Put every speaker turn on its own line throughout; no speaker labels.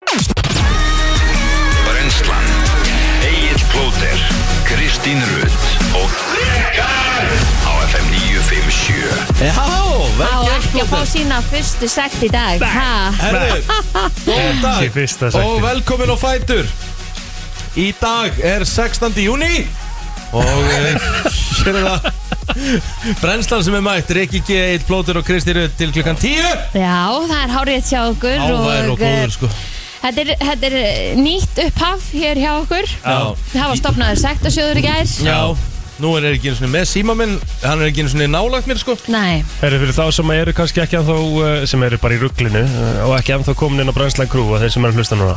Mm-hmm.
Kristín Rutt og Rikar á FM 957
Já,
Á
vel gert
ekki að fá
Lóter
sína fyrstu sekt í dag ha?
Herðu, góðan
Ekki fyrsta
dag
sæti.
og velkomin á Fætur Í dag er 16. júni og eh, hér er það Brennslan sem er mætt, Rikki G, Eitt Blótur og Kristi Rutt til klukkan 10
Já, það er hárétt hjá okkur eh,
Ávæður og góður sko
Þetta er, þetta er eh, nýtt upphaf hér hjá okkur
Já.
Það var stopnaður sektasjóður í gær
Já, nú er ekki einu sinni með síma minn, hann er ekki einu sinni nálagt mér sko
Nei,
Herru, fyrir þá sem eru kannski ekki ennþá, uh, sem eru bara í rugglinu uh, og ekki ennþá komin inn á Brænslan Crew og þeir sem eru að hlusta núna.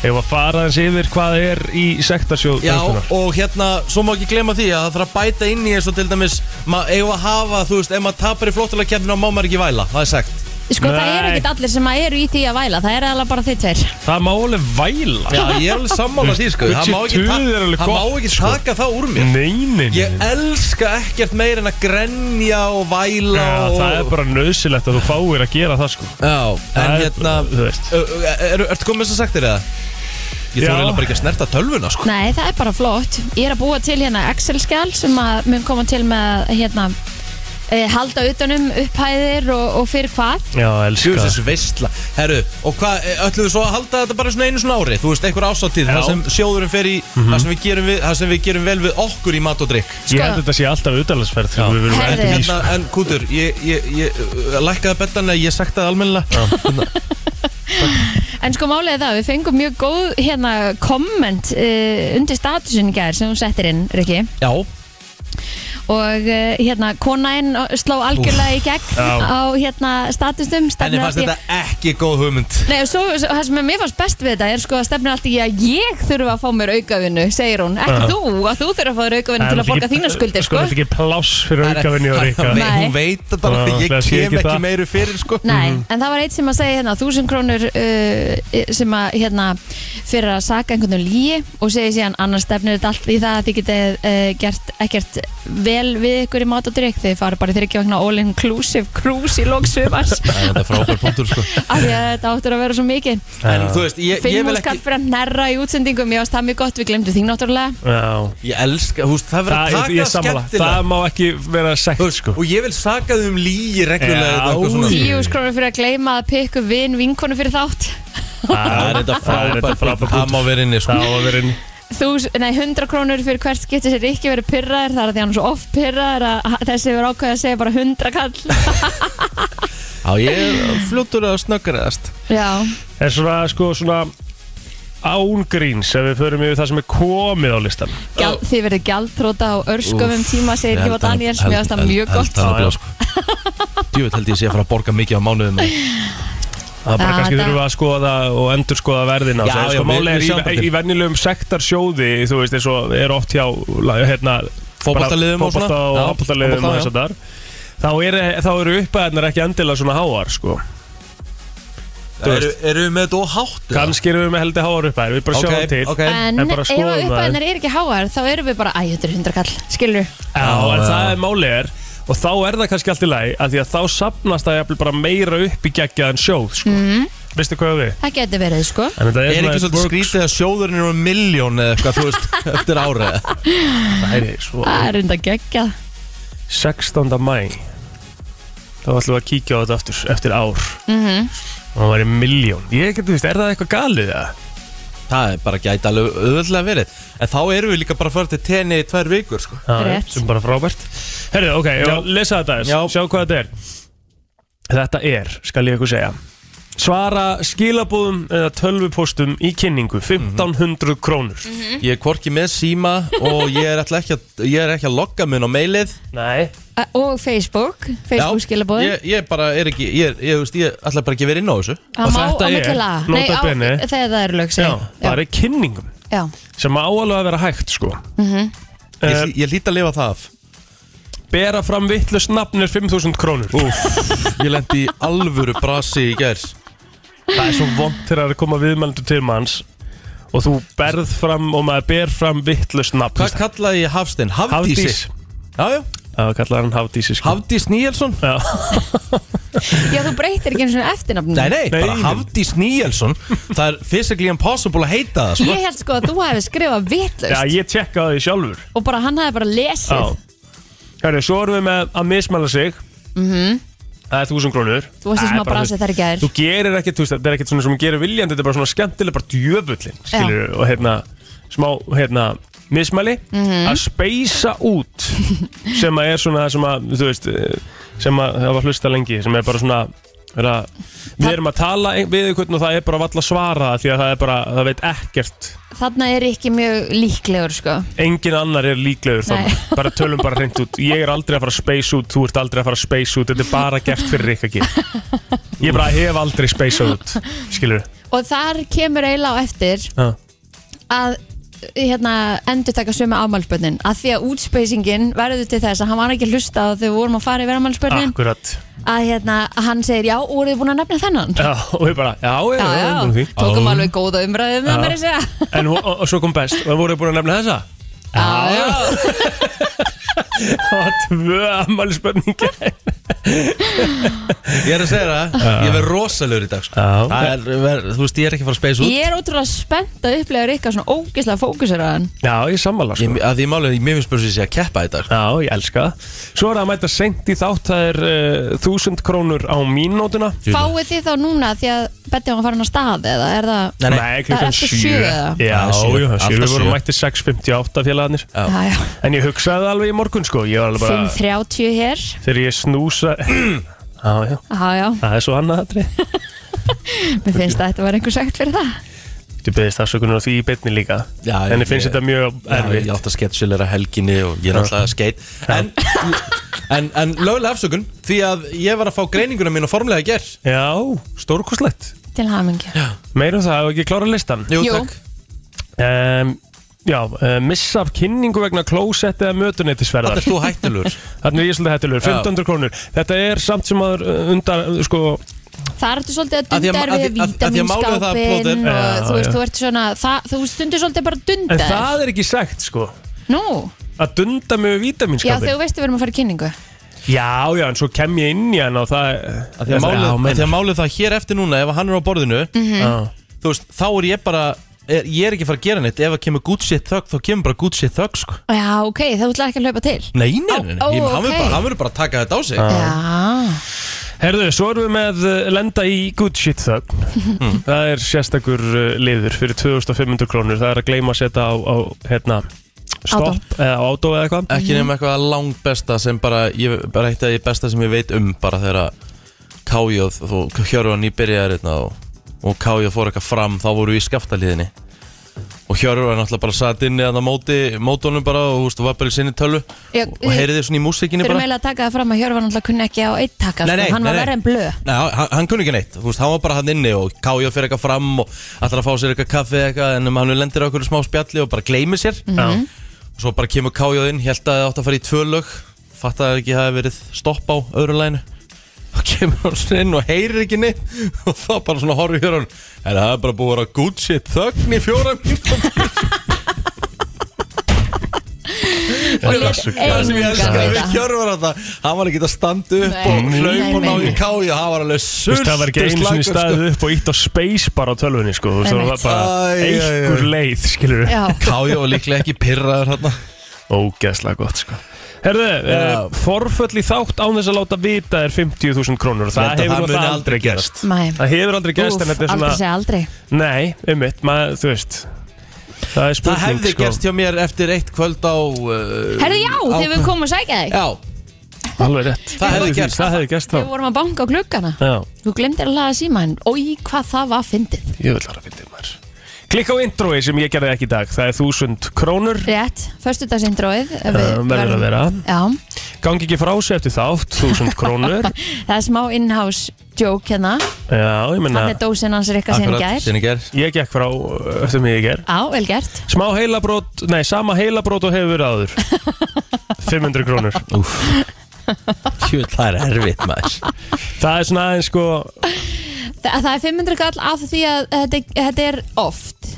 Ef að fara aðeins yfir hvað er í sektarsjóð
Já,
Brænslunar.
og hérna, svo má ekki glema því að það þarf að bæta inn í eins og til dæmis ma- eigum að hafa, þú veist, ef maður tapar í flottulega keppnina má maður ekki væla, það er sagt
sko það
Nei.
eru ekkert allir sem að eru í því að væla Það eru alveg bara þitt tveir
Það má alveg væla.
Já, ég er alveg sammála því, sko
Gucci
Það má ekki,
tuð
ta
er alveg
það má
gott,
ekki
sko.
taka það úr mér
Nei, nei, nei.
Ég
nei.
elska ekkert meir en að grenja og væla
Já,
og...
það er bara nöðsilegt að þú fáir að gera það sko
Já, en
Það er-
hérna,
þú veist.
ö- ö- er- ertu komið þess að sagt þér eða? Ég
Já.
þóra eiginlega bara ekki að snerta tölvuna, sko
Nei, það er bara flott. Ég er að búa til hérna Excel-skjál sem að mun koma til með að, hérna e, halda utanum upphæðir og, og fyrir hvað.
Já, elska
Sjöfis
það
þessu veistla Herru, og hvað, e, ætlum við svo að halda þetta bara svona einu svona ári Þú veist, einhver
Já.
ásáttíð,
Mhm.
það sem sjóðurinn fer í það, sem við gerum við, það sem við gerum vel við okkur í mat og drikk
Ég held að þetta sé alltaf utalagsferð
Já.
þegar við verum
Herðu.
endur í
hérna,
sko
En Kútur, ég, ég, ég uh, lækkaði betan að ég sektaði almennilega
En sko málið er það, við fengum mjög góð hérna komment e, undir statusin í gær sem hún settir inn, Rikki.
Já,
Og e, hérna konainn sló algjörlega í gegn
Já.
á hérna statusnum.
henni fannst þetta e- ekki góð hugmynd
Nei, og svo, svo- það sem mér fannst best við þetta er sko að stefna allt í að ég þurfa að fá mér aukavinnu, segir hún. Ekki
Já.
þú, að þú þurfa að fá þér aukavinnu til að borga þína skuldir,
Sko,
sko.
þetta er ekki pláss fyrir aukavinni og rika
Nei.
Hún veit þetta bara,
Já,
ég
það sé
kem
ekki
ekki
það.
meiru fyrir, sko
Nei, en það var eitt sem að segja hérna þúsund krónur uh, sem að hérna fyrir að saka einhvern veginn líi og segja síðan annars stefnir þetta allt í það að þið getið uh, gert ekkert vel við ykkur í mat og drikk þið fara bara þryggja vegna all inclusive cruise í lóksumars af
Nei, Þetta er frábær punktur, sko
því að þetta áttur að vera svo mikið
En þú veist, ég, ég vil
Fimmhúskall
ekki
fyrir að nærra í útsendingum ég ást það mjög gott, við glemdu þín náttúrulega
Já
Ég elska, þú veist, það
Það,
verður að
ég, ég
taka
sammála,
skemmtilega
það má ekki vera sekt
Þú veist,
sko
Og ég vil saka þau um líi reglulega
Já, sko.
þetta og eitthvað svona.
í-
Tíus krónur fyrir að gleyma að pikku vin vinkonu fyrir þátt
Það er þetta frábær
frábær
punktur. Það má vera inni, sko
Það á að vera inn
Þús, nei, 100 krónur fyrir hvert skipti sér ekki verið pyrraðir, það er að því hann er svo oft pyrraðir að þessi verið ákveðið að segja bara 100 kall
Já, ég er fljótur að snöggræðast
Já,
En svona, sko, svona ángríns ef við förum yfir það sem er komið á listan
Gjald, þið verið gjaldtróta á örsköfum
Úff,
tíma segir Gjóða Daniels, mér finnst það mjög gott
held- sko.
Djúvill sko. held ég sé að fara að borga mikið á mánuðum
Það er bara
Já,
kannski
þetta-
þurfum við að sko, skoða og endur skoða verðina
Já, já,
sko,
við-
Máli
við
er
sjáum
í,
þetta.
í venjulegum sektarsjóði Þú veist, eins og er oft hjá la- hérna,
Fótboltaliðum og svona.
Fóbalta
Já,
og handboltaliðum og
fótbolta,
þess að þar Þá eru, þá eru uppæðnar ekki endilega svona háar sko. Þú
Eru
veist.
eru við með þetta og hátt? eða?
Kannski erum við með heldur háar uppæðar Við bara
Ok,
sjáum til
ok.
En
En
ef
bara
að
skoðum það.
upphæðnar er ekki háar þá erum við bara, æ, þetta er 100 kall, skilur
Já,
Já,
en
já.
það er máli er Og þá er það kannski allt í lagi af Því að þá sapnast það jafnvel bara meira upp í geggjaðan sjóð
Mm.
sko. Veistu hvað við?
Það getur verið, sko
En þetta
Er ekki
svona-
svolítið skrítið að sjóðurinn eru um miljón eða eitthvað, þú veist, eftir árið
Það er svo
Það er enda geggjað
16. mæ þá ætlum við að kíkja á þetta aftur eftir ár og það væri miljón ég geti, þú veist, er það eitthvað galið það?
Það er bara gæti alveg auðvöldlega verið En þá erum við líka bara að fara til tenni í tvær vikur, sko
Rétt.
sem bara frábært herrið, ok, ég var að lesa þetta
Já.
aðeins, sjá hvað þetta er þetta er, skal ég ykkur segja svara skilabúðum eða tölvupóstum í kynningu 1500 krónur
Mhm. Ég er hvorki með síma og ég er, ætla ekki, að, ég er ekki að logga mun á mailið
nei,
Ä, Og Facebook, Facebook skilabóð
ég, ég bara er ekki, ég, er- ég, þú veist, ég ætla bara ekki að vera inn á þessu
og
Það má á
þetta er,
mikil að Nei,
nota
á-
bene.
þegar það er lög,
já,
segir
bara í kynningum
Já, Mhm.
sem á alveg að vera hægt, sko Eh,
Ég, hlý- ég lít að lifa það af
bera fram vittlust nafnir 5000 krónur
Úff, ég lendi í alvöru brasi í gærs
það er svo vond þegar það er að koma viðmældu til manns og þú berð fram og maður ber fram vittlust nafn
Hvað kallaði ég Hafstein? Hafdísi?
Hafdís
Já, já,
Það kallar hann Hafdísi sko
Hafdís Níelsson
Já,
Já, þú breytir ekki eins og eftirnafnum
Nei, nei, bara
Nei.
Hafdís Níelsson Það er physically impossible að heita það sko.
Ég held sko að þú hefði skrifað vitlaust
Já ég tjekka á því sjálfur
og bara hann hefði bara lesið
Já Hörru, svo erum við með að mismæla sig -hmm. Það er þúsund krónur
Mhm. Þú varst í
Það er
smá
bara-
bransi þar í gær
Þú gerir ekkert, þú veist, þetta er ekkert svona sem þú gerir viljandi, þetta er bara svona skemmtilega, bara djöfullin, skilur og hérna, smá, hérna, mismæli,
Mhm.
að speysa út, sem að er svona, sem að, þú veist, eh, sem að það var hlusta lengi, sem er bara svona, er að, við erum að tala ein- við einhvern og það er bara valla svara því að það er bara, það veit ekkert,
Þarna er ekki mjög líklegur sko
engin annar er líklegur þannig, bara tölum bara hreint út, ég er aldrei að fara að speysa út, þú ert aldrei að fara að speysa út, þetta er bara gert fyrir ykkur ekki, ég bara hef aldrei speysað út, skilur
Og þar kemur eiginlega á eftir
Já.
að hérna, endur taka sömu afmálspörnin að því að útspeysingin verður til þess að hann var ekki að hlusta á þegar við vorum að fara yfir afmálspörnin
Akkurat
að hérna, hann segir já, voruð þið búin að nefna þennan
Já, og ég bara, já, já,
Já,
já,
já,
já,
tókum alveg góða umræðum
Já.
það mér að segja
En og, og, og svo kom best, og voruð þið búin að nefna þessa?
Já, já.
Það var tvö ammali spurningi
Ég er að segja það, ég verð rosalur í dag sko.
Já.
Það er, ver, Þú veist, ég er ekki að fara að speysa út
Ég er ótrúlega spennt að upplega Rikka svona ógislega fókusur að hann
Já, ég sammála, sko
Ég, að því málið, mér finnst bara sem ég sé að keppa í dag
Já, ég elska það Svo er það að mæta seint í þátt, það er uh, 1000 krónur á mínótuna
Fáið þið þá núna því að Betty var farin að staði eða er það
Nei, nei.
Nei, klukkan
Eftir
7
sjö, eða?
Já,
Já,
sjö,
alltaf
sjö, við
sjö.
vorum mætti 6.58 félagarnir
Já.
Já, já.
En ég hugsaði það alveg í morgun, sko Ég var alveg bara,
5.30 hér
þegar ég snúsa Já, já,
Já, já,
það er svo annað aðri
mér finnst að þetta var einhver sagt fyrir það
Þú beðist afsökunar á því í beinni líka
Já, já,
En ég finnst
ég-
þetta mjög
Já,
erfitt
Ég átt að sketsjulera helginni og ég er alltaf að skeit En, en, en lögulega afsökun Því að ég var að fá greininguna mín og formulega ger
Já, stórkoslegt
Til hamingju
Meirum það, hefur ekki klárað listan
Jú,
Jú.
takk
um, Já, uh, missa af kynningu vegna klósett eða
Þetta
mötunetisverðar
er þú hættulur
Þannig er ég svolítið hættilegur,
Já.
1500 krónur Þetta er samt sem að undar, uh, sko
Það ertu svolítið að
Að því að-
dunda
að því-
við
að- að því að málið er það að plóta
vítaminnskápin
er-
og
Já,
þú veist,
já.
þú ert svona það, þú stundur svolítið bara að dunda
En
þér.
það er ekki sagt, sko
Nú,
Að dunda mig
já
við
þegar
vítaminskapin
þú veist við erum að fara í kynningu
já, já, en svo kem ég inn í hann og það
Af Því að málið- af því að málið það hér eftir núna Ef hann er á borðinu
Mhm.
málið
Þú veist, þá er ég bara er, Ég er ekki að fara að gera neitt Ef það kemur good shit thug, þá kemur bara good shit thug sko.
Já, ok, þá ætlaði ekki að hlaupa til
Nei, nei, nei, nei.
Ó,
ég, hann verður
ok.
bara, hann verður bara að taka þetta á sig
Já,
Herðu, svo erum við með uh, lenda í good shit þögn Það er sérstakur uh, liður fyrir 2500 krónur Það er að gleyma að setja á, á hérna, stopp eða á átó eða eitthvað
Ekki nefnum eitthvað langbesta sem bara, ég, bara eitt af því besta sem ég veit um bara þegar að Kájóð og Hjörvan nýbyrjaði hérna og, og Kájóð fór eitthvað fram þá voru við í skaftaliðinni og Hjörvan náttúrulega bara satt inni að það móti mótunum bara og þú veist, var bara í sinni tölu
Já,
og, og heyriði svona í músikinni
þurfum
bara
eiginlega að taka það fram að Hjörvar náttúrulega kunni ekki á eitt taka sko.
Nei, nei,
Hann
nei,
var
nei.
verið en blöð
Nei, hann, hann kunni ekki neitt, þú veist, hann var bara hann inni og Kájóð fyrir eitthvað fram og ætlar að fá sér eitthvað kaffi eitthvað en um hann lendir á okkur smá spjalli og bara gleymir sér
Já.
og svo bara kemur Kájóð inn, held að það átt að fara í tvö lög fattaði ekki að það hefði verið stopp á öðru læginu og kemur hann svona inn og heyrir ekki neitt og þá bara svona horfir hér hann en það er bara búið að vera good shit þögn í fjóra mínútur
Og ég
svo
er
það sem ég
engan
elskar við
veit að
Hjörvar þetta hann var ekki að standa upp
Nei,
og
nei,
hlaup og
nei,
náði
nei.
Kájóð hann var alveg
Þú veist, það var ekki einu sinni
sultuslakur, sko.
staðið upp og ítt á space bara á tölvunni, sko Þú veist, það var
Einmitt.
bara
Æ, æ, æ.
einhver leið, skilur við
Já,
Kája var líklega ekki pyrraður hérna
Ógeðslega gott, sko Herðu, uh,
Já.
forföll í þátt án þess að láta vita er 50.000 krónur og
Ég
Það
held að það
hefur
muni
það
aldrei
aldrei gerst
mæ
Það hefur aldrei gerst, en
Úf,
þetta er
aldrei
svona
segja aldrei
Nei, um mitt, maður, þú veist Það er
Það
spurning,
hefði
sko
gerst hjá mér eftir eitt kvöld á uh,
Herðu já,
á-
þegar við komum að sækja þig
Já,
Alveg rétt
Það hefði gerst.
Það hefði gerst þá
Við vorum að banka á gluggana
Já,
Þú glemdir að laga síma henn Ói, hvað það var fyndið
ég vil aðra fyndið maður Klikk á introi sem ég gerði ekki í dag Það er 1000 krónur
Rétt, föstudagsindróið
Uh, verður að vera
Já,
Gangi ekki frá sig eftir þátt 1000 krónur
það er smá in-house joke hérna
Já, ég menna
Hann er dósin hans Rikka sinni
akkurat,
gær
sinni gær
Ég gekk frá uh, eftir mig ég ger
Á, vel gert
Smá heilabrót Nei, sama heilabrót og hefur verið áður 500 krónur
Úf Jú, það er erfitt maður
Það er svona aðeins sko
Þa, Það er 500 kall af því að þetta, þetta er oft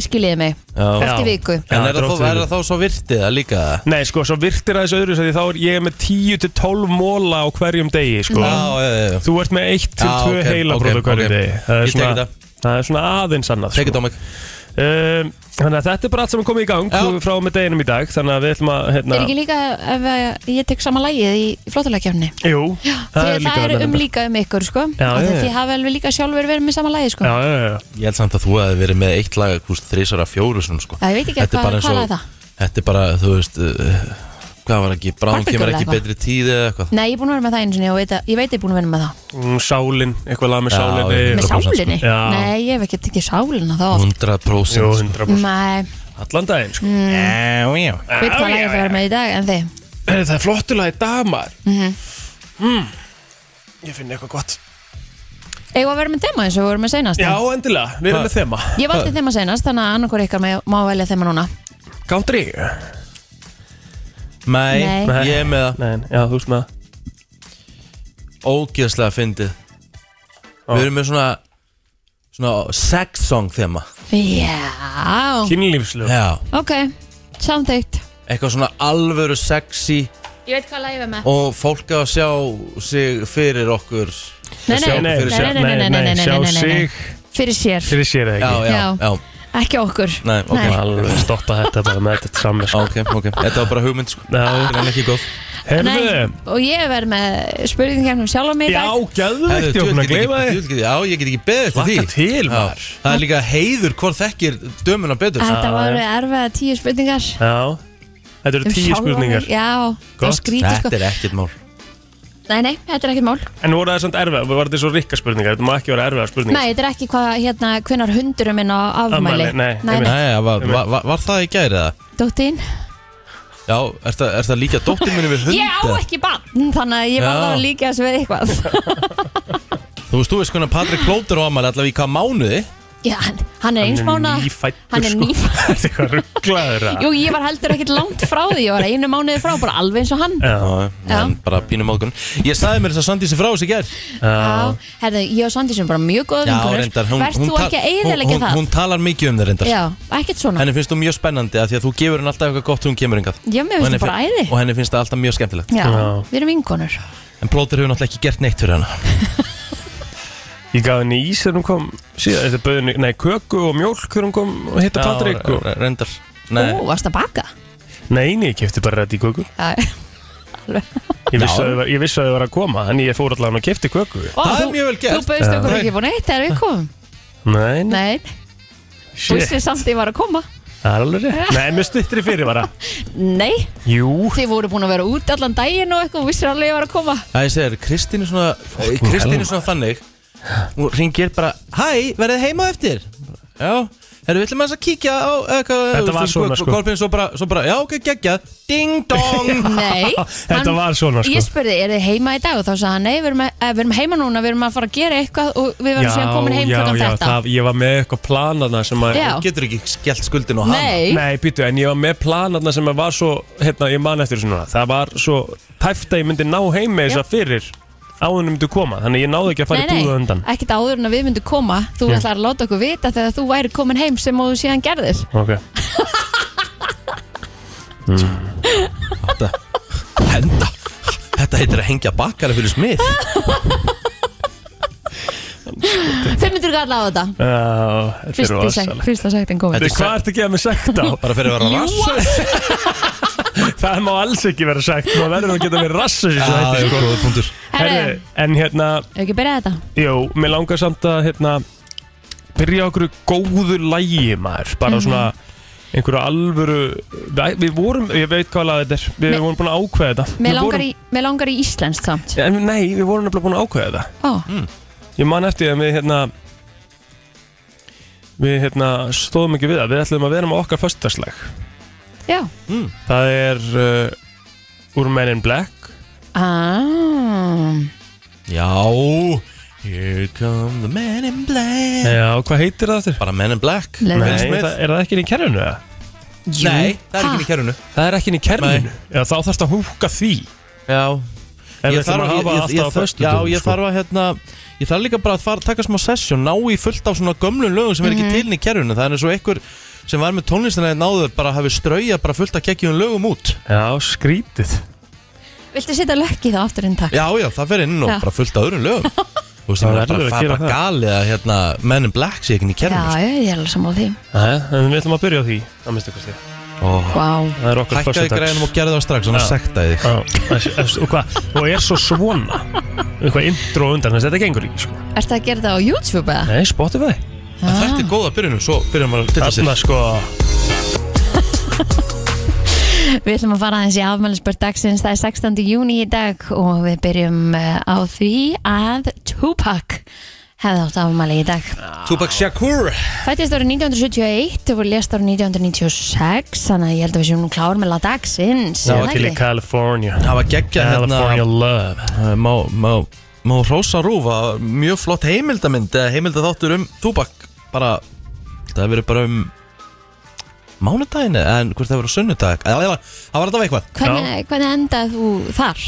skiljiði mig
Já.
eftir viku
En er
Já,
það,
drótt
þá, er
viku.
það þá svo virtið að líka það?
Nei, sko, svo virtir aðeins öðru því þá er ég með 10-12 móla á hverjum degi, sko
Já, já, já, já
Þú ert með 1-2
Já,
okay,
ok,
heilabróðu
ok,
hverjum
ok.
degi það er,
Ég tek
svona,
þetta.
það er svona aðeins annað
Take it
sko.
on mig
um, Þannig að þetta er bara allt saman komið í gang
Já.
frá og með deginum í dag Þannig að við ætlum að
Er
hérna,
ekki líka ef að ég tek sama lægið í flottalækjafni?
Jú,
Já, það er, það er
þarna
um
reyndar.
líka um ykkur sko Af því
Já, já,
að
já.
Þið hafa alveg líka sjálfur verið með sama lægið sko
Já, já, já,
Ég held samt að þú hefði verið með eitt lag Hvúst þrísara fjóru sem sko
Já, ég veit ekki
Þetta er
hvað-
bara eins
hvað
og-
lag er það?
Þetta er bara, þú veist uh, Hvað var ekki, bráðum
Barnagull
kemur
eða
ekki
eitthvað?
betri tíð eða eitthvað
Nei, ég er búin að vera með það einu sinni og veit að, ég veit ég er búin að vera með það
Mm, Sálin, eitthvað lag með
Já, já.
sálinni
Með
100% sko.
sálinni?
Já.
Nei, ég hef ekki tekið sálina þá oft
100%
Jú,
sko.
100%
Nei,
Allan daginn, sko mm.
Já, já
veit hvað lægið það vera með í dag en þið Mhm.
Það er flottulega í dag, maður mm Hmm. Ég finn eitthvað gott
Eigum að vera með þema eins og við vorum með seinast
Já, endilega, við erum með þema
Ég valdi þema seinast, þannig að annarkur ykkar má má velja þema núna
Country
Nei,
Nei.
ég er með það
Nei, já, þú veist með það
Ógeðslega fyndið Við erum með svona Svona sex song þema
Já,
Kynlífslög
Já
ok, samþygt
Eitthvað svona alvöru sexy
Ég veit hvað lægið er með
Og fólk á að sjá sig fyrir okkur
Nei, nei,
Sjá okkur
nei,
fyrir sér.
nei, nei, nei, nei, nei, nei,
sjá
nei, nei, nei.
sig
Fyrir sér,
Fyrir sér eða
Já,
ekki
já,
Já.
já
ekki okkur
Nei, ok,
Nei.
Alveg stoppa þetta bara með þetta samme sko.
ok, ok Þetta var bara hugmynd sko
Já.
Það er ekki góð
Herðu
Nei, og ég verð með spurningkjarnum sjálf á mig í
Já,
dag
gæðu
Herðu,
ekki, ég
djöfull
opna að
get ekki-
gleyma þig
djöfull get- Já, ég get ekki beðið eftir því
Laka til,
Já.
maður.
Það er líka heiður hvort þekkir dömuna betur sko.
Þetta voru erfiða tíu spurningar
Já, þetta eru
um sjálfa
tíu
mig.
spurningar
Já, það
Gott.
skríti sko
Þetta er ekkert mál
Nei, nei, þetta er ekkert mál
En voru það samt erfið, voru þetta svo rikka spurningar Þetta má ekki vera erfiða spurningar
Nei, þetta er ekki hvað, hérna, hvenar hundurum minn á afmæli
Afmæli, nei,
nei, nei.
Nei, það var, var, var, var það í gæri eða?
Dóttin
Já, er það, er það líka dóttir minni við hund?
Ég á
eða?
ekki bann, þannig að ég var
Já.
það líka sem við eitthvað
Þú veist, þú veist hvernig Patrik Klóter á ammæli allavega í hvað mánuði
Já, hann, hann er eins mánu
nýfæddur,
Hann er
sko.
nýfætt
Þetta er eitthvað rugglaður
Jú, ég var heldur ekkert langt frá því Ég var einu mánuði frá, bara alveg eins og hann
Já,
Já,
Já.
en bara pínum ákvörðun Ég sagði mér þess að Sandísi frá þessi gær
já
Já, herðu, ég og Sandís er bara mjög góða
Já,
vinkunur
reyndar, hún,
Verð
hún,
þú
tal-
ekki að
hún,
eiðilegja
hún,
það?
hún talar mikið um það reyndar
Já, ekkert svona
Henni finnst þú mjög spennandi að því að þú gefur henni alltaf eitthvað gott þegar hún kemur yngað
Já, mér finnst það bara æði.
Og henni finnst það alltaf mjög skemmtilegt
Já,
Já.
við erum vinkonur
En plóter hefur náttúrulega ekki gert neitt fyrir hana
Ég gaf henni ís þegar hún kom síðan, þetta bauði henni, nei, köku og mjólk þegar hún kom og hitta Patrik
Já,
og...
re- reyndar Nei,
Ú, varst að baka?
Nei, nei, ég kefti bara rætt í köku
Já, alveg
Ég vissi
Já.
að þau var- ég vissi að þau var að koma, en ég fór allavega og kefti köku
Ó,
Það er
þú-
mjög vel gert.
Þú bauðst
Já.
okkur
Nei.
ekki búin eitt þegar við komum
Nei, nei,
Nei, þú
shit,
vissir samt að ég var að koma
það er alveg rétt Nei, mjög stuttri fyrirvara
Nei,
Jú,
þið voru búin að vera út allan daginn og eitthvað Þú vissir alveg að ég var að koma
það ég segir, Kristín er svona Kristín er svona þannig Hún ringir bara, hæ, verðið heima á eftir Já, herru, við ætlum aðeins að kíkja á eitthvað,
Þetta var svona, sko.
Kolpinn svo bara, svo bara, já, ok, geggja Ding dong
Nei
Þetta var svona, sko.
Ég spurði, er þið heima í dag? Og þá sagði hann, nei, við erum, að, eh, við erum heima núna Við erum að fara að gera eitthvað og við verum síðan komin heim klukkan þetta
það, ég var með eitthvað planaðna sem að
Já.
Getur ekki skellt skuldin á hann
Nei,
Nei, býtu, en ég var með planaðna sem að var svo, hérna, ég man eftir svona Það var svo tæft að ég myndi ná heim með þess að fyrir áðunum myndi koma Þannig að ég náði ekki að fara í búða undan
ekkert áður en að við myndum koma Þú
Já.
ætlar að láta okkur vita þegar þú væri komin heim sem þú síðan gerðir
Ok,
Þetta, henda Þetta heitir að hengja bakkara fyrir smið
500 kall á þetta
Já, þetta er
Fyrsti sekt-
rosalegt
Fyrsta sektin komin
Þetta
Þetta
er hvað ertu að gefa mig sagt á?
Bara fyrir að vera rass
Það má alls ekki vera sagt Má verður að geta verið rassus í
Já,
svo
já,
hætti
góða punktur
Herru,
Herri, en hérna,
hefur ekki byrjað þetta?
jú, mér langar samt að hérna Byrja okkur góðu lægi maður Bara
Mhm.
svona einhverju alvöru Við, við vorum, ég veit hvað lag þetta er Við
Mér-
vorum búin að ákveða þetta
Mér
Við
langar,
vorum,
í, mér langar í íslenskt samt Ah,
En, Nei, við vorum nefnilega búin að ákveða þetta
Ó,
Ég man eftir því að við hérna Við hérna stóðum ekki við það Við ætlum að vera með okkar föstaslag
já
Það er uh, Úr Men in Black
ah,
Já Here come the man in black
Já, hvað heitir það aftur?
Bara man in black
Nei.
Will
Nei,
Smith.
það, er það ekki inn í kerfinu? eða?
Nei, það er
Ha?
ekki í kerfinu
Það er ekki inn í kerfinu Já, þá þarfst að húka því
Já
En við ætlum að hafa
ég,
alltaf
ég,
á sko. föstu
Já, ég þarf að hérna Ég þarf líka bara að fara, taka smá session Ná í fullt af svona gömlum lögum sem er
Mhm.
ekki tilin í kerfinu Það er eins og einhver sem var með tónlistina einn áður Bara hafi strauja bara fullt af geggjum lögum út
Já, skrítið
Viltu setja lökki þá aftur inn takk?
Já, já, það fer inn og
Já.
bara fullt af öðrum lögum Þú veist,
Það
það er
verður
bara
að
það er
gera
bara
það.
galið að hérna, Men in Black sé ekki inn í
Já,
kerfinu sko.
ég ég er alveg sammála því
Nei, en við ætlum að byrja á því að minnstu kosti
Ó,
Vá
Það er okkar
Hækkaði greinum og gerði það strax, hann
Já.
sektaði þig
föstudags Og hvað, og er svo svona eitthvað intro á undan, þess að þetta gengur ekki sko.
Ertu að gera það á YouTube eða?
Nei, Spotify
En Þetta er góða byrjunum, svo byrjum maður að tilla sér
Þarna sko,
Við ætlum að fara aðeins í afmælisbörn dagsins Það er 16. júni í dag og við byrjum eh, á því að Tupac hefði átt afmæli í dag
Tupac Shakur
Fættist árið 1971 og lést árið 1996 þannig að ég held að við séum nú klár með lag dagsins
það
er
var til í
ekki?
California
Það var geggjað hérna
California Love
Eh, má, má, má hrósa rúfa mjög flott heimildamynd eða heimildatháttur um túbakk bara, það hefur verið bara um mánudaginu en hvort það hefur verið á sunnudag eða eða, það var alltaf eitthvað
Hvernig, hvernig endaði þú þar?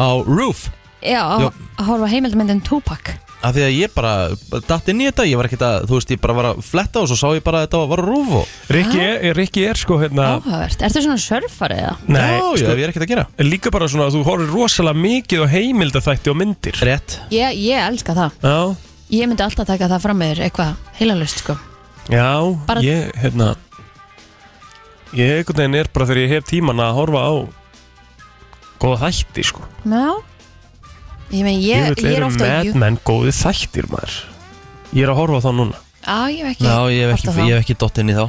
á Roof
Já, á-
Jú.
að horfa á heimildamyndin Tupac
af því að ég bara datt inn í þetta ég var ekkert að, þú veist, ég bara var að fletta og svo sá ég bara að þetta var á Roof og
Rikki er, Rikki er sko hérna
Áhugavert, ertu svona surfari eða?
Nei,
já,
sko,
ég er ekkert að gera
líka bara svona að þú horfir rosalega mikið á heimildaþætti og myndir
rétt,
Ég, ég elska það
Já,
Ég myndi alltaf taka það fram meður eitthvað heilalust sko
já,
Bara-
ég, hérna Ég einhvern veginn er bara þegar ég hef tíman að horfa á góða þætti, sko
Já Ég meina, ég, ég,
Jöfull,
er
eru
ofta á
um Mad
YouTube
Men góði þættir, maður Ég er að horfa á þá núna
Já, ég hef ekki
já, ég hef
horft
ekki,
á
ég
það.
hef ekki dott inn í þá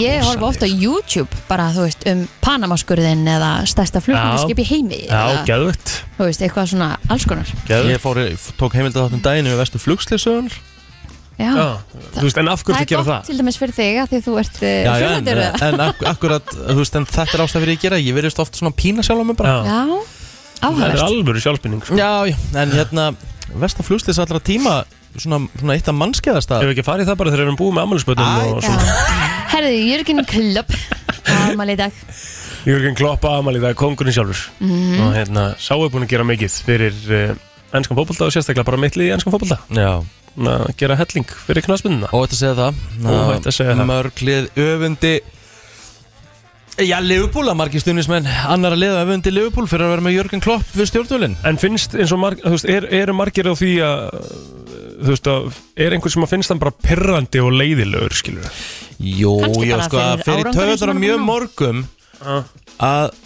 Ég horfa ofta á YouTube bara, þú veist, um Panamaskurðin eða stærsta flugmyndaskip í heimi
Já,
eða,
geðvögt
þú veist, eitthvað svona alls konar
ég fór, tók um heimildatháttum daginu við vestu flugslisögunar
Já,
Já, þú veist, en af
það er
hverju þið gera
gott
það?
til dæmis fyrir þig að því þú ert eh,
já, já, en,
fjöldur Já,
en ak akkurat, þú veist, en þetta er ástæð fyrir ég gera ég verðist oft svona pína sjálf á mig bara
Já, það er
áhugavert
alvöru sjálfsbynning, sko
Já, já, en hérna Vesta flugslis allra tíma Svona, svona eitt af mannskeiðasta
Ef við ekki farið það bara þegar við erum búið með
Æ,
ammælisbötum og svona
Herði, Jörgen Klopp Ámali í dag
Jörgen Klopp aðmæli það er kongurinn sjálfur
Mhm.
og hérna, sá er búin að gera mikið fyrir uh, ennskan fótbolta og sérstaklega bara mittlið í ennskan fótbolta
Já,
að gera helling fyrir knaspunna
óvægt að segja það
Óhætt að segja það.
Mörglið öfundi Já, Liverpool að margir stuðnismenn Annar að liða öfundi Liverpool fyrir að vera með Jörgen Klopp við stjórnvölin
En finnst eins og marg, þú veist, er, eru margir á því að þú veist að er einhver sem að finnst hann bara pirrandi og leiðilegur skilur
Jú,
Kannski
já,
bara
sko,
fyrir
fyrir
árangurinn sem
töðar
hann
á
er
mjög
búinn á.
morgum Að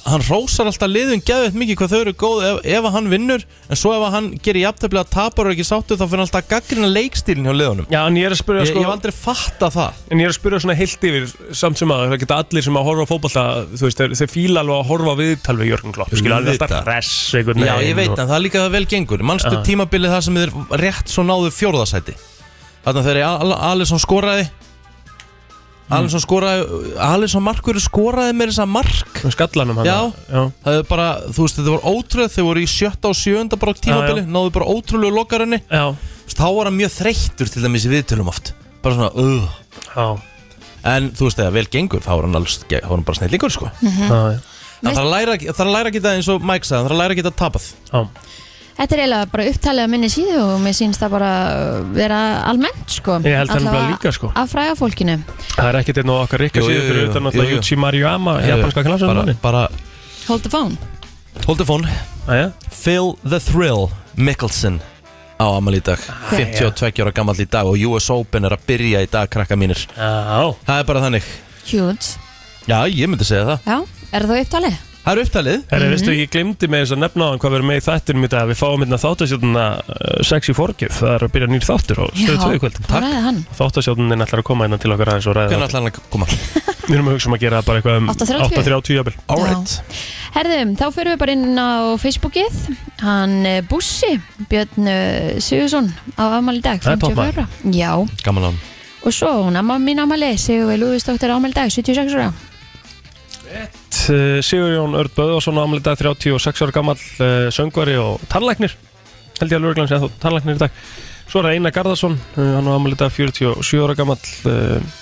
hann rósar alltaf liðum geðveitt mikið hvað þau eru góð ef, ef að hann vinnur en svo ef að hann gerir jafntefnilega tapar og er ekki sáttu þá fyrir hann alltaf að gaggrina leikstílinn hjá liðunum
Já, en ég er að spyrja
Ég,
sko,
ég hef aldrei fatta það
en ég er að spyrja svona heilt yfir samt sem að það geta allir sem að horfa á fótbolta þú veist, þeir, þeir fíla alveg að horfa á viðtal við Jörgen Klopp, skilur alveg
Auðvitað.
alltaf res einhvern
Já,
veginn
ég veit
og-
að það er líka vel gengur Manstu
Já.
tímabilið það sem þeir rétt svo náðu fjórðasæti Þannig að þegar Al- Alisson skoraði
Hmm.
Alisson skoraði Alisson markur skoraði með þess að mark
Skallanum hann
Já.
já.
Það er bara, þú veist, þetta voru ótröð Þeir voru í sjötta og sjönda bara tímabili
Já,
Náðu bara ótrúlegu lokarinni
Já.
Þá var hann mjög þreyttur til dæmis í viðtölum oft Bara svona, uh
Já.
En þú veist, þegar vel gengur, þá var hann, alls, þá var hann bara snillingur sko.
Mhm.
Já.
Það þarf að læra- það þarf að læra að geta eins og Mike sagði Það þarf að læra að geta tapað
Já.
Þetta er eiginlega bara upptalið að minni síðu og mér sýnst það bara uh, vera almennt sko
Ég held það
Allavega
nefnilega líka, sko.
Að fræða fólkinu
Það er ekkert einn og okkar rikka
Jú, jú,
síður
jú,
fyrir utan
jú,
náttúrulega
jú, jú.
Yuji Maruyama, japanska
Eh, bara,
knallsöndmanni.
bara
Hold the phone
Hold the phone
Jæja,
Phil the Thrill Mickelson á amal í dag 52 ára gammal í dag og US Open er að byrja í dag krakka mínir
já,
Það er bara þannig
Huge
Já, ég myndi segja það
Já, er það upptalið?
Það er upptalið
Mhm.
herri, veistu, ég glemdi með þess að nefna á hann hvað verður með í þættinum í dag Við fáum hérna þáttasjóðuna uh, Sexy Forgive, það er að byrja nýr þáttur á stöðu
Já,
2 í kvöld
þá ræði hann
Þáttasjóðunin ætlar að koma hérna til okkar aðeins og ræða
Hvernig
það.
ætlar hann að koma?
Við erum að hugsa um að gera bara eitthvað um
8:30?
8.30 jafnvel
Alright
Herðum, þá fyrir við bara inn á Facebookið Hann eh, Bussi, Björn eh, Sigursson á afmæli í dag,
Það er topp
54 ára Já,
Gaman hann
og svo hún amma mín afmæli Sigur Lúðisdóttir afmæli í dag, 76 ára
T- Sigurjón Örd Böðvarsson ámæli dag 36 ára gammal uh, söngvari og tannlæknir held ég að lögreglan sé að tannlæknir í dag svo er það Einar Garðarsson, uh, hann ámæli dag 47 ára gammal uh,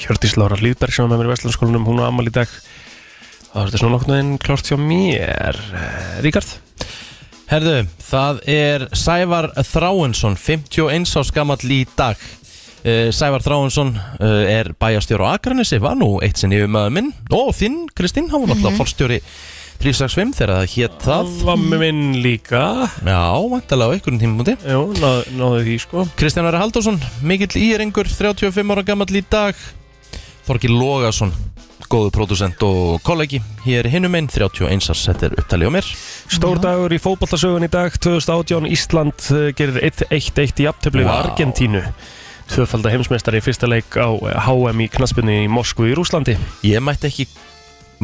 Hjördís Lára Lýðberg sem var með mér í Vestlandskólanum hún ámæli eh, dag það er þetta svona nokkurnu einn klárt hjá mér uh, Ríkard
Herðu, það er Sævar Þráinsson, 51 árs gamall í dag. Eh, Sævar Þráinsson eh, er bæjarstjóri á Akranesi, var nú eitt sinn yfir maður minn. Og þinn, Kristín, hann var náttúrulega fórstjóri 365 þegar það hétt það.
Það Mhm. var með minn líka
Já, vantalega á einhverjum tímumúti.
Jú, náð, náðu því sko
Kristján Ari Halldórsson, mikill íringur, 35 ára gamall í dag Þorki Logason, góðu pródusent og kollegi Hér hinnum einn, 31 árs, þetta er upptalið á mér
Stór dagur í fótballasögun í dag 2018 Ísland eh, gerir 1-1-1 í aftöflu
Vá.
wow. Argentínu Tvöfalda heimsmeistari í fyrsta leik á eh, HM í knaspinu í Moskvu í Rúslandi
Ég mætti ekki,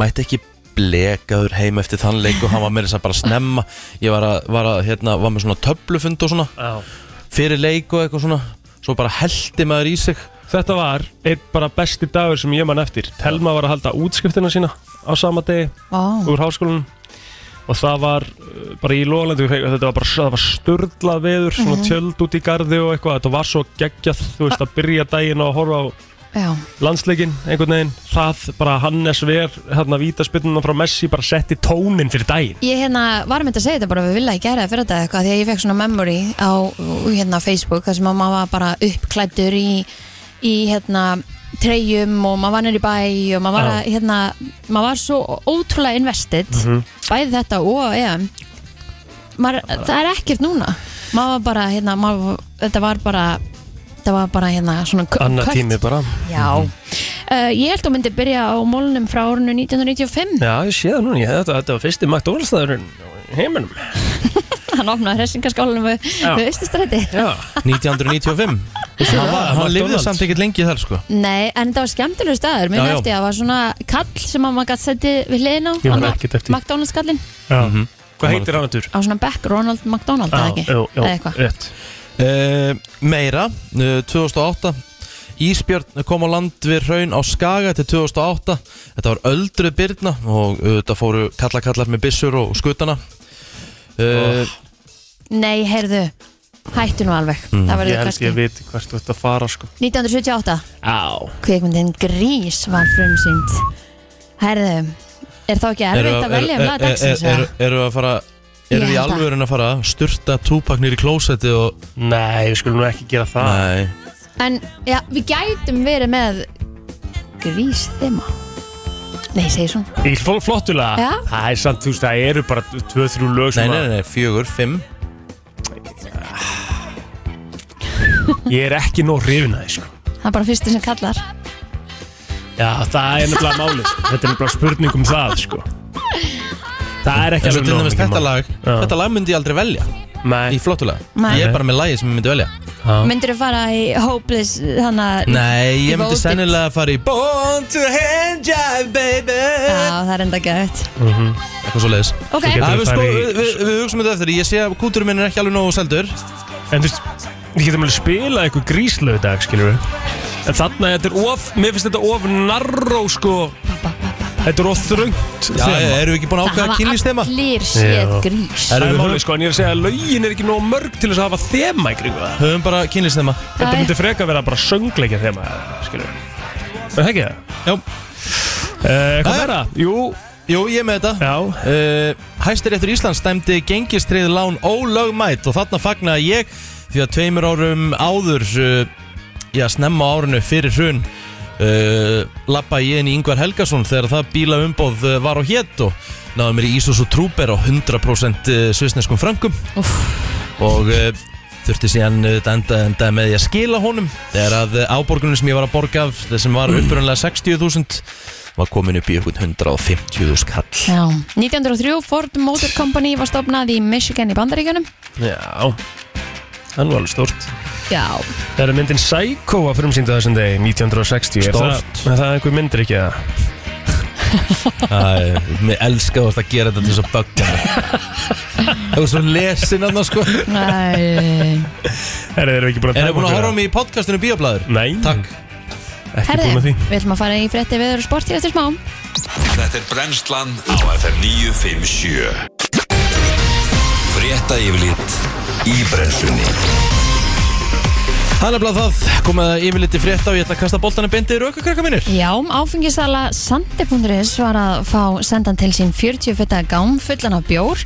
mætti ekki blekaður heim eftir þann leik og hann var með þess að bara snemma Ég var, að, var, að, hérna, var með svona töflufund og svona
Já
fyrir leik og eitthvað svona Svo bara heldi maður í sig
Þetta var einn bara besti dagur sem ég man eftir Telma var að halda útskriftina sína á sama degi
Ó,
úr háskólanum og það var uh, bara í Lólandu þetta var bara það var störlað veður svona tjöld út í garði og eitthvað þetta var svo geggjað þú veist að byrja daginn og horfa á
já,
landsleikinn einhvern veginn það bara Hannes Ver hérna vítaspinnuna frá Messi bara setti tónin fyrir daginn
Ég hérna var með þetta að segja þetta bara við vilja að gera það fyrir þetta eitthvað því að ég fekk svona memory á hérna Facebook þar sem að maður var bara uppklættur í, í hérna treyjum og maður var nýri bæ og maður var, að, hérna, maður var svo ótrúlega invested
Mhm. Mm-hmm.
bæði þetta og EM maður, það er ekkert núna maður var bara hérna maður, þetta var bara þetta var bara hérna svona kö-
annar
kött.
tími Mhm. bara
Já, uh, ég held að myndi byrja á mólunum frá árinu 1995
já ég sé það núna ég, þetta, þetta var fyrsti McDonald's-staðurinn í heiminum
hann opnaði hressingaskólanum við,
Já.
við Östustræti
já
1995 Hann, var, hann lifði
McDonald's.
samt ekkert lengi þar sko
Nei, en þetta var skemmtilegur staður Mér
Já, já.
nefndi að það var svona kall sem að maður gæti setti við hliðin á
Ég man
Anna-
ekkert eftir.
McDonald's kallinn
Mhm. hvað heitir hann aftur?
Á svona Beck, Ronald McDonald eða ekki
já, já,
Eða eitthvað
rétt
Uh, meira, uh, 2008 Ísbjörn kom á land við hraun á Skaga til 2008 Þetta var öldruð byrna og auðvitað fóru kallakallar með byssur og skutana uh,
Nei, heyrðu, hættu nú alveg
Mm.
Það
Mm. ég
verður
held
kannski
ég viti hvert þú ert að fara sko
1978
á
Kvikmyndin Grís var frumsýnd Heyrðu, er þá ekki erfitt að velja um laga dagsins?
er,
eða?
Eru að fara
Ég
Eru við í
held að-
alvörin að fara að sturta túpaknir í klósetti og
nei við skulum nú ekki gera það
Nei,
En já, við gætum verið með Grís þema Nei, segir svona
Í fólk flottulega
Já.
Það er samt, þú veist, það eru bara tvö, þrjú lög
nei,
sem
nei, nei, fjögur, fimm
að Ég er ekki nóg hrifin að því, sko
Það er bara fyrstu sem kallar
Já, það er nefnilega málið, sko Þetta er nefnilega spurning um það, sko Það er ekki
En svo til
nóg
dæmis
mikið
þetta
mál.
lag
Já.
Þetta lag myndi ég aldrei velja
Nei,
Í flottulega
Nei.
Ég er bara með lagi sem ég myndi velja
Myndirðu fara í Hopeless þannig að
Nei, ég myndi
Devoted.
sennilega að fara í Born to hand jive, baby
Já, það er enda gæðið
Mhm. Eitthvað svo leiðis
Ok,
Svo
Ja,
getur- Það
við, sko,
er í-
við, við, við hugsaum þetta eftir Ég sé að kúturinn minn er ekki alveg nógu seldur
en þú veist Við getum alveg spilað eitthvað gríslög í dag, skilur við En þarna, þetta er of, mér finnst þetta of narró, sko Þetta er of þröngt
Já,
þema.
erum við ekki búin að
það
ákveða kynlýstema?
allir séð
Já.
grís
Það
Erum
er
við-
málið, sko, en ég er að segja að lögin er ekki nóg mörg til þess að hafa þema í kringu það
Höfum bara kynlýstema
Þetta
Æ.
myndi freka vera bara söngleikja þema, skilur við. Er það ekki það?
Jú,
Uh, hvað
Jæja.
er það? Jú,
jú ég er með þetta
já,
uh, Hæstiréttur Íslands dæmdi gengistrið lán ólögmætt og þarna fagnaði ég því að tveimur árum áður uh, já, snemma á árinu fyrir hrun uh, lappa ég inn í Ingvar Helgason þegar það bíla umboð var á hétt og náði mér í Ísus og Trúber á 100% uh, svisneskum frangum og uh, þurfti síðan uh, þetta enda, enda með því að skila honum þegar að eh, áborgunin sem ég var að borga af þessum var upprunlega 60.000 var komin upp í ykkur 150.000 kall
Já. 1903 Ford Motor Company var stopnað í Michigan í Bandaríkjunum
já Hann var alveg stórt
Já,
Það er myndin Psycho að frumsýnda þessum degi 1960 Er
Stórt.
það, er það einhver myndir ekki það?
Æ, mér elska þú ert að gera þetta til þess að bögga mig Það var svo lesin aðna sko Erum
Nei.
Er það ekki búin að
við búin að horfa á mig í podcastinu Bíoblæður?
Nei,
Takk
ekki
herði,
búin að því
við ætlum að fara í frétti veður og sport hér eftir smá
Þetta er brennslan á FM 957 Frétta yfirlit í brennslunni
Það er nefnilega það, komið að yfirliti frétt á, ég ætla að kasta boltanum beintið í raukakrakka mínir.
Já, um áfengisala sandi.is var að fá sendan til sín 40 feta gám fullan af bjór.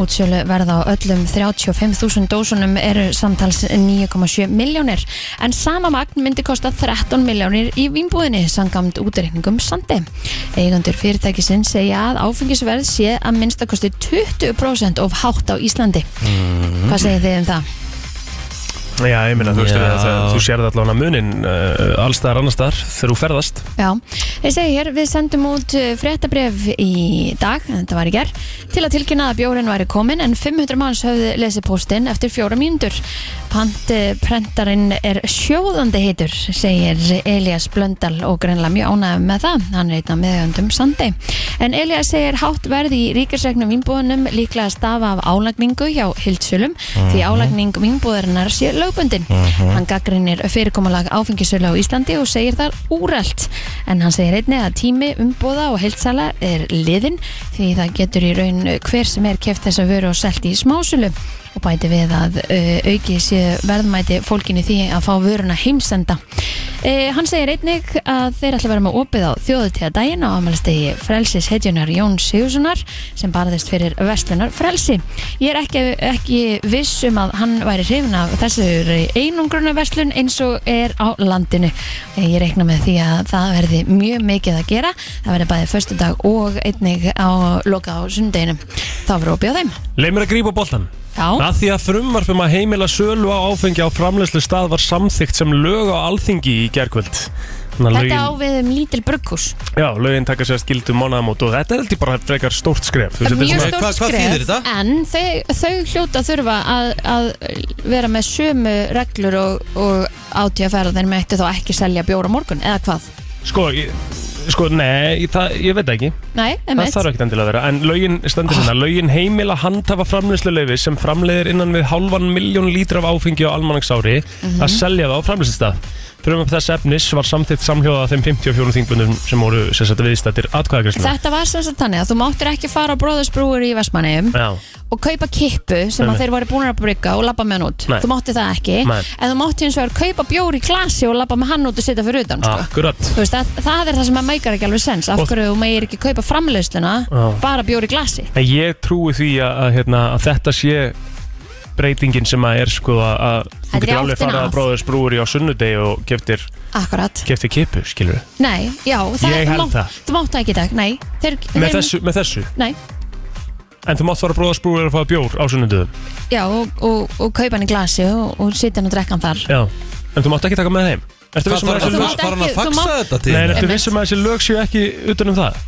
Útsölu verða á öllum 35.000 dósunum eru samtals 9,7 miljónir. En sama magn myndi kosta 13 miljónir í vínbúðinni sangamt útreikningum sandi. Eigandur fyrirtækisinn segja að áfengisverð sé að minnstakosti 20% of hátt á Íslandi. Hvað segir þið um það?
Já, ég minna, þú veist
Já.
að það- þú sérði allavega munin uh, allstaðar annarstaðar þegar þú ferðast
Já, þeir segi hér, við sendum út fréttabref í dag, en þetta var í gerð, til að tilkynna að bjórin væri komin en 500 manns höfðu lesið póstinn eftir fjóra mínútur. Pantprentarinn er sjóðandi heitur, segir Elias Blöndal og greinlega mjög ánægð með það, hann er einn af meðjöndum sandi. En Elias segir hátt verð í ríkisregnum vinnbúðunum líklega stafa af álagningu hjá hildsölum því álagning vinnbúðurinnar sé lögbundin. Hann gaggrinir fyrirkomulag áfengisölu á Íslandi og segir þar úrælt. En hann segir einnig að tími umbúða og heildsala er liðin því það getur í raun hver sem er keft þess að vöru og selt í smásölu og bæti við að uh, auki sé verðmæti fólkinni því að fá vöruna heimsenda. Uh, hann segir einnig að þeir ætla að vera með opið á þjóðutíða daginn á amalstegi frelsis hetjunar Jón Sigurssonar sem barðist fyrir vestlunar frelsi. Ég er ekki, ekki viss um að hann væri hrifin af þessur einungruna vestlun eins og er á landinu. Eh, Ég reikna með því að það verði mjög mikið að gera. Það verði bæðið föstudag og einnig á loka á sundeginum. Þá verður opið á þeim.
Leif mér að grípa boltan
Já.
Að því að frumvarp um að heimila sölu á áfengi á framleyslu stað var samþygt sem lög á alþingi í gerkvöld Þannig að
Þetta á
lögin,
við um lítil brugghús.
já, lögin taka sér skildu mánamót og þetta er heldur bara frekar stórt skref Þú
Það er
veist, þetta er
mjög
svona-
stórt
svona- Hvað- hvað
skref
þýðir þetta?
en þau, þau hljóta þurfa að, að vera með sömu reglur og, og átíðaferð þeir mættu þá ekki selja bjóra morgun eða hvað?
Sko, ég, sko, nei, það, ég veit það ekki
Nei,
Það
emitt
þarf ekkert endilega að vera En lögin stendur hérna Lögin heimila handhafa framleyslu sem framleiðir innan við hálfan miljón lítra af áfengi á almanaksári
Mhm.
að selja það á framleyslistað Frum upp þess efnis var samþygt samhljóða þeim 54 þingbundum sem voru sérsett viðstættir atkvæðagreyslu
Þetta var sem sagt þannig að þú máttir ekki fara á bróðarsbrúur í Vestmanneum
Já,
og kaupa kippu sem að
Nei, nei.
þeir voru búin að brygga og labba með hann út
Nei.
þú mátti það ekki,
Nei.
en þú mátti eins og að kaupa bjór í glasi og labba með hann út og setja fyrir utan sko.
akkurat
Þú veist, það, það er það sem að meikar ekki alveg sens af
Ah. Og- Ah.
hverju þú meir ekki kaupa framleiðsluna
Já.
bara bjór í glasi
En ég trúi því að, að, hérna, að þetta sé breytingin sem að er sko að, að þú
Þetta er
getur alveg
áttina
farað
að.
að bróðis brúri á sunnudegi og geftir,
Akkurat
geftir kipu, skilur við
Nei, já, það
Ég
þú
held
mátt-
það.
Þú mátt það ekki í dag, nei þeir,
með
þeir-
þessu, með þessu,
Nei,
en þú mátt fara að bróðis brúri að fá bjór á sunnudegum
já, og, og, og kaupa hann í glasi og, og sitja hann og drekka hann þar
Já, en þú mátt ekki taka með heim Ertu
Hvað
vissum að
þarf
þessi
þú
hann
lög
að-
mátt
þarf hann að
ekki- þú
faxa
mátt-
þetta til?
Nei, en
þín?
ertu vissum að þessi lög séu ekki utan um það?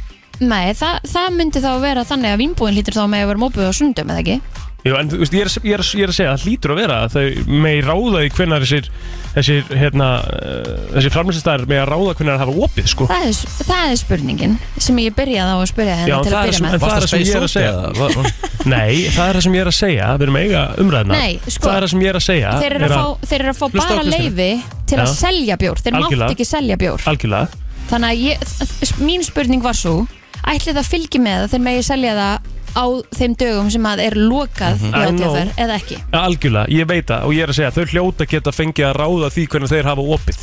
Nei, það, það myndi þá vera þannig að vinnbúin lítur þá með að vera mópuð á sundum eða ekki
Jú, en þú veist, ég er, ég, er, ég er að segja, það hlýtur að vera að þau megi ráða í hvenar þessir, þessir, hérna, uh, þessir framlýsistæðar megi að ráða hvenar það hafa opið, sko
það er, það er spurningin sem ég byrjaði á að spyrja henni
Já, en
til
það
að
er
byrja
sem-
með
en það er það sem ég er að segja Nei, það er það sem ég er að segja, við erum að eiga umræðina
Nei, sko,
Það er það sem ég er að segja
Þeir eru að
er
fá, þeir eru að fá
Hlusta á
bara
Kristínu.
leifi til að
Já.
selja bjór Þeir mátt
Algjörlega.
ekki selja bjór
Algjörlega,
Þannig að ég, þ- mín spurning var svo Ætli það fylgi með að þeir megi selja það á þeim dögum sem að er lokað mm
Mhm. I
-hmm.
know.
eða ekki
Ja, algjörlega, ég veit það og ég er að segja Þau hljóta geta fengið að ráða því hvernig þeir hafa opið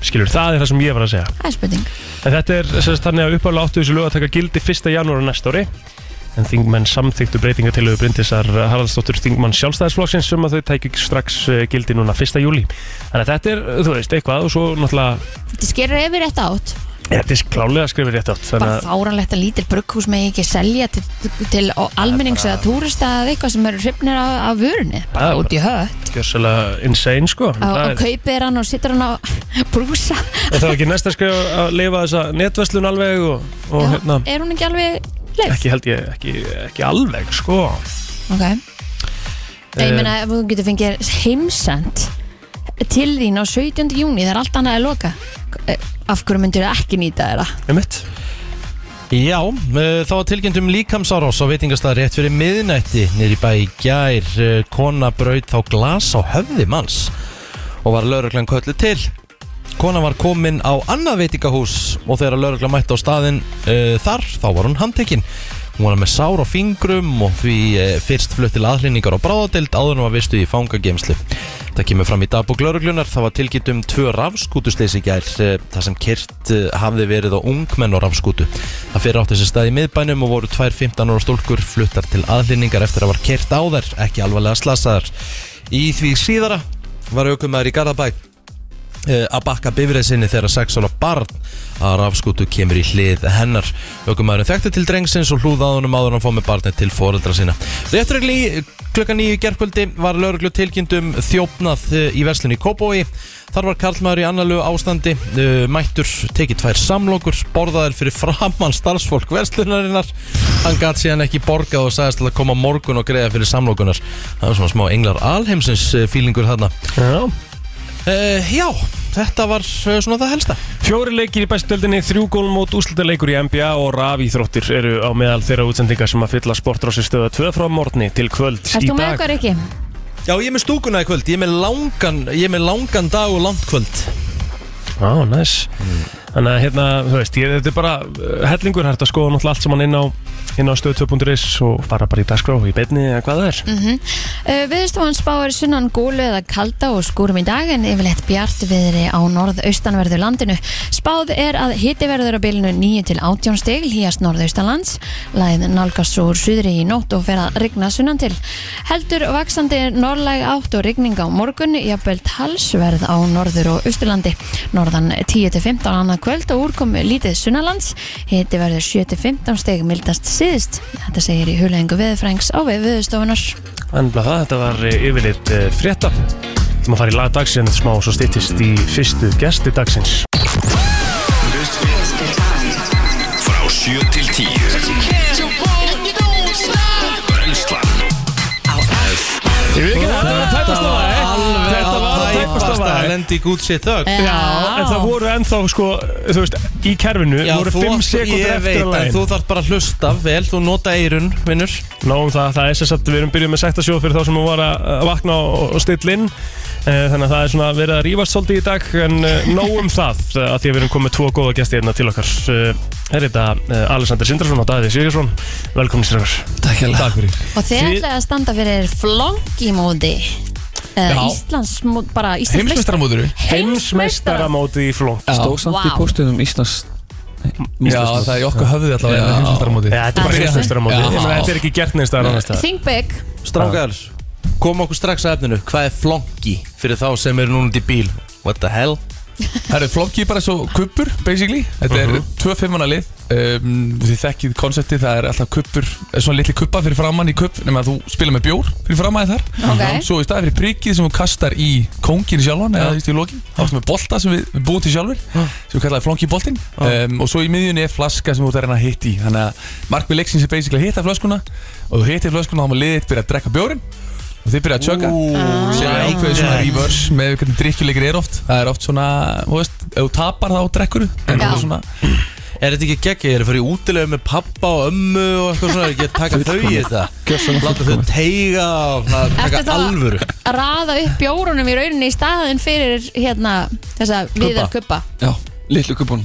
Skilur, það er það sem ég var að segja
Það er spurning
En þetta er sem sagt, þannig að uppálega áttu þessu lög að taka gildi 1. janúar á næsta ári en þingmenn samþyktu breytinga til auðbrindisar Haraldsdóttur þingmann sjálfstæðisflokksins sem að þau tækju strax eh, gildi núna 1. júli. Þannig að þetta er, þú veist, eitthvað og svo náttúrulega,
Þetta skerir yfir rétt átt
þetta er klálega skrifið rétt átt. Þannig
Bara
að,
fáranlegt að lítil brugghús megi ekki selja til, til á almennings eða túrista eða eitthvað sem eru hrifnir af, af vörunni
Það
Bara
er
út í hött
gjössalega insane, sko. En
Og
Það er,
kaupir hann og situr hann á brúsa
en það er ekki næsta skrif að leifa þessa netverslun alveg og, og
Já,
hérna,
Er hún ekki alveg leif?
ekki held ég, ekki, ekki alveg, sko.
Ok Nei,
Eh,
Ég meina ef þú getur fengið heimsend til þín á 17. júni þegar allt annað er loka eh, af hverju myndir það ekki nýta þér það?
Um mitt.
Já, eh, þá var tilkynnt um líkamsárás á veitingastað rétt fyrir miðnætti nýri bæ í gær eh, kona braut þá glas á höfði manns og var lauruglan köllu til Kona var komin á annað veitingahús og þegar lauruglan mætti á staðinn uh, þar, þá var hún handtekinn Hún var með sár á eh, fingrum og því uh, fyrst flutt til aðhlýningar á bráðadild áður en hún var vistu í fangagemslu Það Það kemur fram í dagbók lauruglunar, það var tilkynnt um tvö rafskútusleysi í gær, eh, þar sem kyrt eh, hafði verið á ungmenn og rafskútu. Það fyrir átti sér stað í miðbænum og voru tvær 15 ára stólkur fluttar til aðlinningar eftir að var kyrt á þær, ekki alvarlega slasaðar. Í því síðara var aukumæður í Garðabæk eh, að bakka bifrið sinni þegar sex ára barn að rafskútu kemur í hlið hennar. Ökumæðurinn þekkti til drengsins og hlúðað honum áður en að fá með barnið til foreldra sína. Réttur í klukkan nýju gerkvöldi var lauruglu tilkynntum þjófnað eh, í verslunni í Kópói. Þar var karlmaður í annarlegu ástandi, eh, mættur, tekið tvær samlokur, borðaðir fyrir framann starfsfólk verslunarinnar. Hann gat síðan ekki borgað og sagðist til að koma á morgun og greiða fyrir samlokunar. Það var svona smá englar alheimsins eh, fílingur þarna.
Já.
Uh, já, þetta var uh, svona það helsta
Fjóri leikir í bestöldinni, þrjú gól mót úslutaleikur í NBA og rafíþróttir eru á meðal þeirra útsendinga sem að fylla sportrási stöða 2 frá morgni til kvölds
Erst
í
þú með
dag.
okkar ekki?
Já, ég er með stúkuna í kvöld, ég er með langan, ég er með langan dag og langt kvöld
Á, næs. Þannig að hérna, þú veist, ég, þetta er bara uh, hellingur hægt að skoða náttúrulega allt saman inn á, inn á stöð 2.is og fara bara í dagskrá í beinni eða hvað það er.
Uh, Viðstofan spáir sunnan gólu eða kalda og skúrum í dag en yfirleitt bjart viðri á norðaustanverðu landinu. Spáð er að hiti verður á bilinu 9 til 18 stig hýjast norðaustanlands, læð nálgast svo úr suðri í nótt og fer að rigna sunnan til. Heldur vaksandi norðlæg átt og rigning á morgun, jafnvel talsverð á norður og austurlandi. Norðan 10 til 15 annað kvöld og úrkom lítið sunnalands, hiti verður 7 til 15 stig mildast síðist. Þetta segir í hulengu viðfrængs á við viðstofunar.
Þannig að það, þetta var eh, yfirleitt eh, frétta. Þú maður fara í lag dagsins smá og svo styttist í fyrstu gesti dagsins.
Frá 7 til 10 Brennslan
Ég veit ekki að þetta var að tæpast á það, eh?
Alveg
Þetta var að tæpast á það,
að lendi í gútsi þögg
Já, en það voru ennþá sko, þú veist, í kerfinu voru 5 sekundur
ég
eftir
veit
að
að
lægin
þú þarf bara að hlusta vel, þú nota eirun, vinnur
Náum það, það er sér satt, við erum byrjuð með sektasjóð fyrir þá sem hún var að að vakna og, og stilla inn Eh, Þannig að það er svona verið að rífast svolítið í dag En eh, nóg um það, eh, að því að við erum komið tvo góða gesti hérna til okkar Eh, Er þetta eh, Alexander Sindrason og Daði Sigurðsson Velkomin strákar
Takk hérlega Takk fyrir
Og þið
Þið-
ætlaði að standa fyrir flongimóti
Já.
eða Íslands bara Íslands
Heimsmeistaramótur
Heimsmeistaramóti í flóng
Já,
Stóð samt í
Vá.
postunum Íslands
já það er í okkar höfði allavega
Já.
heimsmeistaramóti
Ja, þetta er bara
Já.
heimsmeistaramóti
Já.
Ég meina, Þetta er ekki gert neins staðar annars staðar
Think big
Strákar, kom okkur strax að efninu Hvað er flonki fyrir þá sem eru núna út í bíl? What the hell?
Það eru flokki bara svo kuppur, basically Þetta er uh -huh. tvö fimmana lið um, Þið þekkið konsepti, það er alltaf kuppur Svona litli kuppa fyrir framann í kupp Nefnir að þú spila með bjór fyrir framann þar Mhm.
Ok.
Svo í staði fyrir prikið sem þú kastar í kóngin sjálfan Eða þú veist í lokin Þá ertu með bolta sem við, við búum til sjálfur Sem við kallaði flonki boltinn um, Og svo í miðjunni er flaska sem þú ert að reyna að hitta í Þannig að markmið leiksins er basically að hitta flöskuna Og þú hittir flöskuna og þá má liðið byrja að drekka bjórin Og þið byrja að tjöka sem er ákveðið svona reverse með hvernig drikkjuleikir er oft það er oft svona, þú veist, ef þú tapar þá drekkur en það
Já.
er svona
Er þetta ekki geggja? Ég er að fara í útilegu með pappa og ömmu og eitthvað svona, er ekki að taka þau í þetta Láta þau teiga og svona, taka
Ertu þá-
alvöru
að raða upp bjórunum í rauninni í staðin fyrir hérna þessa viðar kuppa
Já, litlu kupunum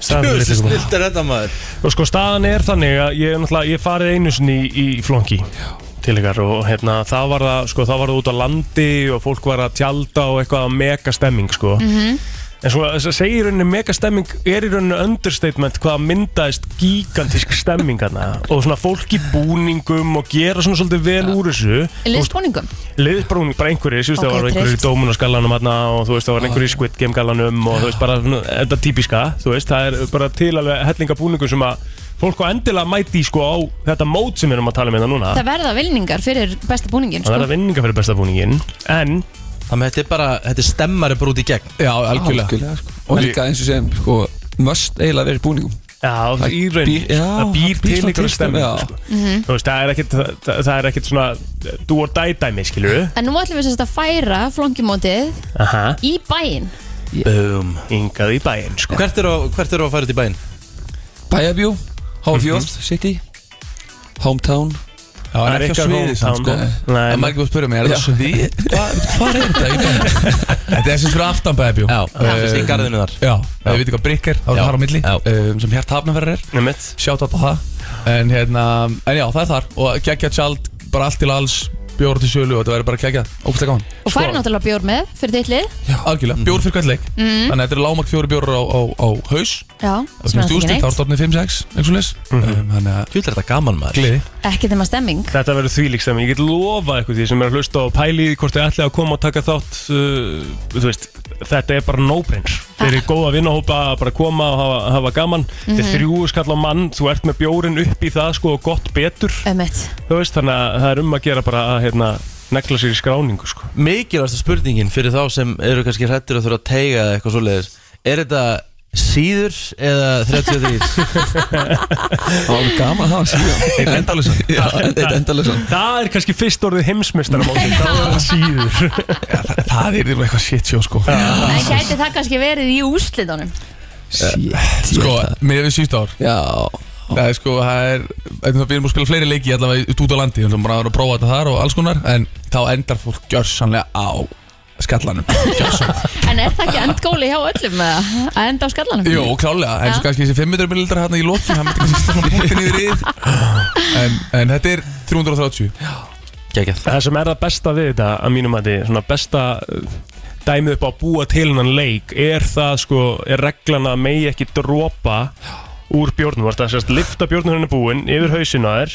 Staðan fyrir litlu kubbana.
Snilt er þetta maður
Og sko staðan er þannig að ég, náttúrulega- ég farið einu sinni í, í flóngi til ykkar og hérna það var það, sko, það var það út á landi og fólk var að tjálta og eitthvað mega stemming sko.
Mhm.
En svo þess að segja í rauninni mega stemming er í rauninni understatement hvað myndaðist gigantisk stemming hana og svona fólk í búningum og gera svona svolítið vel úr þessu
Liðsbúningum
liðbrún bara einhverjir, þú veist það
Ok,
var einhverjir í
trist.
Dómunaskallanum hérna og þú veist það var einhverjir í Squid Game gallanum og þú veist bara svona, þetta típiska, þú veist það er bara til alveg hellinga búningur sem að fólk á endilega mæti í sko á þetta mót sem við erum að tala um hérna núna
Ah.
Það verða vilningar fyrir besta búningin
það er
sko.
að vinninga fyrir besta búningin en
Þannig að þetta er bara, þetta er stemmari bara út í gegn
já, algjörlega,
sko. Og líka eins og sem, sko, must eiginlega verið búningum
Já, það
Það
í raun,
býr- já,
það býr
það býr
til
svona
einhverja
til
stemmingu
stemmingu,
sko.
Mhm.
Þú veist, það er ekkit, það, það það er ekkit svona do or die dæmi, skilur við
En nú ætlum við sem sagt að færa flongimótið
Aha,
í bæinn
Bum
yngað í bæinn, sko
Hvert eru á- hvert eru að fara út í bæinn?
Bæjabjú, Háfjörð, City Hometown
já, en
Það er
ekki á
ykkar
sviði samt sko
hometown. Nei,
það er margir búin að spyrja mig, er það svið hvað hvað er þetta í dag? þetta er sem fyrir aftan bæðabjó
Já, það finnst í garðinu þar
já, ef við veitum hvað brikk er, þá er
Já.
það har á milli
Já.
um, sem hjart hafnaferðar er,
Nefnt
sjátt á það en hérna, en já, það er þar og geggja tjald, bara allt til alls bjór til sölu og þetta væri bara að kegja Ógustlega gaman
Og færi náttúrulega bjór með fyrir þitt lið
Já,
Mhm.
algjörlega, bjór fyrir hvert leik
Mhm.
Þannig að þetta er lágmark fjóri bjórar á, á, á haus
Já, sem
Það
er
finnst
náttúrulega
úrstilt,
ekki
þá er stofnið 5-6 eins og leis Þannig að
Þú ætlar þetta gaman maður
gleði
Ekki þeim að stemming
Þetta verður þvílík stemming, ég get lofa ykkur því sem er að hlusta og pæli í því hvort þið ætli að koma og taka þátt uh, þú veist, þetta er bara no-brainer Þeir eru góða vinnahópa að bara koma og hafa, hafa gaman Þetta er þrjú skall á mann, þú ert með bjórin upp í það sko og gott betur
Ömmit
þú veist, þannig að það er um að gera bara að hérna, negla sér í skráningu sko.
Mikilvægsta spurningin fyrir þá sem eru kannski hrættir að þurfa að teiga eða eitthvað svoleiðis Er þetta síður eða 33?
Það var gaman að hafa síðan Eitt endalösa Já, eitt endalösa
Það er kannski fyrst orðið heimsmeistar þá er það síður
Það er eitthvað shit show sko
En gæti það kannski verið í úrslitunum
Sko, með við síðust ár
Já
Það er sko, það er einnig það við erum búin að spila fleiri leiki allavega í- út á landi þannig að maður er að prófa þetta þar og alls konar en þá endar fólk gjörsanlega á skallanum Gjörsanlega
En er það ekki endgóli hjá öllum með það? Að enda á skallanum?
Jó, klálega, en
Já.
svo kannski þessi 500 millilitrar hérna í lokin það myndi kannski svona punktin yfir yfir en, en þetta er 330
Gægjað
Það sem er það besta við þetta að mínum að þið, svona besta uh, dæmið upp á að búa til hennan leik er það sko, er reglan að megi ekki dropa úr bjórnum það er sérst lifta bjórnum henni búin yfir hausina þér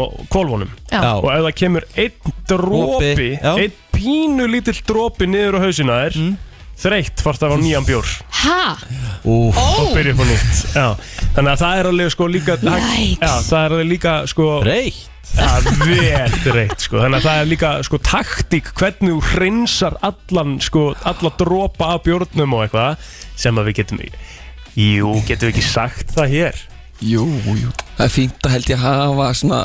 og kvolvunum
Já.
og ef það kemur einn dropi
Dropi, já.
einn pínu lítill dropi niður á hausina þér
Mm.
þreytt fórst af á nýjan bjór
Ha?
Úf,
Ó,
byrja upp á nýtt já. þannig að það er alveg sko líka
Yikes.
já, það er alveg líka sko
reykt
að vel reitt sko. þannig að það er líka sko taktík hvernig þú hreinsar allan sko, alla dropa af bjórnum og eitthvað sem að við getum jú, getum við ekki sagt það hér
Jú, jú Það er fínt að held ég að hafa svona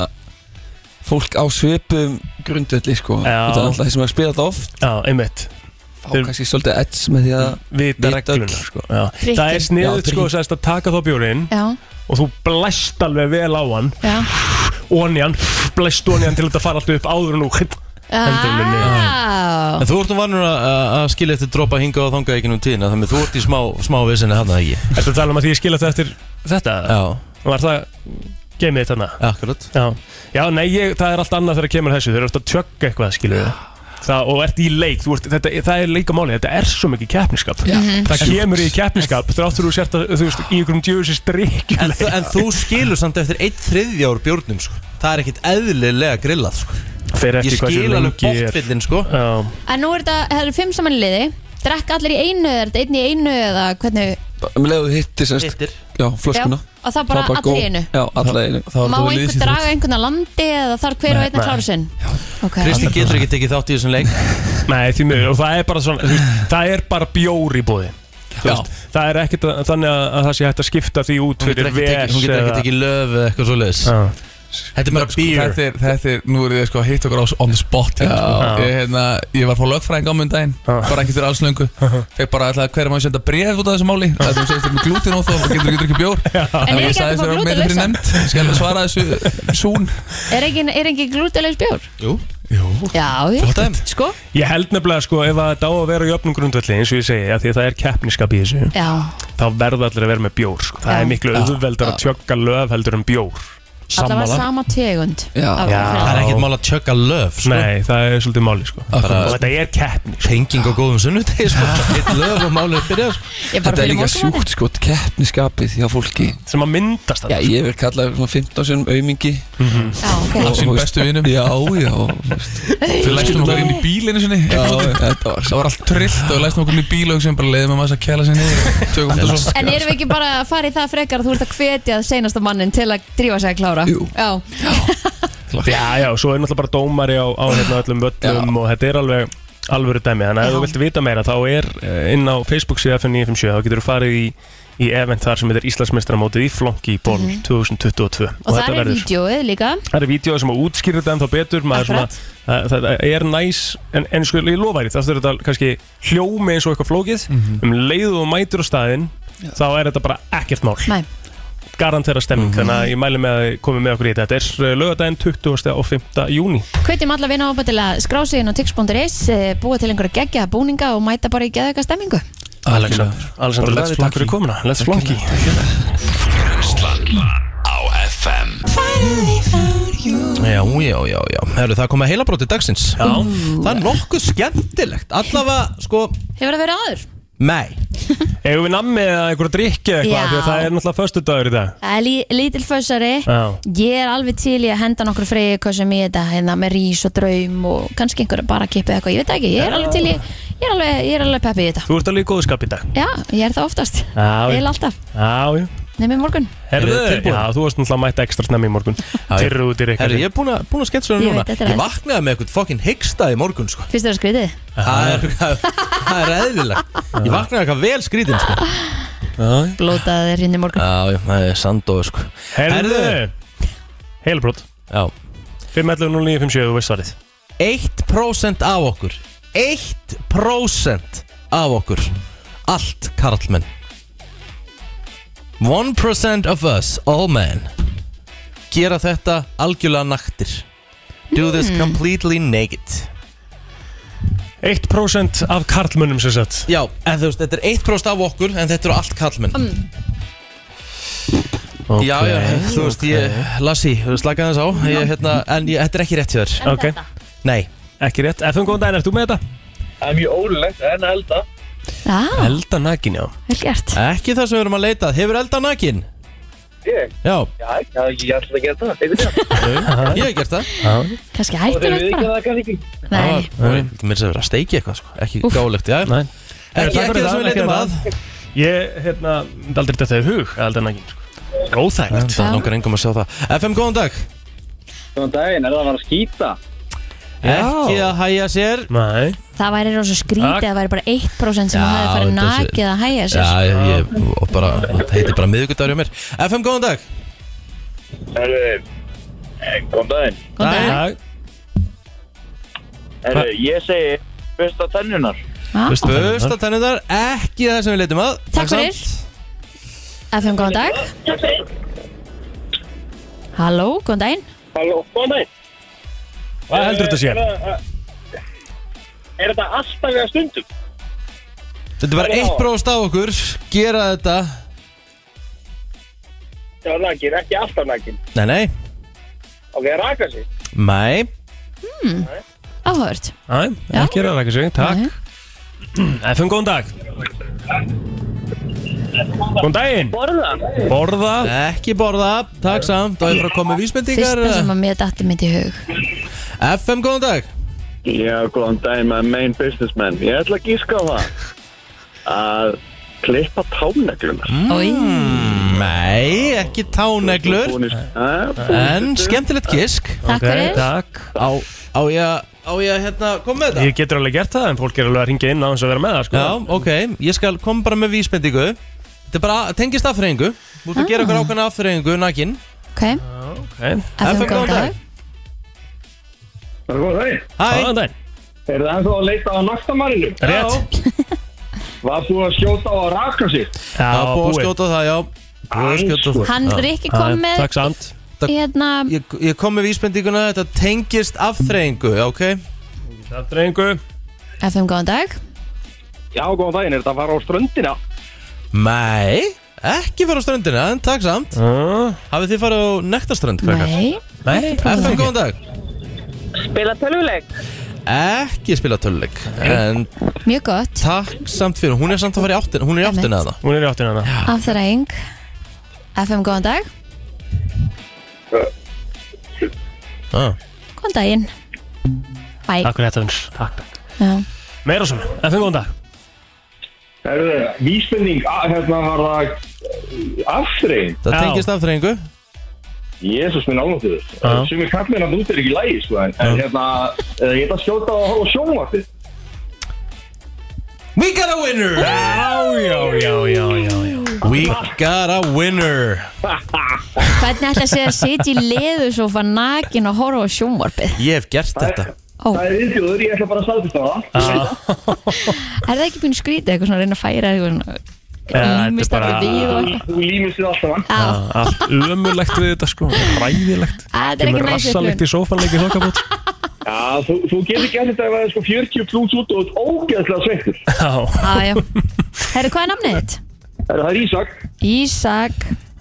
Fólk á svipum grundvelli sko
Já.
Þetta er alltaf þeir sem er að spila þetta oft
já, einmitt,
Fá
Þeir- Mm,
kannski svolítið edds með því að
vita
Vita
regluna
öll.
sko. Já.
Trikkin.
það er
Já,
sniðut
trikkin.
sko sest, að taka þá bjórinn
já,
og þú blæst alveg vel á hann
já
onni hann, blæst onni hann til þetta fara alltaf upp áður en þú
Ah.
Hendur minni.
Á,
En þú ert um vannur að að skilja eftir dropa hinga og þanga ekki nú tíðina Þannig að þú ert í smá, smá vissinni hann ekki
Þetta tala um að því ég skilja þetta eftir þetta
Já,
Var það geimið þetta hana?
akkurat
Já, já nei, ég, það er allt annað þegar kemur að þessu Þeir eru alltaf að tjögga eitthvað, skilur við það, Og ert í leik, þú ert, þetta, það er leikamáli Þetta er svo mikið keppniskap já.
Mhm.
Það kemur í keppniskap Þráttur þú sért að, þú veist, í einhverjum djöfusi strikk
En, þú- en þú skilur samt eftir eitt þriðja úr bjórnum sko. Það er ekkit eðlilega grillað sko.
Fyrir
Ég
eftir hvað
skil
sér
alveg
lengi er
bóttfyllin sko.
Já,
En nú er þetta, það eru fimm saman í liði Drekka allir í einu eða er þetta einn í einu eða hvernig
Um leiðu hittir semst
Hittir
Já, flöskuna
Og það bara,
Það
allir í einu
Já, alla í einu
Þá er
Má
þetta
einhver
liðsins
draga einhvern að landi eða þarf hver og einn að
nei.
klára sinn Ok,
Kristi getur ekki tekið þátt í þessum leik
nei, því miður Og það er bara svona, þú veist, það er bara bjór í bóði
Já.
Það er ekkert að, þannig að, að það sé hægt að skipta því út
Hún getur
fyrir
ekki tekið- hún getur ekki tekið löf eða eitthvað svoleiðis
Já.
Þetta er bara beer
Þetta er, þetta er, nú eru þið sko að hitta okkur á on the spot hérna, sko. ég, hérna, ég var fór lögfræðing á mun daginn bara ekki fyrir alls löngu fekk bara alltaf hverja maður senda bref út af þessu máli það er þú segist þetta er með glútin og þá getur ekki drukkið bjór
En er
ég
ekki hægt að
sagðist
fá
vera með fyrir
glútenlausan?
nefnd skal svara þessu sún
Er ekki, er ekki glútelegs bjór?
Jú.
Já, já,
Flott.
sko
Ég held nefnilega sko ef að þetta á að vera í öfnum grundvelli eins og ég segi að því að það er keppniskap í þessu
Já,
þá verða allir að vera með bjór sko. það
Já.
er miklu auðveldar að tjögga löf heldur en bjór
allar var sama tegund
Já.
af-
Já.
Það er ekkert mál að tjögga löf sko.
nei, það er svolítið máli sko. og
Bara
þetta er keppni sko.
Penging á góðum sunnudegi sko. Eitt löf og málið er byrjað sko.
Ég bara
Þetta er
fyrir
líka
morgunmat.
sjúkt sko, keppniskapið hjá fólki
sem að myndast sko. Mhm.
Já,
það
ég verð kallaður svona 15 sinum aumingi
Já, ok
af sínum
Og-
bestu vinum
Já, já og-
við læstum okkur inn í bílinu sinni
Já,
eitthvað svona.
þetta var
það var allt trillt og við læstum okkur inn í bíl og sem bara leiðum að maður að kæla sinni tökum þetta svo
En erum við ekki bara að fara í það frekar að þú ert að hvetja seinasta mannin til að drífa sig að klára?
Jú.
Já,
já, já, svo er náttúrulega bara dómari á, á hérna, öllum völlum og þetta er alveg alvöru dæmi, þannig að ef
Já.
þú vilt vita meira þá er eh, inn á Facebook síðan fyrir 957 þá getur þú farið í, í event þar sem þetta er Íslandsmeistaramótið í flonki í ból 2022
Mhm. og, það er vídjóið líka
Það eru vídeoð sem að útskýra þetta en þá betur maður svona,
Akkurat.
það, það er næs en, en sko ég lofa þér, það er þetta kannski hljómi eins og eitthvað flókið
Mhm.
um leið og mætur á staðinn þá er þetta bara ekkert mál
Nei.
garantera stemming,
Mhm.
þannig að ég mæli með að koma með okkur í þetta þetta er lögadaginn 20. og 5. júni
Hvetjum alla vinna ápa til að skrá sig inn á tix.is eh, búa til einhverja geggja búninga og mæta bara í geðveika stemmingu
Alexander
Alessandra,
Bara
let's
lagði
flunky Takk fyrir
takk í.
komuna, let's flunky
Brennslan á FM
Já, Já, já, já, já Herru, það kom að heilabróti dagsins já. Það er nokkuð skemmtilegt Allavega, sko,
Hefur það verið áður?
mei
Eigum við nammi eða einhverja drikki eða
Já.
eitthvað Því að það er náttúrulega föstu dagur í dag
Það er lí, lítil fössari
Já.
Ég er alveg til í að henda nokkur fregi hvað sem ég þetta hérna með rís og draum og kannski einhverja bara kipið eitthvað, ég veit það ekki ég er alveg til í, ég er alveg, ég er alveg peppið í þetta
Þú ert alveg í góðu skap í dag
Já, ég er það oftast,
Já,
ég
já.
er alltaf
Já, já
nefnir morgun,
Herðu,
Eruð þið tilbúin?
já, þú varst náttúrulega mætt ekstra snemmi í morgun Tyrru út í rikki
Herru, ég er búin að, búin að skemmt svo
Ég
núna
veit, þetta er
Ég
aðeins.
vaknaði með eitthvað fokkin hyggsta í morgun, sko
fyrst er það skrítið
Það er, það er eðlilegt Ég vaknaði eitthvað vel skrítinn, sko
blótaði þér hinn í morgun
Já, já, það er sandóð, sko
Herðu
Herðu.
Heilbrot
Já
5.11.09.57, þú veist svarið
1% af okkur 1% af okkur Allt karlmenn 1% of us, all men Gera þetta algjörlega naktir Do this completely naked
1% af karlmönnum sem sagt
Já, en þú veist, þetta er 1% af okkur En þetta eru allt karlmenn
okay.
Já, já, þú veist, ég Lassi, slakaði þess á ég, hérna, En ég, þetta er ekki rétt hjá þér
Ok,
Nei,
ekki rétt FM, góðan daginn, ert þú með þetta?
Það er mjög ólulegt en elda
Já,
Elda nakin, já
vel gert
ekki það sem við erum að leita að. Hefur elda nakin?
Ég?
Já,
Já, já, ég ætla að gera það Einhvern veginn
ég hef gert það
Og þeir við
kannski hættulegt
ekki að
bara
það kann ekki
Nei,
Mér sem verið að steiki eitthvað, sko Ekki gálegt, já
Nei
Ekki,
Takk
ekki
fyrir
það sem við
ekki
leitum
það.
að
Ég, hérna, myndi aldrei þetta er hug að Elda nakin, sko Góðþægt
Það er nokkar engum að sjá það FM, góðan dag
Svona daginn, er það að fara að skýta?
Ekki að hæja sér
Nei
það væri rosa skrítið,
Takk.
það væri bara 1% sem
Já,
hafi farið
þetta sé-
nakið að hæja
Já,
sér sko.
ég, ég og bara, það heitir bara miðvikudagur hjá mér FM, góðan dag
Herru, góðan daginn
Góðan dag.
Herru, ég segi Fyrsta tennunar
Já.
Spust að tennu þar, ekki það sem við leitum að
Takk fyrir FM, góðan dag Halló, góðan daginn
Halló, góðan daginn
Hvað heldur þetta sé?
Er þetta alltaf eða stundum?
Þetta er bara eitt bróst á okkur Gera þetta
Já, nakin, ekki alltaf nakin
Nei, nei,
Ok, raka sig
mæ
Hmm. Áhört
Nei, ekki er það ekki sig, takk FM, góðan dag Góðan daginn
Borða
Borða
Ekki borða, takk samt Og ég frá að koma með vísbendingar
Fyrsta sem að mér datti mitt í hug
FM, góðan dag
Já, góðan daginn, my main businessman Ég ætla að gíska á það Að klippa táneglunar
Ói,
Nei, Hmm. ekki táneglur En skemmtilegt gisk
Takk
Ok,
fyrir
Takk
Á, á ég að, á ég að hérna, kom með þetta
Ég getur alveg gert það en fólk er alveg að ringja inn á hans að vera með það sko.
Já, ok, ég skal koma bara með vísbendingu Þetta er bara, tengist aðfreyingu Þú ert að gera
Ah.
okkur ákveðna aðfreyingu, nakin
Ok,
okay.
FM góðan
góðan dag.
dag
Það er góð daginn
Hæ,
Góðan daginn
Er það ennþá að leita á naktamarinu?
Rétt
Var búið að skjóta á að raka sig?
Já,
það er búið að
búið
skjóta á það, já Búið að skjóta á það
Hann Rikki kom
Æ,
með
Takk samt
hérna
Ég, ég kom með vísbendinguna, þetta tengist aðfreyingu, ok
Takk drengu
FM góðan dag
Já, góðan daginn, er þetta að fara á ströndina?
Nei, ekki fara á ströndina, en takk samt
Ah,
Hafið þið farið á nektarströnd, krakkar?
Nei,
Nei
FM, góðan dag
Spila tölvuleik
Ekki spila töluleik En
mjög gott
takk samt fyrir, hún er samt að fara í áttina Hún er í áttina að það
Hún er í áttina hana
Afþræðing FM góðan dag
ah.
Góðan daginn Bæ
Takk fyrir þetta hans Takk
Já.
Meira svona FM góðan dag
Er það vísbending, að- hérna var það aftreying?
Það
Já.
tengist aðfreyingu
Jésús minn álóttu þess.
Já.
Sumi kallin að út er ekki lægi, sko, en, en hérna, eh, ég ætla að skjóta á, á sjónvartið.
We got a winner
Já, já, já, já, já, já
We got a winner
Hvernig ætla sér að sitja í leðu svo fann nakin og horfa á sjónvarpið
Ég hef gert þetta
Ó,
Það
er
er viðbjóður, ég ætla bara að staðfesta það.
það ekki búin skrítið eitthvað svona að reyna að færa eitthvað svona
þetta er
Límist
bara-
allir við og eitthvað
Þú límist þið allt saman.
Já,
Allt ömurlegt við þetta sko Ræðilegt
Þetta er ekki
Kemur
næst
rassalegt í sófanleiki þokkabót
Já, þú, þú getur gert þetta ef það er sko 40 pluss út og þú ert ógeðslega sveittur.
Já
Herru, hvað er namnið þitt?
Það er Ísak.
Ísak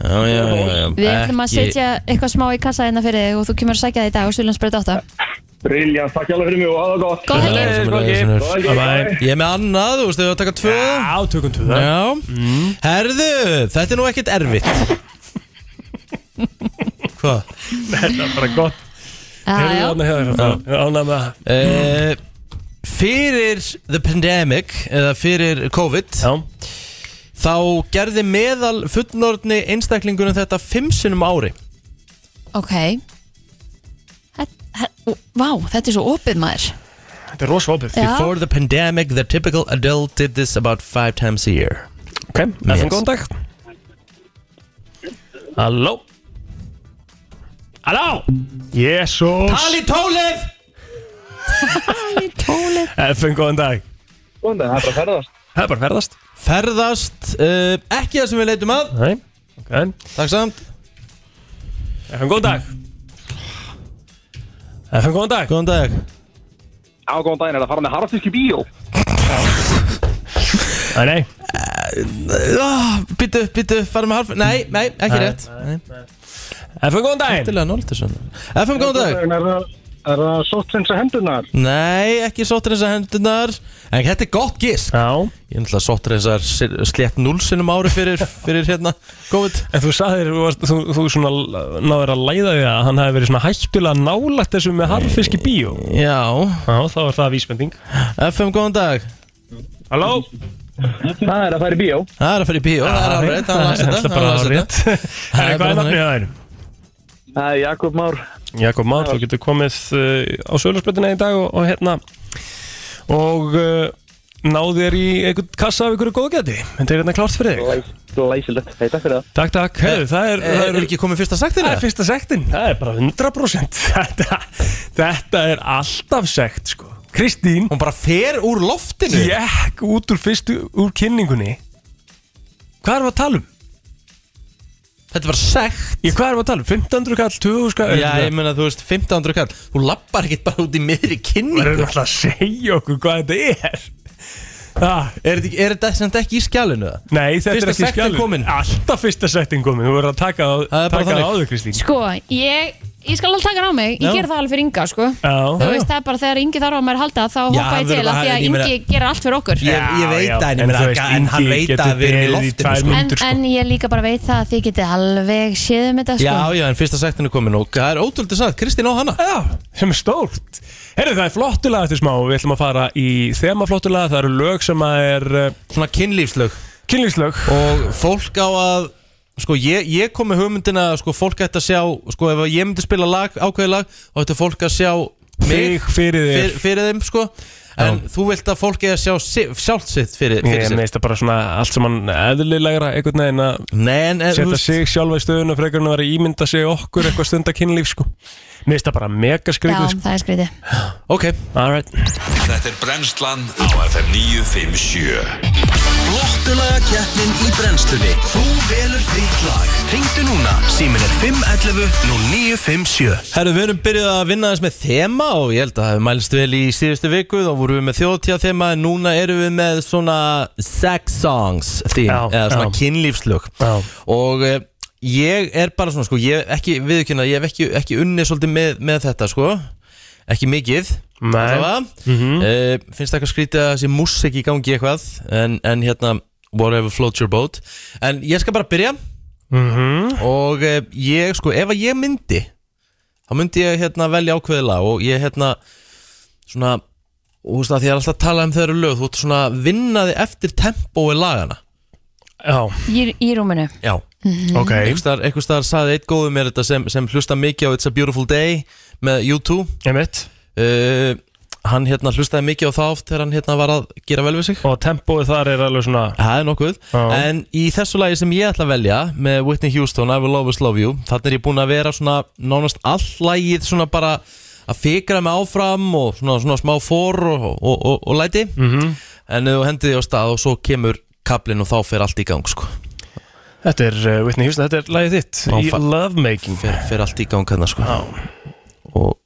Já, já, já, já.
Við ætlum að
Ekki-
setja eitthvað smá í kassa hérna fyrir þig og þú kemur að sækja það í dag og Sjölandsbreyt 8
Briljant, takk hjá fyrir mig og hafa það gott
Góð helgi
Sömuleiðis,
Sömuleiðis,
Boggi.
sömuleiðis.
Bye bye.
Ég er með annað, þú veist, þau að taka tvö
Já, tökum Mm. til það
Já Herðu, þetta er nú ekkert erfitt Hvað?
Þetta er bara gott
Já,
Heyrðu
já.
þarna hefur það Ánæg með það
Uh, fyrir the pandemic eða fyrir COVID
Já,
þá gerði meðal fullnorðni einstaklingunum þetta fimm sinnum á ári
Ok Þetta- þetta- ó, Vá, þetta er svo opið maður
þetta er rosa opið
Já.
Before the pandemic the typical adult did this about five times a year
Ok,
Yes.
eftir góðan dag Halló Halló Jésús
Ali Tólef
Eftir góðan dag
Góðan dag, það er bara að ferðast
Það er bara að ferðast
ferðast uh, ekki það sem við leitum að
Nei, ok
takk samt
Eftir góðan dag Eftir góðan dag
góðan dag
Á góðan daginn, er það að fara með harfisku bíó?
Nei, nei
oh, byttu byttu farum með half nei nei ekki rétt nei
Eftir góðan dag
til að nála þessu FM góðan dag
Er það, er það sóttrensa hendunar?
nei ekki sóttreysa hendunar en þetta er gott gisk
Já
Ég ætla að sóttur þessar slétt núl sinnum ári fyrir, fyrir hérna COVID
En þú sagðir, þú, varst, þú, þú svona náður að læða því að hann hafi verið svona hættulega nálægt þessu með harfiski bíó.
Já,
Já, þá er það vísbending.
FM góðan dag
Halló?
Það er að fara í bíó
Það er að fara í bíó, það er árið, það er lasið
Það
þetta
er bara árið.
Það
Herri,
er
hvað
bara
er nafnið
þannig
það er?
Það er Jakob Már
Jakob Már, þú getur komið uh, á sölursbrettina í dag og, og hérna og uh, náðu þér í einhvern kassa af einhverju góðgæti. Þetta er hérna klárt fyrir þig.
Læsilegt, hei, takk fyrir það
Takk, takk. Herri, það er,
Er,
það
er
Eh, er,
ekki komið fyrsta sagt
það er
þér?
fyrsta sektin. Það er bara 100%. Þetta, þetta er alltaf sekt, sko. Kristín
Hún bara fer úr loftinu
Jekk út úr fyrstu úr kynningunni Hvað erum við að tala um?
Þetta var sekt
Ég, hvað erum við að tala um? 1500 kall, 2000 kall
Já, ég meina, þú veist, 1500 kall Þú lappar ekkert bara út í miðri
Það er
kynningu
náttúrulega að segja okkur hvað þetta er ah,
Er þetta ekki- er þetta sem ekki í skjálinu það?
Nei, þetta
Fyrsta
er ekki
sektin
skjálun
komin.
Alltaf fyrsta setting komin Þú verður að taka
Það
á
er bara
taka
þannig.
áður, Kristín
Sko, ég, ég skal alveg taka hann á mig Ég
Já.
ger það alveg fyrir Inga, sko
Já
Þú veist, það er bara þegar Ingi þarf á mér að halda þá hoppa ég
við
til
erum
að því
bara-
að
ég meina-
Ingi gerir allt fyrir okkur
Ég, ég veit
Já, já.
það,
En
en, ég meina,
þú veist,
en hann
Ingi
veit
getur
að við erum í
beðið í
loftinu
tvær
sko.
en,
Myndur, sko.
en ég líka bara veit það að þið getið alveg séð um þetta, sko
Já, já, en fyrsta sektin er komin og það er ótrúldið sagt Kristín á hana
Já, sem er stórt Herðu, það er flottulega eftir smá Við ætlum að fara í þema flottulega Það eru lög sem að er uh,
Svona kynlífslög
kynlífslög
og fólk á að sko ég, ég kom með hugmyndina að, sko fólk ætti að sjá sko ef ég myndi spila lag, ákveði lag þá ætti fólk að sjá mig
Þig fyrir þér
fyrir, fyrir þeim sko en þú vilt að fólk eigi að sjá si- sjálft sitt fyrir, fyrir
Ég
sér
meðist það bara svona allt sem hann eðlilegra einhvern veginn að
Nei, en, en, þú
setja
veist,
sig sjálfa í stöðuna frekar en að vera að ímynda sig okkur eitthvað stundakinnlíf sko. Meðist það bara mega
Já,
skrítið sko.
það er skrítið
ok
Alright.
Þetta er Brennslan á FM 957 Flottulaga keppnin í brennslunni Þú velur þitt lag Ringdu núna, símin er 511 0957
Herru, við erum byrjuð að vinna þess með þema og ég held að það hefur mælst vel í síðustu viku þá vorum við með þjóðtíða þema en núna erum við með svona sex songs þín,
Já,
eða svona
já.
kynlífslög
Já.
og eh, ég er bara svona sko, ég ekki, viðkynna, ég hef ekki, ekki unnið svolítið með, með þetta sko ekki mikið
Nei.
mm finnst það eitthvað skrítið að þessi músik í gangi eitthvað en, en hérna, whatever floats your boat en ég skal bara byrja og eh, ég sko, ef að ég myndi þá myndi ég hérna velja ákveðið lag og ég hérna svona, og þú veist að því ég er alltaf að tala um þeirra lög, þú ert svona að vinna þig eftir tempói lagana
Já,
Í, í rúminu
Já,
ok
Mhm. einhvers staðar- einhvers staðar saði eitt góðu mér þetta sem, sem hlusta mikið á It's a Beautiful Day með U2
Einmitt.
uh, hann hérna hlustaði mikið á það oft þegar hann hérna var að gera vel við sig
Og tempóið þar er alveg svona
Það er nokkuð
Já.
En í þessu lagi sem ég ætla að velja Með Whitney Houston, I Will Always Love You Þannig er ég búinn að vera svona Nánast all lagið svona bara Að fikra mig áfram og svona, svona smá fór Og, og, og, og læti -hmm.
Mhm.
En ef þú hendið því á stað og svo kemur Kablin og þá fer allt í gang sko
Þetta er uh, Whitney Houston, þetta er lagið þitt
Ó,
Í
fa-
Lovemaking
Fer, fer allt í gang hérna sko Og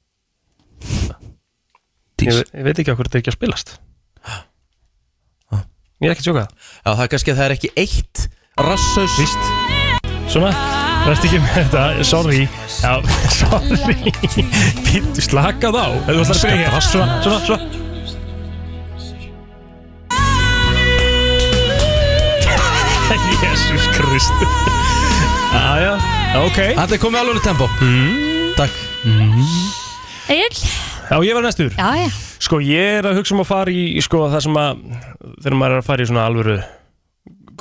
ég, ve- ég veit ekki okkur þetta er ekki að spilast Ég er ekki að sjóka
Já það er kannski að það er ekki eitt Rassaust
Vist Svona, verðst ekki með þetta, sorry Já, sorry Býttu slakað á Ef þú ætlar að byrja hér, svona, svona, svona Jésús Kristi Jæja, ok Mm.
Þetta er komið alveg tempo Takk
Egil?
Já, ég var næstur
Já, já
Sko, ég er að hugsa um að fara í, í sko, það sem að Þegar maður er að fara í svona alvöru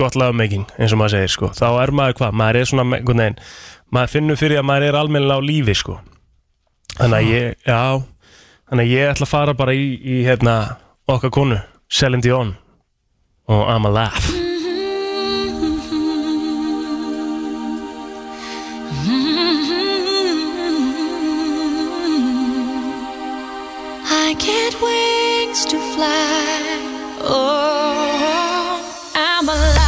Gott lagmaking, eins og maður segir, sko Þá er maður hvað, maður er svona, með- einhvern veginn Maður finnur fyrir að maður er almennilega á lífi, sko Þannig að ég, já Þannig að ég ætla að fara bara í, í hérna, okkar konu Celine Dion Og I'm a laugh
I get wings to fly. Oh, I'm alive.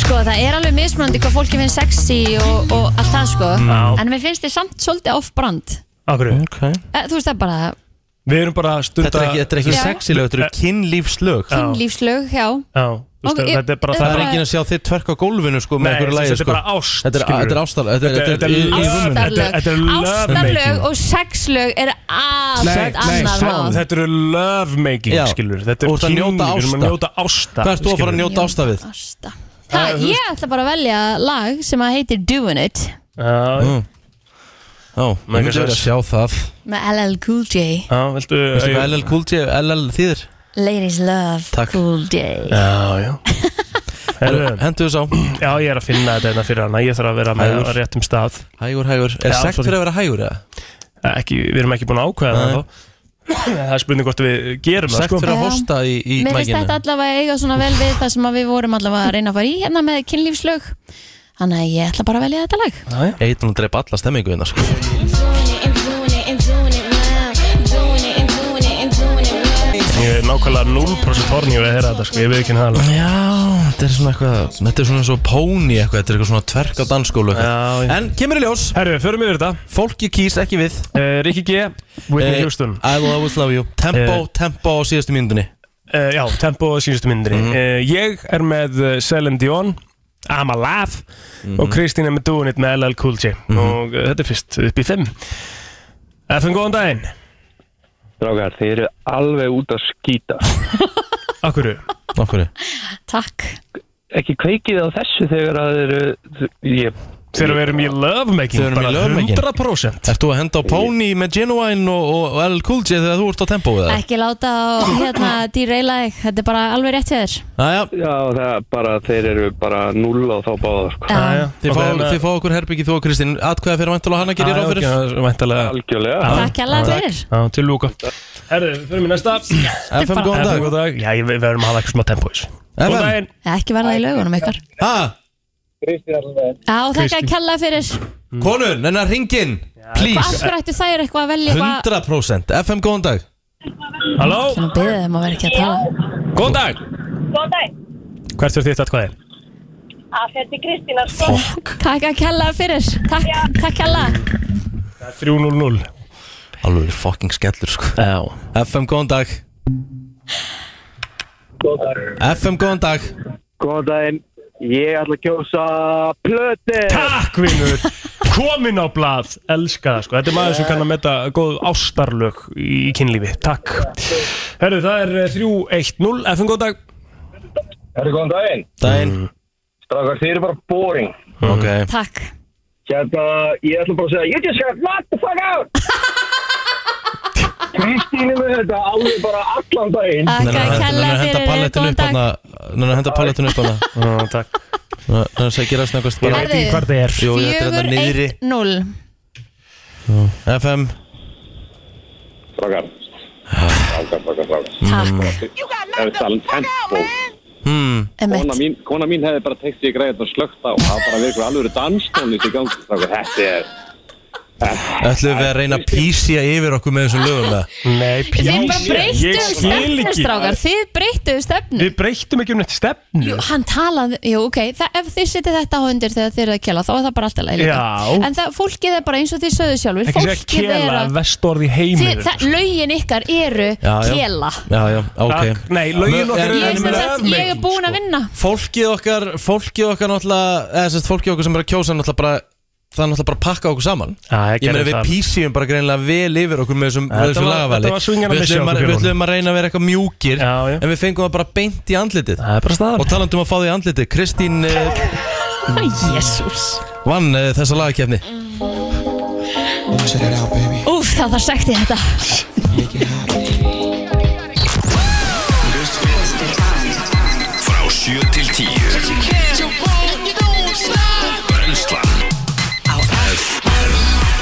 Sko það er alveg mismunandi hvað fólki finnst sexy og, og allt það sko
Já.
En mér finnst þið samt svolítið off-brand
Akkur,
okay.
Eh, Þú veist það er bara
við erum bara að stunda
Þetta er ekki, þetta er ekki
Já.
sexy lög, þetta eru kynlífslög
Já.
kynlífslög, já
Já, þú veist,
Ok,
þetta er bara
Það er
bara-
enginn að sjá þið tvörk á gólfinu sko með
Nei,
einhverju lægi
þetta er
sko
bara ást,
Þetta er,
skilurðu.
þetta er ástal Þetta er, þetta er í, í
Ástar-
rúminu
Þetta- þetta er
Ástarlög
love
Ástarlög
making.
og sexlög er
Nei,
allt
nei,
annað
sjá,
mál
þetta eru love making
Já.
skilur Þetta er
Og það njóta
kynlíf, við erum að
ásta.
njóta ásta
Hvað ert þú að fara að njóta ásta við?
Ásta Það, ég ætla bara að velja lag sem að heitir Doin' It
njóta
Mm. Já, ég myndi verið að sjá það
með LL Cool J
Já, viltu
Veistu hvað LL Cool J, LL þýðir?
Ladies Love
Takk.
Cool J
Já, já Herðu,
Hentu þess á
Já, ég er að finna þetta hérna fyrir hana Ég þarf að vera með
Hægur.
á réttum stað
Hægur, hægur Er
Já,
sekt
sorry.
fyrir að vera hægur eða?
ekki, Við erum ekki búin að ákveða það
Nei.
þá Það er spurning hvort við gerum það
Sekt
sko
fyrir að
Já.
hosta í, í
Mér finnst
mækinu
þetta allavega eiga svona vel við það sem að við vorum allavega að reyna að fara í hérna með kynlífslög Þannig að ég ætla bara að velja þetta lag
Eitt hún dreip alla stemmingu hérna sko
Doing it and doing it and doing it now. Doing it and doing it and doing it now.
Ég er nákvæmlega 0% horni við að heyra þetta sko Ég veit ekki hann alveg
Já, þetta er svona eitthvað Þetta er svona eins og póni eitthvað Þetta er eitthvað svona tverk á dansskólu eitthvað.
Já, já.
En kemur í ljós
Herru, förum yfir þetta
Fólki kýs ekki við
uh, Rikki G, Whitney
Eh,
Houston
I will always love you Tempo, tempo á síðustu Mhm. myndunni
uh, Já, tempo og sínustu myndri mm Ég er með uh, Celine Dion I'm Alive
Mhm.
og Kristín er með Doing It með LL Cool J og uh, þetta er fyrst upp í 5 FN, góðan daginn
Drágar, þið eru alveg út að skýta
Akkurru
Okkur
Takk
Ekki kveikið á þessu þegar að þeir eru Ég
Þegar við erum í love making
Þegar við erum í
bara
love making.
100%
Ert þú að henda á Pony með Genuine og, og, og LL Cool J þegar þú ert á tempo við það?
Ekki láta á hérna dýreila þig Þetta er bara alveg rétt hjá þér
Æja,
Já, það er bara, þeir eru bara null á þá báða sko.
Já, já.
þið
Ok,
fá,
þannig að-
þið fá okkur herbyggi þú og Kristín Atkvæða fyrir vantala hana gerir
Já,
ráð
ok,
fyrir
það er Væntalega
Algjörlega
Takk hérlega fyrir
Já, til lúka Herðu, við förum í næsta
FM góðan
FN,
dag
góðan dag Já, ég- við verðum að hafa eitthvað smá tempo sko. í þessu Góðan
FM,
daginn
Ekki verða í lögunum ykkar
ha,
Já, þakka að kella fyrir
konur, nennar ringin Please,
Akkur ættu þær eitthvað að velja eitthvað
100% FM góðan dag
Halló,
Ég nú beðið þeim að vera ekki að tala
góðan dag
Góðan dag,
Hvert er þitt atkvæði?
að þetta er Kristína Sko,
Takk að kella fyrir Takk, takk kella
3-0-0
Alveg fucking skellur sko
Já
FM góðan dag FM góðan dag
Góðan daginn Ég ætla að kjósa plöti
Takk vinnur Komin á blað, elska það sko Þetta er maður sem kann að metta góð ástarlög í kynlífi, takk Herru, það er eh, 3-1-0 FN, góðan dag
Herri, góðan daginn
Dæin
Drágar, þeir eru bara boring
Mm.
Ok
Takk
Hérna, ég ætla bara að segja You just got knocked the fuck out Kristínu með þetta alveg bara allan daginn
Takk að kella fyrir
pallettinu
Góðan
upp
dag
hana Nennar henda pallettinu upp hana
Ó, Takk
Nennar að segja gerast nægast bara
Herðu,
Hvað það er?
Jú, þetta er þetta niðri
4-1-0
FM
Drágar Drágar, drágar, drágar
Takk
Ef við tala um tempo
Hmm
kona
Emmett
mín, kona mín hefði bara tekst ég greið og slögt á Það var bara verið alveg danstónlist í gangi Drágar, þetta er
Ætlum við að reyna að písja yfir okkur með þessum lögum eða?
Nei,
Þið bara breyttuðu stefnu, strákar Þið breyttuðu stefnu
Við breyttum ekki um neitt stefnu
Jú, hann talaði, jú, ok, það, ef þið setið þetta á undir þegar þið eru að kjela, þá er það bara alltaf leið
Já.
En það, fólkið er bara eins og þið sögðu sjálfur
Ekki segja
Fólkið er
kela,
að
vestorð í
þið,
heimur
það, Lögin ykkar eru
Já, já.
kjela
Já, já, ok
Nei, lögin okkar
Ég,
eru
sem sagt, ég er búin að vinna
Fólkið okkar, fólkið okkar náttúrulega eða sérst fólkið okkar sem er að kjósa náttúrulega bara það er náttúrulega bara að pakka okkur saman
Já, ég
Ég meina
gerði
við
það.
písjum bara greinlega vel yfir okkur með þessum,
Þetta
með þessum
var-
lagavali
þetta var swingin að
Við
missa
ætlum að-
okkur,
Við
Jón.
ætlum að reyna að vera eitthvað mjúkir
Já, já.
En við fengum það bara beint í andlitið
Það er bara staðan
Og talandum að fá því andlitið Kristín uh,
Jésús
vann uh, þessa lagakefni
Úf, það þarf sagt í þetta
Frá 7 til 10 Brennslan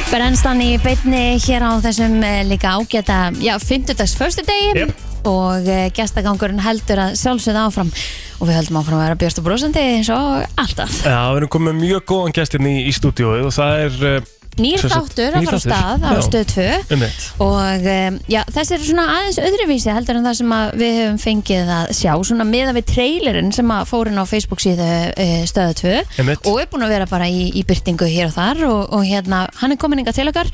Brennstan í beinni hér á þessum eh, líka ágæta, já, 50 dags föstudegi
Jep.
og eh, gestagangurinn heldur að sjálfsögða áfram og við höldum áfram að vera björst og brosandi eins og alltaf.
Já, við erum komið með mjög góðan gestirni í, í stúdíóið og það er uh,
Nýr
Sem sagt,
þáttur að
nýr
fara á
þáttur.
stað á
Já.
stöð 2
um eitt
og um, já, þessi eru svona aðeins öðruvísi heldur en það sem að við höfum fengið að sjá svona meða við trailerinn sem að fórin á Facebook síðu uh, stöðu 2
Einmitt.
og er búin að vera bara í, í byrtingu hér og þar og, og hérna, hann er komin inga til okkar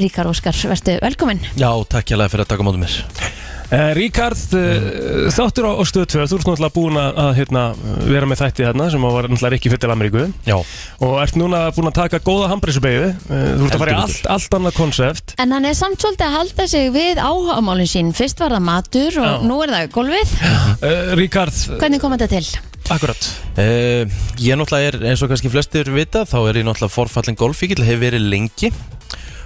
Ríkar Óskar, verðstu velkominn
Já, takk hérlega fyrir að taka mótum mér
uh, Ríkard, uh, þáttur á, á stöð 2 Þú ert náttúrulega búin að, að hérna, vera með þætti þarna sem að var náttúrulega ekki fyrir til Ameríku
Já,
og ert núna búin að taka góða hambrísubeyðu uh, Þú ert að fara í
Heldur
allt, allt annað konsept
En hann er samt svolítið að halda sig við áhagamálin sín Fyrst var það matur og
Já.
nú er það gólfið
Eh,
uh, Ríkard,
Hvernig kom þetta til?
akkurat
Uh, ég náttúrulega er, eins og kannski flestir vita, þá er ég náttúrulega forfallin golfíkil, hefur verið lengi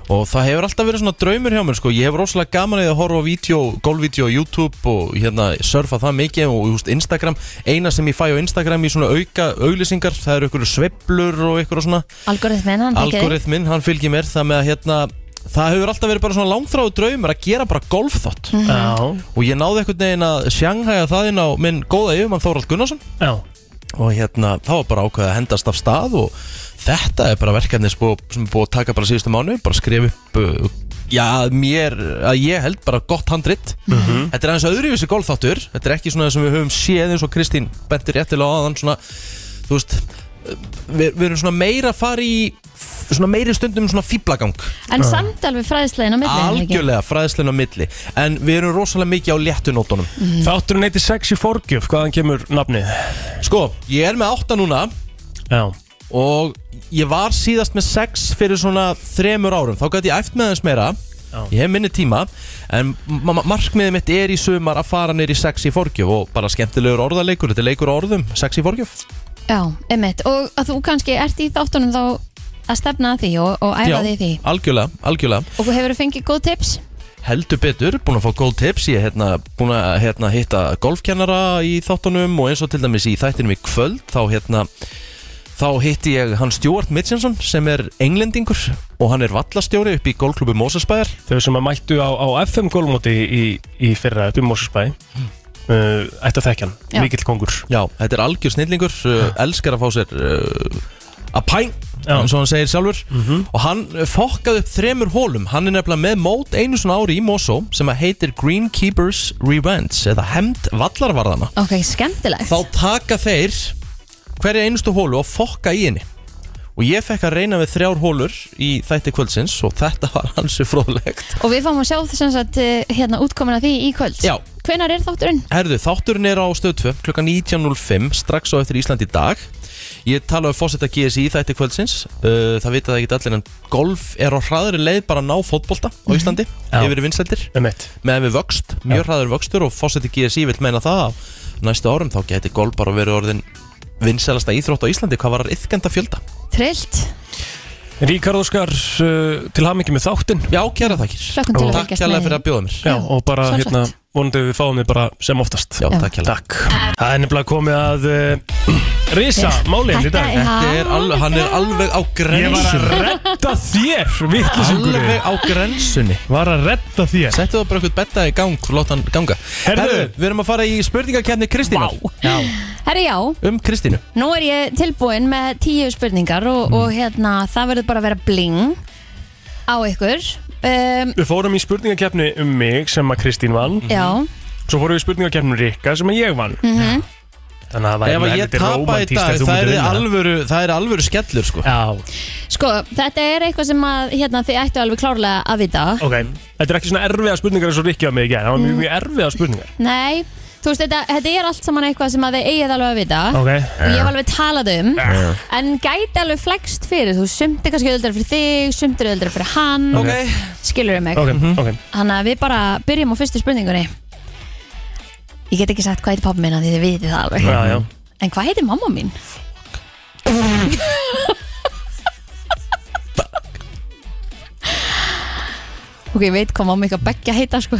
og það hefur alltaf verið svona draumur hjá mér sko, ég hef rosalega gaman að horfa á vídeo, golfvídeó á YouTube og hérna surfa það mikið og just, Instagram, eina sem ég fæ á Instagram í svona auka auglýsingar, það eru ykkur sveplur og ykkur og svona,
Algoritminn, hann fylgir þig.
algoritminn, hann fylgir mér, það með að hérna, það hefur alltaf verið bara svona langþráðu draumur að gera bara golfþátt
Já,
og ég náði einhvern veginn að sjanghæja það inn á minn góða yfirmann Þórald Gunnarsson
já
og hérna þá var bara ákveðið að hendast af stað og þetta er bara verkefni sem búið- sem er búið að taka bara síðustu mánu bara skrifa upp uh, já, mér, að ég held bara gott handrit þetta er aðeins öðruvísi golfþáttur þetta er ekki svona sem við höfum séð eins og Kristín bentir réttilega á þann svona þú veist uh, við, við erum svona meira að fara í svona meiri stundum svona fýblagang
En samt alveg fræðslegin á milli er það ekki?
algjörlega fræðslinn á milli en við erum rosalega mikið á léttunótunum
Mhm.
Þátturinn heitir Sexy Forgjöf, hvaðan kemur nafnið?
sko, ég er með átta núna
Já,
og ég var síðast með sex fyrir svona þremur árum þá gæti ég æft með þess meira
Já.
ég hef minni tíma en ma- ma- markmiðið mitt er í sumar að fara neyri sex í forgjöf og bara skemmtilegur orðaleikur þetta er leikur á orðum, sex í forgjöf
Já, einmitt Og að þú kannski ert í þáttunum þá að stefna að því og, og æfa þig í því
algjörlega, algjörlega,
Og hefur þú fengið góð tips?
heldur betur búin að fá góð tips, ég er hérna, búin að hérna, hitta golfkennara í þáttunum og eins og til dæmis í þættinum í kvöld þá hérna Þá hitti ég hann Stuart Mitchinson sem er englendingur og hann er vallastjóri upp í golfklubu Mosesbæjar
þau sem að mættu á, á FM golfmóti í, í fyrra um upp í Mósusbæ uh, ætti að þekkja
Já.
hann, mikill kongur
Já, þetta er algjör snillingur uh, Elskar að fá sér uh, að pæn
Já.
eins og hann segir sjálfur og hann uh, fokkaði upp þremur hólum hann er nefnilega með mót einu svona ári í Mosó sem að heitir Greenkeepers Revenge eða hemd vallarvarðana
Ok, skemmtilegt
þá taka þeir hverja einustu hólu og fokka í henni og ég fekk að reyna við þrjár hólur í þætti kvöldsins og þetta var hansi fróðlegt
Og við fáum að sjá þess að hérna útkomin að því í kvöld
Já.
Hvenær er þátturinn?
Herðu, þátturinn er á stöð 2 klukkan 19.05 strax á eftir Ísland í dag Ég tala um fósetta GSI í þætti kvöldsins uh, Það vita það ekki allir en golf er á hraðari leið bara að ná fótbolta á Íslandi
Mhm. Já.
yfir í vinsældir
um eitt
meðan við vöxt, mjög hraður vöxtur og fósetti GSI vil meina það að næstu árum þá geti golf bara verið orðin vinsælasta íþrótt á Íslandi hvað var yfkenda fjölda
Trillt
Ríkard Óskar uh, til hamingi með þáttinn
Já, kæra þakkir
Hlökkum til að
Takk
fylgjast
kærlega
með
fyrir
því.
að bjóða mér
Já, og bara
sjálfsagt.
hérna, vonandi við fáum þið bara sem oftast
Já,
Já.
takk kærlega
Takk Það er nefnilega komið að uh, Risa, málinn í
Þetta
dag
er-
Þetta er alveg, hann er alveg á
Ég var að
grensunni
redda þér Vittlisingur
Alveg á grensunni
Var að redda þér
Settu það bara eitthvað betta í gang og láta hann ganga
Herðu.
við erum að fara í spurningakeppni Kristínu
Herri já,
Um Kristínu
Nú er ég tilbúin með tíu spurningar og, og hérna, það verður bara að vera bling á ykkur um,
Við fórum í spurningakeppni um mig sem að Kristín vann
Já
Svo fórum við í spurningakeppni um Rikka sem að ég vann
mm
Þannig að
Ef
það
að
væri
ég tapa í dag, það er alvöru, það er alvöru skellur sko
Já,
Sko, þetta er eitthvað sem að hérna, þið ættu alveg klárlega að vita
ok Þetta er ekki svona erfiða spurningar eins og Rikki var með í gerð Það var mjög, mjög erfiða spurningar
Nei, þú veist, þetta, þetta er allt saman eitthvað sem að þið eigið alveg að vita
Ok.
og ég hef alveg talað um
Já.
en gæti alveg flext fyrir þú sumt er kannski öldra fyrir þig, sumt er öldra fyrir hann
Ok.
skilur mig Mhm.
Ok, ok
Þannig að við bara byrjum á fyrstu spurningunni Ég get ekki sagt hvað heitir pappa minna því þið vitið það alveg
Já, já.
En hvað heitir mamma mín? ok, ég veit hvað mamma ykkar beggja heita sko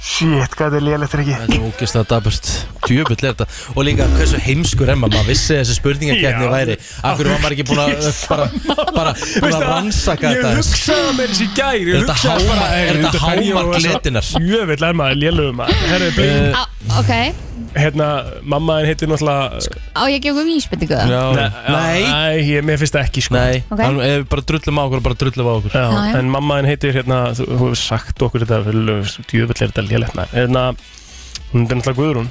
Shit, hvað er lélegt ekki
Þetta er ógeðslega daburt Djöfull er þetta Og líka hversu heimskur emma Maður vissi þessi spurningakefni
Já.
væri Akkur var maður ekki búin að bara, bara, bara rannsaka
Ég
þetta aðeins?
hugsaði með þessi gær
Er
Ég
þetta
hugsaði bara
hámark- er þetta hámark gletinnar?
Jöfell er maður lélugum maður Herri, blín
Á, Ok,
Hérna, mamma henn heitir náttúrulega
á ég að gefa um íspendingu það?
Já. Nei.
Æ, ég, mér finnst það ekki sko
Nei
Ok.
Hann- ef við Bara drullum á okkur Bara drullum á okkur
Já,
Já, já.
en mamma henn heitir hérna, þú þú hefur sagt okkur þetta, djöfull er þetta lélegt maður Hérna, hún er náttúrulega Guðrún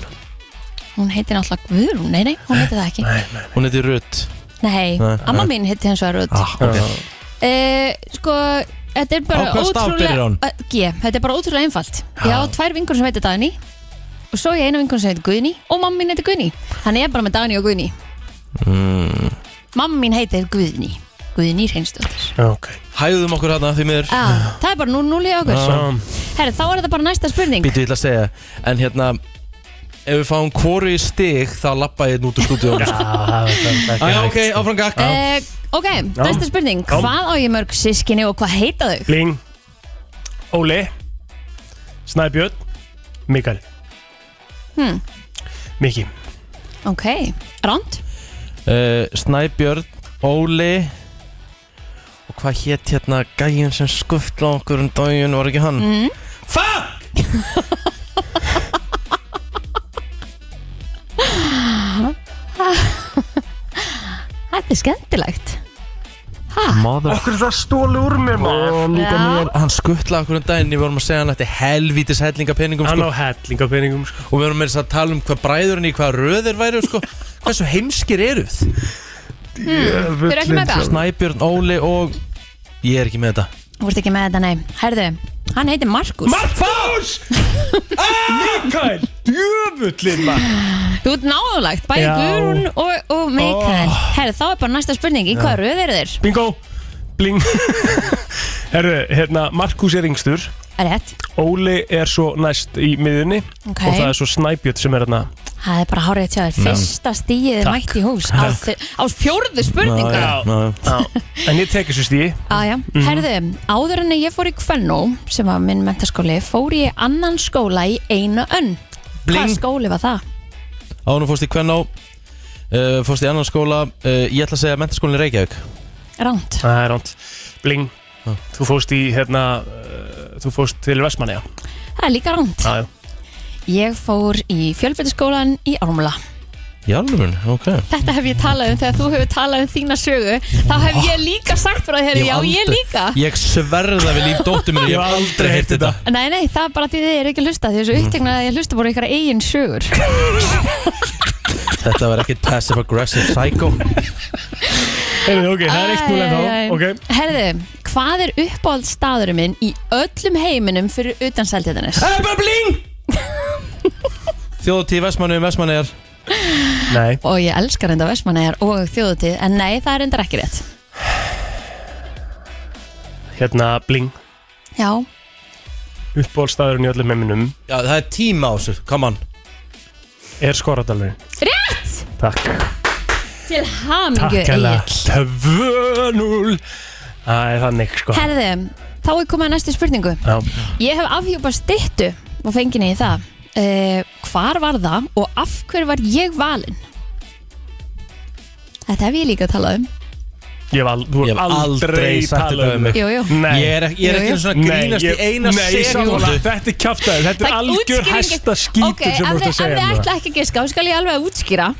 Hún heitir náttúrulega Guðrún, nei nei, hún heitir það ekki Nei,
Hún heiti Rutt Nei. Ah.
amma mín heitir hins vegar Rut
okay.
Eh, Sko, þetta er bara
Á hvaða staf byrjar hún?
Eh, G, þetta er bara ótrúlega einfalt Ég á tvær vingur sem heitir Dagný Og svo ég eina vingur sem heitir Guðný Og mamma mín heitir Guðný Þannig ég er bara með Dagný og Guðný mm. Mamma mín heitir Guðný Guðný Reynsdóttir
ok
Hæðum okkur hana því miður Ah.
ah, Það er bara nú núli á okkur
Já.
Herri, þá er þetta bara næsta spurning
Býtu vill að segja En hérna Ef við fáum hvoru í stig Þá lappa ég hérna út úr stúdíu
Já, það sko. er
Æja ok, áfram gakk
eh, Ok, næsta spurning Hvað á ég mörg sískinni og hvað heita þau?
Bling Óli Snæbjörn Mikael
Hmm.
Miki
Ok, ránd
uh, Snæbjörn, Óli og hvað hétt hérna gæjun sem skuftla okkur um daginn var ekki hann mm. Fuck!
Þetta er skemmtilegt Ah.
Mother...
Okkur er það stóli úr mér maður
Já,
Hann skuttla okkur um daginn, við vorum að segja hann ætti helvítis hellingapenningum
Hann
sko,
á hellingapeningum sko.
og við vorum með þess að tala um hvað bræðurinn í hvað röðir væru sko. hversu heimskir eruð
þau Hmm, eru ekki með það
Snæbjörn, Óli og ég er ekki með þetta
Þú ert ekki með þetta, nei. Herðu, hann heitir Markus.
Marfás Mikael Djöfullin maður
Þú ert náðulagt, bæði
Já.
Guðrún og, og Mikael. Herðu, þá er bara næsta spurning. Í hvaða röð eru þeir?
Bingo Bling Herru, hérna Markus er yngstur
Rétt.
Óli er svo næst í miðunni
Ok.
Og það er svo Snæbjörn sem er hérna
Það er bara hárið til þér. Fyrsta stíðið er mætt í hús á, þi- á fjórðu spurningu. Já,
En ég tekið svo stíði
já. Herðu, áður en ég fór í Kvennó, sem var minn mentaskóli, fór ég í annan skóla í einu önn. Hvaða
Bling,
skóli var það?
ánum fórst í Kvennó uh, fórst í annan skóla uh, ég ætla að segja mentaskólinni Reykjavík
Ránt.
Það er ránt Bling Þú fóst í hérna uh, Þú fóst til Vestmanni
Það er líka ránt.
Já, já
Ég fór í fjölbyrðaskólan í Ármúla.
Jálfurinn, ok
Þetta hef ég talað um þegar þú hefur talað um þína sögu Þá hef ég líka sagt frá þér
Ég
Já,
hef
ég
aldrei-
líka
Ég sverða við líf dóttur minni Ég hef aldrei heyrt þetta
Nei, nei, það er bara því þið er ekki að hlusta Því þessu
Mm.
upptegnað að ég hlusta bara á ykkar eigin sögur
Þetta var ekkit passive aggressive psycho
Heyrðu, ok, það er eitt núlega
Æ, æ, æ.
þá Ok
Herðu, hvað er uppáhald staðurinn minn í öllum heiminum fyrir utan seldjæðanis?
Það er bara bling Þjóðtíð Vestmannu, Vestmannu er
Nei
Og ég elskar enda Vestmanæjar og þjóðutíð En nei, það er enda ekki rétt
Hérna, bling
Já,
Uppbólstaðurinn í öllum heiminum
Já, það er tíma á þessu, come on
Er skoradalurinn
rétt!
Takk
Til hamingju
Takk hella
Egill
2-0 Það er þannig, sko
Herðu, þá er komið að næstu spurningu
Já,
Ég hef afhjúpað styttu og fenginni í það. Uh, hvar var það og af hverju var ég valinn? Þetta hef ég líka talað um.
ég hef, al þú
Ég hef
hefur aldrei
aldrei sagt þetta um mig.
Jú, jú.
Nei
Ég er, ek- ég er ekki
Jú, jú.
einu svona að grínast í eina
nei, ég sammála.
sekundu
Þetta er kjaftaður, þetta er algjör
útskýring-
hæsta skítur
Ok, ef
sem þú
þið-
ert að segja
Ef þið
núna.
ætla ekki að giska, þá skal ég alveg útskýra.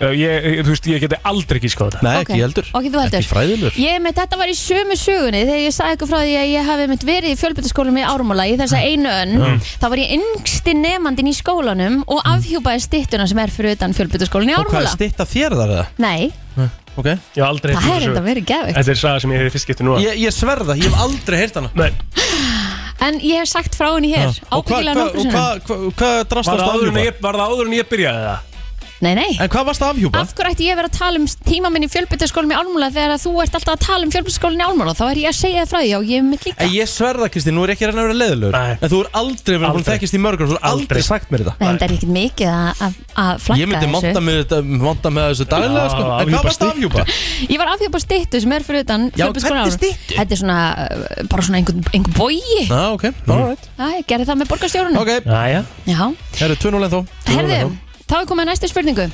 Ég, ég- þú veist, ég geti aldrei gískað þetta
Mm? Nei,
Ok. Ok, þú heldur
Ekki fræðilegur.
Ég með þetta var í sömu sögunni Þegar ég sagði eitthvað frá því að ég hafi mynd verið í fjölbyrtaskólum í Ármóla Í þessa einu önn
Mm.
Þá var ég yngsti nefandin í skólanum Og afhjúpaði styttuna sem er fyrir utan fjölbyrtaskólun í
Og hvað
Ármóla
er stitta þér þar eða?
Nei,
Ok
Ég hef aldrei
það er þetta verið gefitt
Þetta er saga sem ég hefði fyrst getið núna
Ég, ég sverða, ég hef aldrei heyrt hana
Nei,
En ég hef sagt frá henni hér
Og hvað
Ábyggilega
hva,
nokkur
hva,
sinnum
hva, hva drast
var það,
varst að
áður en
afhjúpa?
ég, var það áður en ég byrjaði það?
Nei, nei
En hvað varst að afhjúpa?
Af hverju ætti ég að vera að tala um tíma minn í fjölbyrtaskólum í Ármóla Þegar að þú ert alltaf að tala um fjölbyrtaskólun í Ármóla Þá er ég að segja það frá því og ég er mitt líka
En ég sverða Kristi, nú er ég ekki að reyna að vera leiðilegur
Nei.
En þú er aldrei verið búin að
Aldrei.
þekkist í mörgur Þú er aldrei,
Aldrei.
sagt mér þetta
Nei, þetta er ekkert mikið að- að að flagga
Ég myndi
þessu.
monta með, þetta- monta með þessu daglega
Já,
sko. En
afhjúpa
hvað varst að afhjúpa?
Ég var afhjá bara styttu sem er fyrir utan
Já,
Fjölbrautaskólann.
hvernig styttu?
Þetta er svona, uh, bara svona einhvern einhver bogi
Ná, ok, alright
Æ, ég gerði það með borgarstjórunum
Ok,
Mm. Jæja
Já,
herru, 2-0 en þó
herðu, þá er komið að næstu spurningu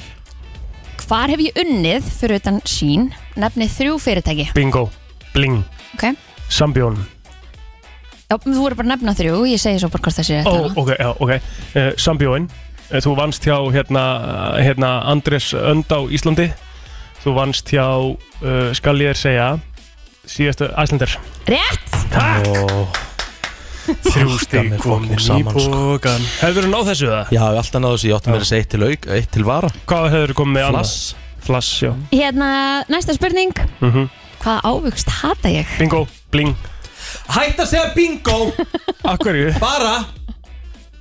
Hvar hef ég unnið fyrir utan sín nefnið þrjú fyrirtæki?
Bingo Bling
Ok,
Sambjón
Já, þú voru bara að nefna þrjú, ég segi svo bara hvort það sé
Ó,
rétt eða.
ok, já, ok uh, Sambjón uh, Þú vannst hjá hérna, hérna Andrés Önd á Íslandi Þú vannst hjá uh, Skal ég þér segja Síðastu Æslandar
Rétt!
Þrjú stig komin í
saman, sko.
bókan Hefur þú náð þessu það?
Já, við alltaf náðu þessu, ég átti með þessu eitt til auk, eitt til vara
Hvað hefur þú komið með annað?
Flass
Flass, já
Hérna, næsta spurning
mm
Mhm.
Hvað ávöxt hata ég?
Bingo, bling
Hætt að segja bingo,
Akkur ég
bara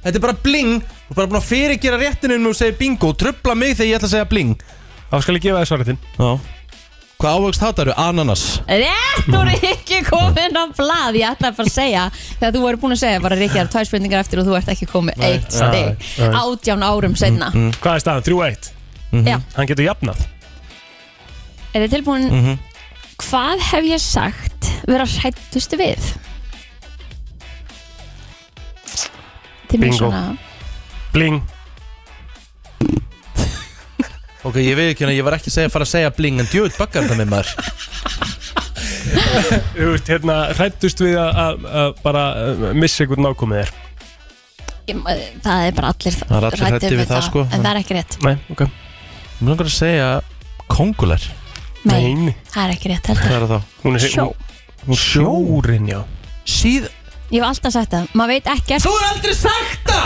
Þetta er bara bling Þú er bara búin að fyrirgera réttinu um að segja bingo og Trubla mig þegar ég ætla að segja bling
Þá skal ég gefa þér svarið þinn
Já Hvað ávöxt hattar Ananas
Rétt, þú eru ekki komin á blað Ég ætlaði bara að segja Þegar þú voru búin að segja bara Rikki, það er tvær spurningar eftir og þú ert ekki komið eitt stig Átján árum setna
Mm,
Mm,
Hvað er staðan? 3-1
Mm-hmm. Já.
Hann getur jafnað
mm.
Er þið tilbúin?
Mm-hmm.
Hvað hef ég sagt vera hrættustu við? Til mér
Bingo.
svona
Bling
Ok, ég veit ekki hérna, ég var ekki að segja, fara að segja bling En djöðl bakkar það með maður
Þú veist, hérna, hrættust við að- að að bara uh, missa einhvern nákomið þér
Ég- Það er bara allir
Það er allir
hræddir
hræddir við það, sko.
En það er ekki rétt
Nei, ok
Mér langar að segja
Eh,
kongular
Nei, það er ekki rétt heldur
Hvað er það?
Hún er
Sjó
Hún, sjórin, já
Síð
Ég hef alltaf sagt það, maður veit ekkert
Þú er aldrei sagt það!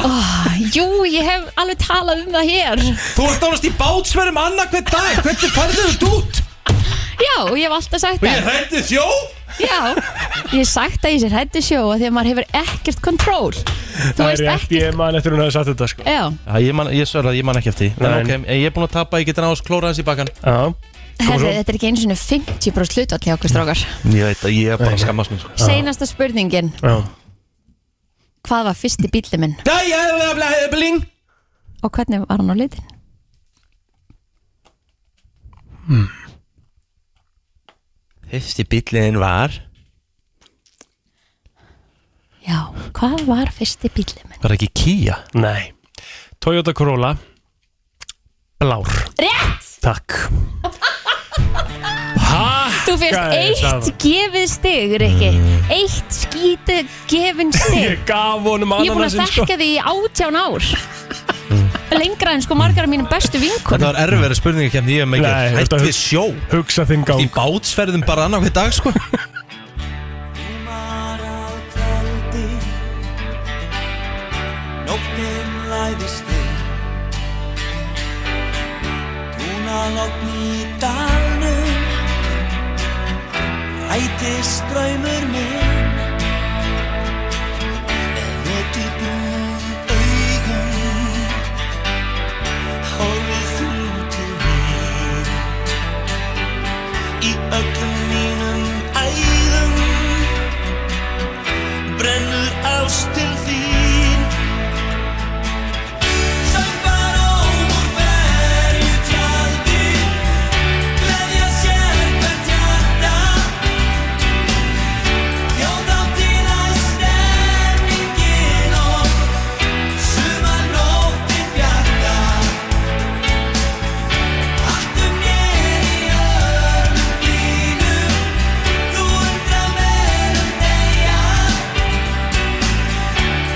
Jú, ég hef alveg talað um það hér
Þú ert nánast í bátsverðum annað hver dag Hvernig færðu þú þetta út?
Já, ég hef alltaf sagt það
hrætti þjó
Já, ég hef sagt að ég sé hrættu sjó Þegar maður hefur ekkert kontról Þú
Það er
veist Eh.
rétt,
ekkert
ég man eftir hún hefði sagt þetta, sko
Já,
Já, ég man, ég sverða, ég man ekki eftir því En
Nei.
ok, en ég er búin að tapa, ég geta náðast klóra hans í bakkan
Já,
herri, þetta er ekki einu sinni 50 brúst hlutvalli hjá okkur strákar
Ég veit að ég er bara að skammast sko. mér
Seinasta spurningin
já
Hvað var fyrsti bíli minn
Nei, ég hefði að blæði bling
og hvernig var hann á litin?
Fyrsti bíliðin var
Já, hvað var fyrsti bíli minn?
Var ekki Kia?
Nei Toyota Corolla Blár
Rétt!
Takk
Þú fyrst
Hvað er það?
eitt gefið stig, Rikki Eitt skítið gefin stig
Ég gaf honum
Ég er búin að
ananasin, sko Mm.
þekka því í átján ár Lengra en sko margar af mínum bestu vinkun
Þetta var erfiðari spurningi kemd ég hef með
Nei,
ekki um Hætt
þetta-
við sjó
Hugsa þinn
Í
gang
bátsverðum bara annað hver dag, sko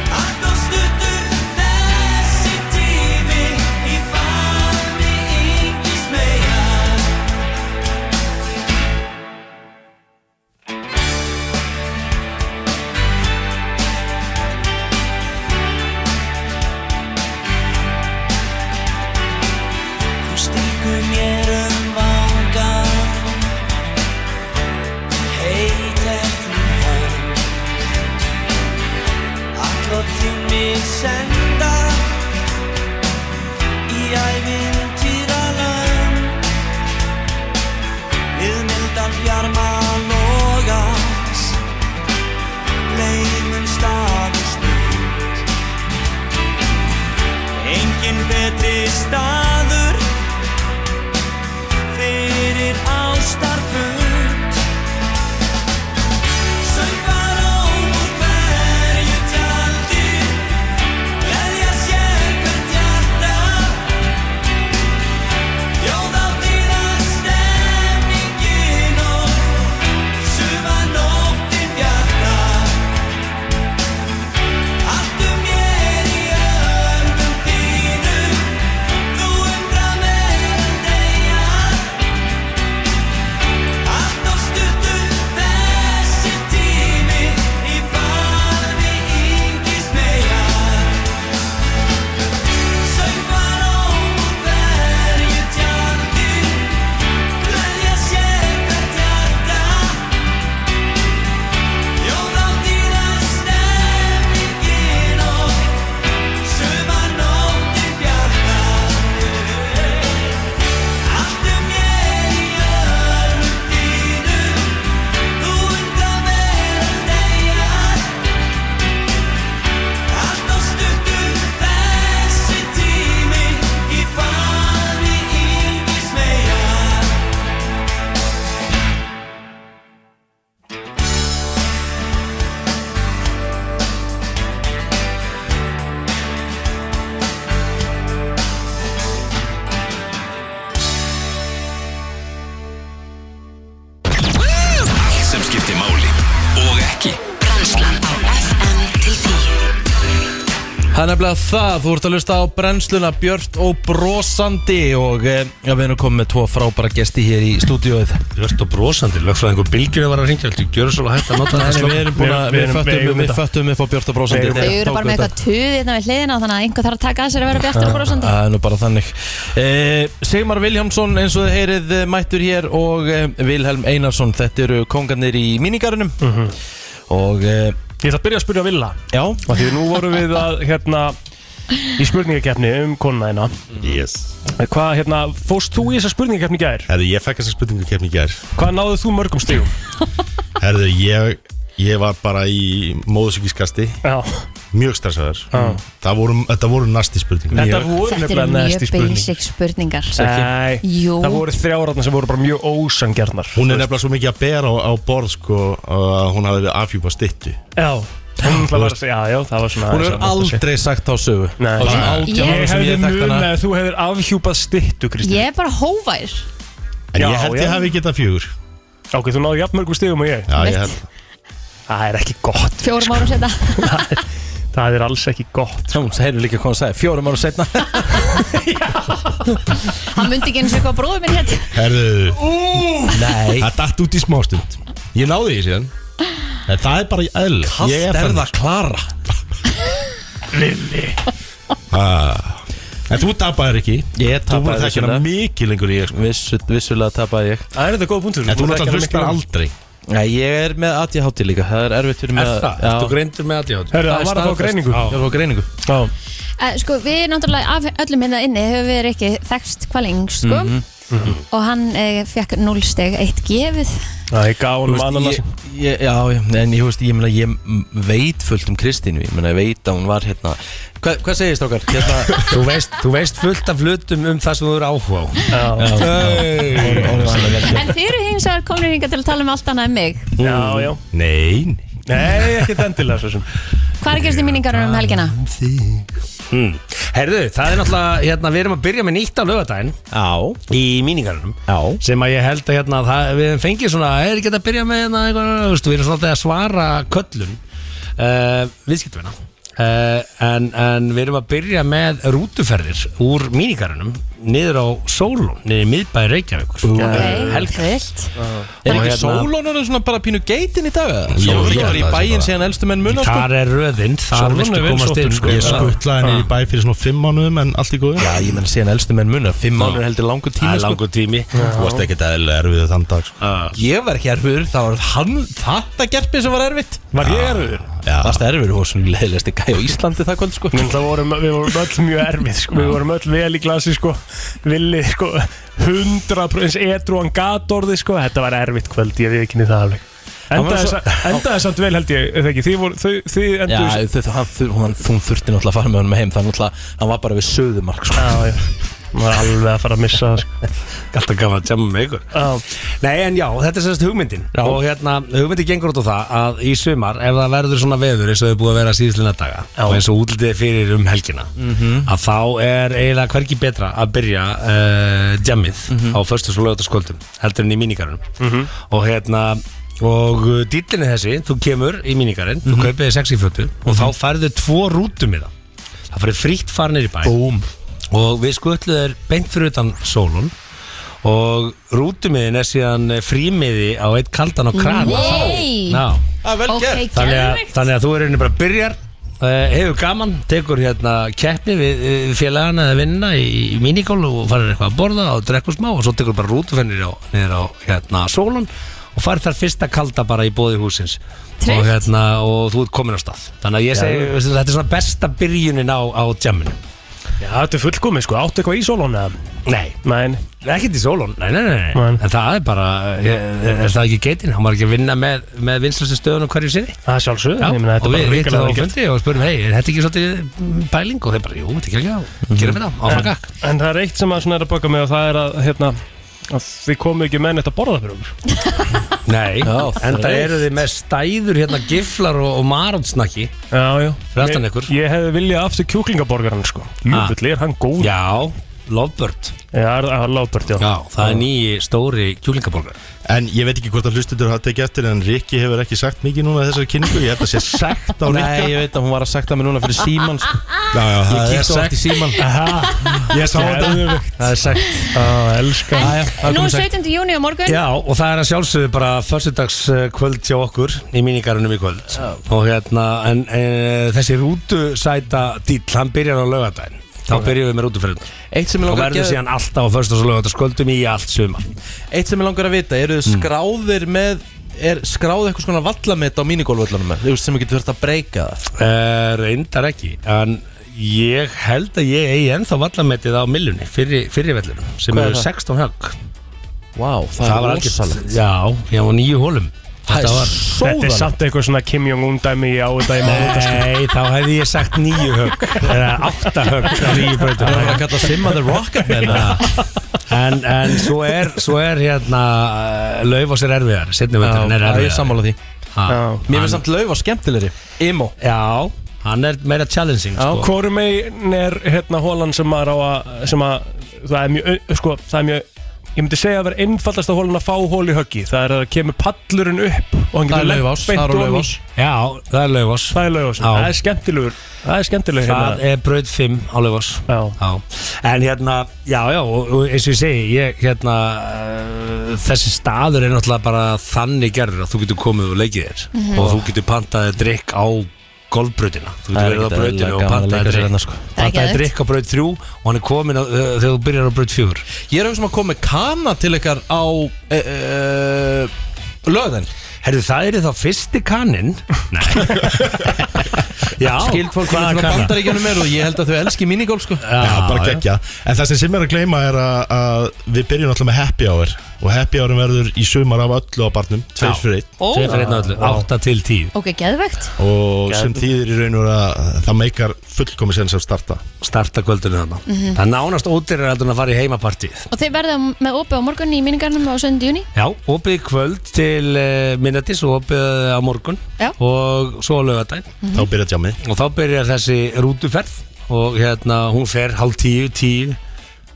Allt um
Það er nefnilega það, þú ert að lusta á brennsluna Björt og brosandi og eh, já, við erum komið með tvo frábæra gesti hér í stúdíóið
Björt og brosandi, lögfræðingur Bilgir var að ringja Þú gjör svo hægt að nota
Nei, nei,
slökk.
við erum búin að, við föttum, við föttum upp á Björt og brosandi
Við eigum
Þau eru bara með eitthvað tuð hérna við hliðina þannig að einhver þarf að taka að sér að vera bjartur og brosandi
Það er nú bara þannig e, Sigmar Viljámsson eins og þið heyrið eh, mættur hér og e, Vilhelm Einarsson Þetta eru kongarnir í míningarunum
Mhm.
Og e,
Ég ætla að byrja að spyrja Villa
Já
Af Því nú vorum við að hérna Í spurningakeppni um konuna hérna
Yes
Hvað hérna, fóst þú í þessa spurningakeppni í gær?
Herðu, ég fekk þessa spurningu kemni í gær
Hvað náðu þú mörgum stigum?
Herðu, ég, ég var bara í móðsvíkiskasti
Já
Mjög stressaður Það voru, þetta voru næsti spurningu
Þetta eru mjög basic spurningar
Nei,
Jú.
það voru þrjáratna sem voru bara mjög ósangjarnar
Hún er nefnilega svo mikið að bera á, á borð sko að hún hafi afhjúpa styttu
Já, hún ætla bara að segja, já, já, það var svona
Hún hefur aldrei sagt þá sögu
Nei,
Á þessum
Ég-
átján árum sem
hefði
ég þekkt
munað
hana
að þú hefur afhjúpað styttu, Kristi
Ég er bara hóvær
En
Já,
ég held
já.
ég hafi getað fjögur
Ok, þú náðu jafn mörgum stigum og ég
Já,
Mitt.
ég held
Það er ekki gott,
Fjórum árum setna
það er alls ekki gott
Hún heyrðu líka hvað hún sagði fjórum ára setna
Hann myndi ekki eins og eitthvað bróður minn hérna. hér
Herðu,
Nei
það datt út í smástund Ég náði því síðan En það er bara í eðl Ég
Allt er
þannig.
það klara
Ah. En þú tapaðir ekki
Ég
Þú voru
tapaði
þekkir hana
vissulega.
mikið lengur í ég sko.
Vissu, Vissulega tapaði ég
Það er þetta góð punktur
En þú náttúrulega
þekkir
hlustar
hana miklu.
aldrei
Nei, ég er með ADHD líka Það er erfitt fyrir mig
Er
að-
það?
Já.
Ertu greindur með aðjátt?
Herðu, það var
er
að fá
staðfest.
greiningu
Ég var að fá greiningu
Já.
Eh, Sko við náttúrulega af öllum hérna inni hefur við ekki þekst hvað lengi sko
Mhm.
Mhm.
og hann eh, fekk 0 steg 1 gefið
Það er gáðum
Þú
ananas
veist, ég- ég- Já, já, en ég, veist, ég, meina, ég m- veit fullt um Kristínu Ég meina, ég veit að hún var hérna Hva, Hvað segist okkar? Hérna,
Þú veist, þú veist fullt af hlutum um það sem þú eru áhuga á
Já,
En þið eru hins vegar komin hingað til að tala um allt annað en mig
já, já
Nei
Nei, ekki dendilega svo sem
Hvað er að gerast í minningarum um helgina?
Hmm. Herðu, það er náttúrulega, hérna, við erum að byrja með nýtt á lögadaginn
á
í míningarunum
Já.
sem að ég held að hérna, það, við hefum fengið svona, er ekki þetta að byrja með hérna, eitthvað, þú veist, við erum svona að svara köllun uh, viðskiptvinna uh, en, en við erum að byrja með rútuferðir úr míningarunum niður á Sólum, niður í miðbæði Reykjavíkur Eh,
Ok,
helga
vilt
Er
Og
ekki
hérna-
sólónunum svona bara pínu geitin í dag? eða?
Jú,
Sólón
ég
var í
held að
bæinn
það sé
síðan elstu menn muna sko?
Þar er röðinn, þar
Sólon
viltu
er vel
komast inn
sóttun,
sko.
sko.
Ég skuttlaði henni í bæ fyrir svona fimm mánuðum en allt í góðu
Já, ég menn síðan elstu menn muna Fimm mánuður heldur langur
Það
tími
er
sko.
langur tími
Þú varst ekkert eðlilega
um
erfið þann dag sko.
Ah.
Ég var ekki erfur, það var hann Þetta gerpi sem var erfitt
Var ég erfiður?
Varst erfur, þú var svona leðilegsti gæ á Íslandi það kvöld sko
Menn, það vorum, við vorum öll mjög erfið sko. Við vorum öll vel í glasi sko. Villi sko, 100% Edru hann gat orði sko. Þetta var erfitt kvöld, ég við ekki niður það alveg Endaði,
svo-
svo... endaði samt vel held ég eða ekki, Þið, voru, þau, þið
Já,
endur
þau, þau, hann, þur, hann, hún þurfti náttúrulega að fara með honum heim Það er náttúrulega, hann var bara við söðumark sko.
já, já Maður er alveg að fara að missa það sko.
Alltaf gaman að tjama með ykkur
Já,
Nei en já, þetta er sérst hugmyndin og hérna, hugmyndin gengur út á það að í sumar ef það verður svona veður eins og þau búið að vera síðslina daga og eins og útlitið fyrir um helgina að þá er eiginlega hvergi betra að byrja uh, jammið á föstus og lögutaskvöldum heldur en í míníkarunum og hérna og dýllinni þessi, þú kemur í míníkarinn þú kaupir þér sexi fötu og þá færðu tvo rútum í það það færðu frítt farnir í bæ Búm. og við skutluðu þér beint fyrir utan sólun og rútumiðin er síðan frímiði á eitt kaldan og kran
Nei.
Ná,
Það er Ah, vel
Ok,
gert
þannig, að,
geðvikt
þannig að þú er einnig bara byrjar eh, hefur gaman, tekur hérna keppni við eh, félagana eða vinna í, í minigól og farir eitthvað að borða og drekkur smá og svo tekur bara rútufennir á, niður á hérna sólun og farir þar fyrsta kalda bara í bóði húsins
Tryggt.
og hérna og þú ert komin á stað þannig að ég segi, veistu, þetta er svona besta byrjunin á, á jamminu
já þetta er fullkomið sko. Áttu eitthvað í sólónu?
Nei,
Nei,
ekkert í sólun, nei, nei, nei, nei.
Nei.
en það er bara, eh, er, er það ekki geitin hann var ekki að vinna með, með vinslastu stöðunum hverju sinni
það er sjálfsögð
Já,
Ég meina,
og
þetta er
við vittum
bara
það á
ríkilega vel gert.
fundi og spurðum, hei, er þetta ekki svolítið pæling? Og þeir bara, jú, þetta er ekki ekki á,
Mhm.
gerum við það, áfram gakk.
En það er eitt sem að svona er að baka mig og það er að, hérna, að þið komu ekki með neitt að borða fyrir okkur.
Nei, en það
þreif.
eru þið með stæður hérna giflar og, og marótsnakki.
Já, já.
Fyrir aftan ykkur. Ah.
Ég, ég hefði viljað aftur kjúklingaborgaran, sko. Ljúfulli, er hann góð?
Já, Lovebird
Já, það er Lovebird, já
Já, það er nýji stóri kjúlingaborgar
En ég veit ekki hvort að hlustendur hafa tekið eftir En Rikki hefur ekki sagt mikið núna þessari kynningu Ég held að sé sagt á Rikka
Nei, ég veit að hún var að sekta mig núna fyrir síman sko.
Já, já,
Ég
það er
kíkti oft í
sagt.
síman
Ah, Ég sá þetta
Það er sagt
Já,
Ah,
elska
Nú er 17. júni á morgun
Já, og það er að sjálfsögðu bara Förstundags hjá okkur Í mínigarunum í kvöld Og hérna, en e, þessi rútusæta dýll Hann byrjar á laugardaginn Þá byrjum við með rútuferðunar
Eitt sem mig
Og
langar að
verður
gefa-
síðan alltaf á förstundags og laugardaginn Sköldum í allt sumar Mm.
Eitt sem ég langar að vita, eru þið skráðir með Er skráð eitthvað svona vallamett á mínigólvöllunum Þú veist sem ég getur þurft að breyka það
Uh, reyndar ekki En ég held að ég eigi ennþá vallamettið á millunni Fyrir, fyrir vellunum Sem
Hvað er
eru
það?
16 högg
Vá, það,
var
er
algjört-
rosalegt
Já, ég var nýju hólum
Það
Þetta
er
var-
Þetta er samt eitthvað svona Kim Jong-un dæmi á þetta í máta
Nei, þá hefði ég sagt nýju högg Eða átta högg á nýju brautum
Það var að kalla Simma the Rocket Man
en, en svo er, svo er hérna eh, Lauf á sér erfiðar Setni vetturinn er
Já,
erfiðar
ég er sammála því
Ha,
Mér
hann-
finnst samt laufa skemmtilegri Imo
Já, hann er meira challenging sko.
Hvorum megin er hérna hólan sem maður á að sem að það er mjög au- sko, það er mjög ég myndi segja að vera einfaldast að hólan að fá hól í höggi það er að það kemur pallurinn upp og hann
Það er
getur lent
Laufás,
beint
það er á
ofan í.
Laufás.
Já, það er Laufás
Það er Laufás,
Já.
það er skemmtilegur Það er skemmtilegur hérna.
Það er braut 5 á Laufás
Já.
En hérna, já, já, og og eins og ég segi ég, hérna, eh, Þessi staður er náttúrulega bara þannig gerður að þú getur komið og leikið þér
Mhm.
og þú getur pantaðið drikk á golfbrautina, þú
Það er
getur verið á
ekkert
brautinu
eðlilega
og
gaman að
pantaðið
leika sér
drikk
þarna, sko.
Það er
pantaðið
geðveikt.
drikk á braut 3 og hann er komin á, eh, þegar þú byrjar á braut 4
Ég er auðvitað sem að koma með kana til ykkar á e,
eh,
e, löðin
Herðu, það er þá fyrsti kaninn Já,
Skild fólk
hvaða
frá
kana?
bandaríkjanum er og ég held að þau elski minigolf sko
Já, bara geggja En það sem sem er að gleyma er að, að Við byrjum alltaf með happy hour Og happy hourin verður í sumar af öllu á barnum Tveir
Já.
fyrir einn
Ó. Tveir fyrir einn á öllu,
8 til 10
Ok, geðvegt
Og
Gæðum.
sem þýðir í raun og veru að það meikar fullkomis enn sem starta
Starta kvöldinu þarna
Mhm.
Það er nánast ódýrar heldur en að fara í heimapartíð
Og þeir verða með opið á morgun í minningarnum á 7. júni
Já, opið í kvöld til uh, minnetis og opið eh, á morgun
Já. Mhm.
og svo á laugardaginn
Þá byrjar tjámið
og þá byrjar þessi rútuferð og hérna hún fer hálf tíu, tíu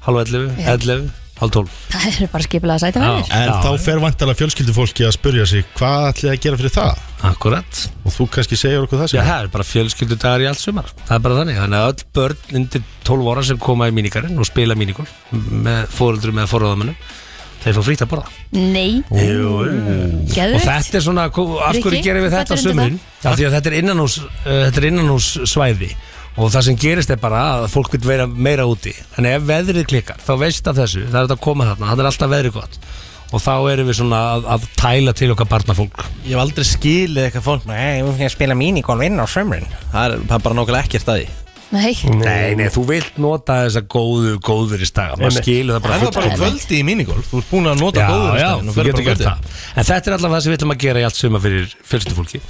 hálf ellefu,
Já.
ellefu, hálf tólf
Það eru bara skipilega sæta verðir
En þá fer vantarlega fjölskyldufólki að spurja sig Hvað ætlið þið að gera fyrir það?
Akkurat
Og þú kannski segir okkur það
Já,
sem
það er bara fjölskyldudagar í allt sumar Það er bara þannig, þannig að öll börn undir 12 ára sem koma í mínikarinn og spila mínikol með fóruldru með forðamönnum þeir fá frítt að borða
Nei
Jú,
Geðveikt.
Og þetta er svona, af hverju
Rikki,
gerum við
þú
þetta á
fellur undir
sumurinn? Af því að þetta er innanús, uh, þetta er innanús svæði og það sem gerist er bara að fólk vil vera meira úti en ef veðrið klikkar, þá veist af þessu það er þetta að koma þarna, það er alltaf veðrið gott og þá erum við svona að, að tæla til okkar barnafólk
Ég hef aldrei skilið eitthvað fólk Nei, ég vil spila minigolf inn á sömrin Það er bara nákvæmlega ekkert að því
Nei
Nei, nei, þú vilt nota þessa góðu, góðuristaga maður
Einmitt.
skilur það bara
En það er bara
fullkomlega.
kvöldi í minigolf Þú ert búin að nota góður
Já, já, þú getur gert það En þetta er allavega það sem við ætlum að gera í allt sumar fyrir fjölskyldufólki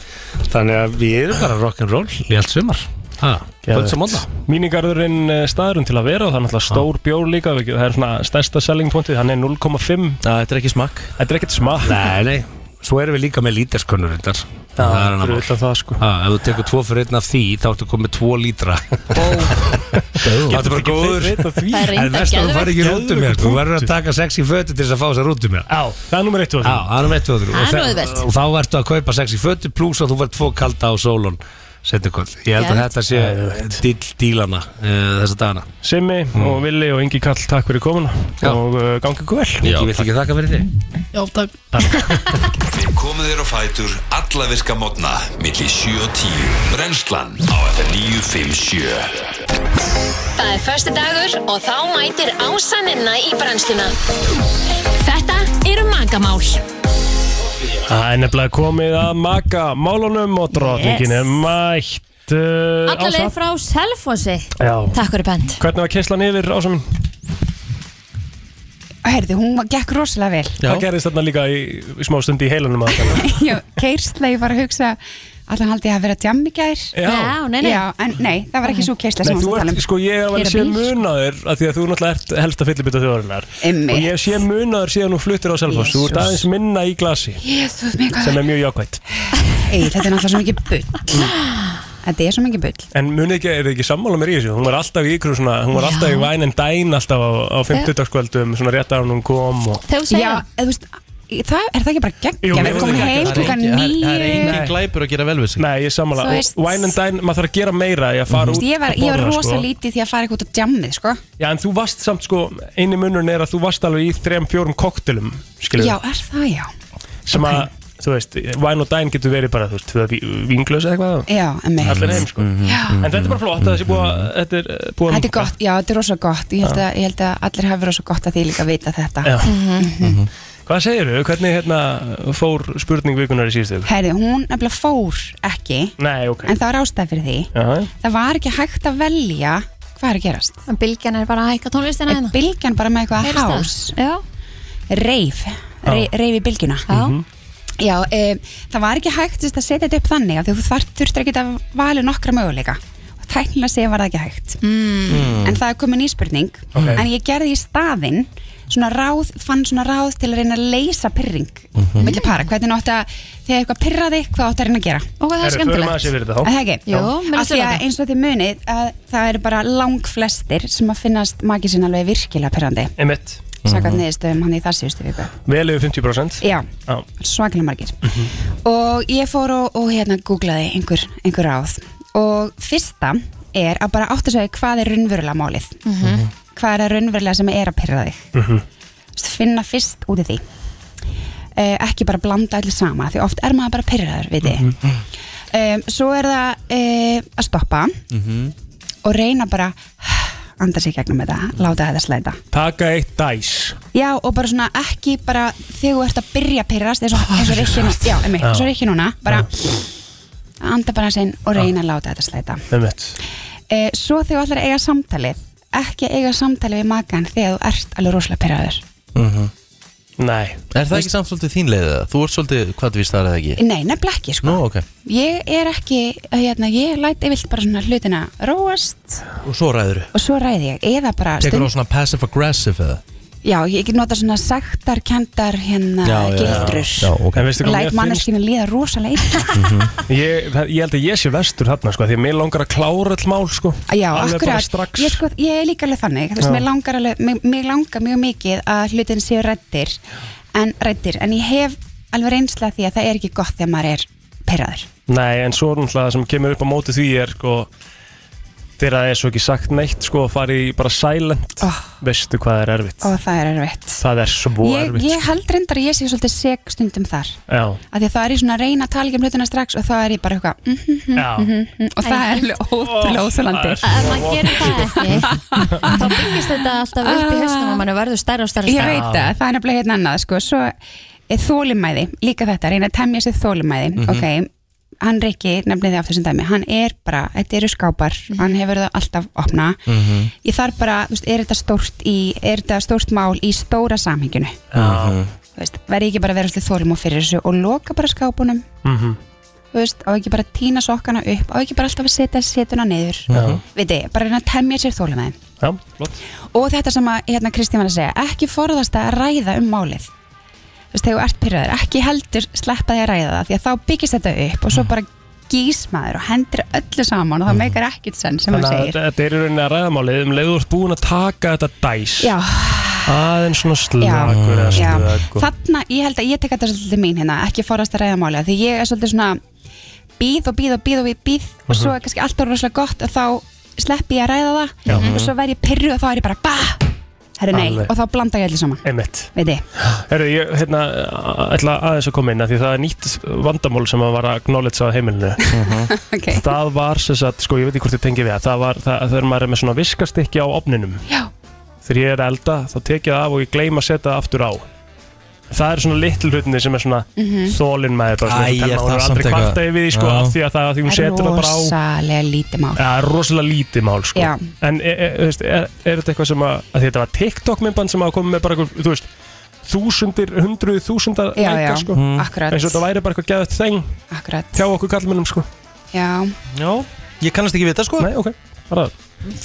Þannig að við erum bara rock'n'roll í allt sumar Ha, Kvölds og mónda
Míningarðurinn eh, staðurinn til að vera og það er náttúrulega stór bjór líka við- það er svona stærsta selling pointið, hann er 0,5
Þetta er ekki smakk
Þetta er ekkert smakk
Nei, nei, svo erum við líka með líterskönnur reyndar Það er
fyrir
annað mál
utan það sko
Ha, ef þú tekur tvo fyrir einn af því, þá ertu komið tvo lítra Það ertu bara góður
Það er
En
reynda
verst að þú farið
geðvegt
ekki rútum mér Þú verður að taka sex í fötu til þess að fá þess að rútum mér
Já, það er nummer 1 og
Já, það er veitt og þrjú
Það er
Og þe-
auðvelt.
Og þá ertu að kaupa sex í fötu pluss að þú verður tvo kalda á sólun Settu kvöld Ég held að
Geðvegt.
þetta sé dýl dílana uh, þessa dagana
Simmi og Villi og Ingi Kall, takk fyrir komuna
Já.
og uh, gangi ykkur vel
Ég vil ekki þakka fyrir þig
Já, takk
Við komum þér á fætur alla virka mótna millir 7 og 10 Brennslan á FM 957
Það er förstu dagur og þá mætir ásaninna í brennsluna. Þetta eru magamál.
Það er nefnilega komið að maka málunum og drotningin
Yes.
er mætt uh,
Alla leið
Ása.
frá Selfossi
Já,
Takk fyrir bent
hvernig var kynslan yfir ása mín?
Herði, hún var- gekk rosalega vel
Hvað gerðist þarna líka í, í smá stund í heilanum að þarna?
Já, keirsla, ég var að hugsa Allan haldi ég að vera djam í gær
Já. Já,
nei, nei.
Já, en nei, það var ekki svo keirsla sem
Nei, þú
varst að
ert,
tala um
sko, ég hef alveg
Keyra
séð
bíl.
munaður af því að þú náttúrulega ert helsta fyllibita þjóðarinnar
Einmitt.
og ég hef séð munaður síðan hún fluttir á Selfoss þú
Jesus.
ert aðeins minna í glasi
Jésus, mig hvað
sem er mjög jákvæmt
Ei, þetta er náttúrulega svo mikið bull Þetta er svo mikið bull
En munið ekki, er þið ekki sammála mér í þessu? Hún var alltaf í ykkur svona, hún var
Já.
alltaf í væn en dæn alltaf á, á 50-dagskvöldum, svona rétt að hún kom og...
Já, eða þú veist Það er það ekki bara
Jú,
geggja Við
jú,
erum komin
jú.
heim
Það er
klukkan
engin- það er-
nýju
það er engin
Ekki glæpur að gera vel við sig
Nei, ég sammála.
Þú veist-
Og Wine and Dine, maður þarf að gera meira í að fara út
Ég var,
að
ég var
borða,
rosa
sko.
lítið því að fara eitthvað út á djammið sko.
Já, en þú varst samt sko, eini munurinn er að þú varst alveg í þrejum, fjórum koktelum, skilur
Já, er það já
Sem að, þú veist, Wine og Dine getur verið bara, þú veist, tvö ví- vínglös eða eitthvað.
Já, emmitt.
Allir heim, sko.
Já.
En þetta er bara flott að þessi búið að, þetta er eh, búið að...
Þetta er gott, já, þetta er rosa gott Ég held
Já.
að, ég held að allir hafi rosa gott að því líka að vita þetta
Já.
Mhm.
Hvað segirðu? Hvernig hérna fór spurning vikunar í síðustu? viku?
Herri, hún nefnilega fór ekki
Nei, ok.
En það var ástæð fyrir því
Já,
Það var ekki hægt að velja hvað er að gerast
Bilgjan er bara að hækka tónlistina
hérna Bilgjan bara með eitthvað
Heyrist það?
hás Reif, Re- reif í bylgjuna
Mhm.
Já.
Já, um, það var ekki hægt þú veist, að setja þetta upp þannig að þú þarf, þurftur ekki að valja nokkra möguleika og tæknilega segja var það ekki hægt
Mm.
en það er komin í spurning
Ok.
en ég gerði í staðinn svona ráð, fann svona ráð til að reyna að leysa pyrring
Mhm.
milli para, hvernig náttu að þegar eitthvað pyrraði, hvað áttu að reyna að gera
og
það er Herru, förum skemmtilegt. aðeins yfir þetta þá.
það ekki,
mér
Jú,
er
af því
skemmtilegt.
að eins og þið munið að það eru bara langflestir sem að finnast magið sinna alveg virkilega pyrrandi
Emitt.
sakað
Mhm.
mm. neðistöðum hann í þar síðustu viku
Vel yfir 50%?
Já.
Já. Mhm.
svakalega margir og ég fór og, og hérna googlaði einhver, einhver ráð og fyrsta er að bara átt að segja hvað er raunverulega málið
Mhm.
hvað er það raunverulega sem er að pyrra þig
Mhm.
Vist, finna fyrst út af því uh, ekki bara blanda allir sama því oft er maður bara pyrraður við þið um, svo er það uh, að stoppa og reyna bara anda sig gegnum þetta, láta þetta slæta
Taka eitt dæs.
Já, og bara svona ekki bara þegar þú ert að byrja að pyrrast eins og eins og Rikki núna, já, einmitt,
Já.
eins og Rikki núna bara anda bara sinn og reyna að láta þetta slæta
Emitt.
e, Svo þegar þú ætlar að eiga samtalið ekki eiga samtalið við makan þegar þú ert alveg rosalega pyrraður
Mhm.
Nei
Er það ekki samt svolítið þín leiðið? Þú ert svolítið hvað við starfið ekki?
Nei, nefnilega ekki, sko
Nú, ok
Ég er ekki, hérna, ég læti vilt bara svona hlutina róast
Og svo ræður þú
og svo ræði ég, eða bara
Tekur þú á svona passive-aggressive eða?
Já, ég get nota svona sagtar, kendar, hérna, gildrur
Já, ok
En veistu hvað mér
Læt manneskinu líða rosalega illa
finnst? Ég, það- ég held að ég sé vestur þarna, sko, því að mér langar að klára all mál, sko.
Já,
Alveg bara
akkurat,
strax.
ég, sko, ég er líka alveg þannig þú veist,
Já.
mér langar, alveg, mig, mig langar mjög mikið að hlutin séu rættir en, rættir en ég hef alveg reynsla því að það er ekki gott þegar maður er perraður
Nei, en svo náttúrulega það sem kemur upp á móti því er, sko, þegar það er svo ekki sagt neitt, sko, farið í bara silent. Veistu hvað er erfitt?
og það er erfitt
Það er svo
Ah. ég,
erfitt. sko.
ég held reyndar að ég sé svolítið seg stundum þar
Já.
af því að það er ég svona að reyna að tala ekki um hlutina strax og þá er ég bara eitthvað mm -hmm,
Já.
mm og það er alveg
Mhm.
ótrúlega óþjólandi
Ef maður
Mhm.
gerir það ekki þá byggist þetta alltaf upp í hausnum og mann verður stærra og stærra og
Ah. Ég
stærra.
veit að það er nefnilega hérna annað sko, svo er þólimæði, líka þetta reyna að temja sér þólimæði,
Mhm.
ok hann Rikki, nefnilega af þessum dæmi, hann er bara þetta eru skápar,
Mhm.
hann hefur það alltaf opna, ég þarf bara þú veist, er þetta stórt í, er þetta stórt mál í stóra samhenginu, þú veist verði ég ekki bara að vera svolítið þólim og fyrir þessu og loka bara skápunum,
Mhm.
þú veist á ekki bara að tína sokkana upp, á ekki bara alltaf að setja setuna niður,
Já.
viti bara reyna að temja sér þólimæði
Já, flott.
og þetta sem að hérna, Kristín var að segja ekki forðast að ræða um málið þú veist, þegar þú ert pyrraður, ekki heldur sleppa því að ræða það, því að þá byggist þetta upp og svo bara gís maður og hendur öllu saman og það meikar ekkit senn sem hann
Mm. Þannig að
segir
þetta, þetta er í rauninni að ræðamálið um leiður búin að taka þetta dæs
Já.
aðeins svona slagur eða
Já.
slökur
þarna, ég held að ég tek þetta svolítið mín hérna, ekki forðast að ræða málið, því ég er svolítið svona býð og býð og býð og býð, býð og
Mhm.
svo er kannski allt orðið rosalega gott og þá slepp ég að ræða það
Já.
og svo verð ég pyrru og þá er ég bara bah, herri nei,
Alveg.
og þá blanda ég öllu saman
Einmitt.
veitir
Herru, ég hérna, a- ætla aðeins að koma inn að því það er nýtt vandamál sem að var að acknowledge á heimilinu
Mhm. okay.
það var sem sagt, sko ég veit ekki hvort þið tengi við það, það var það, þegar maður er með svona viskastykki á opninum
Já.
þegar ég er að elda þá tek ég það af og ég gleym að setja það aftur á það er svona litlu hlutinni sem er svona mm
Mhm.
þólinn maður bara
Æ,
svona,
er
maður
það
er aldrei
samt eitthvað-
kvarta yfir því sko
Já.
af því að það að því hún setur það bara á
rosalega lítið mál
Já, rosalega lítið mál sko
Já.
En er, er, þú veist, er, er þetta eitthvað sem að, að því Þetta var TikTok myndband sem að koma með bara einhver, Þú veist, þúsundir, hundruð þúsundar
Já,
læka,
já,
sko.
Mm. akkurat.
Eins og þetta væri bara eitthvað geðað þeng
Akkurat
Hjá okkur kallmennum sko
Já.
Já, ég kannast ekki við þetta sko
Nei, ok, bara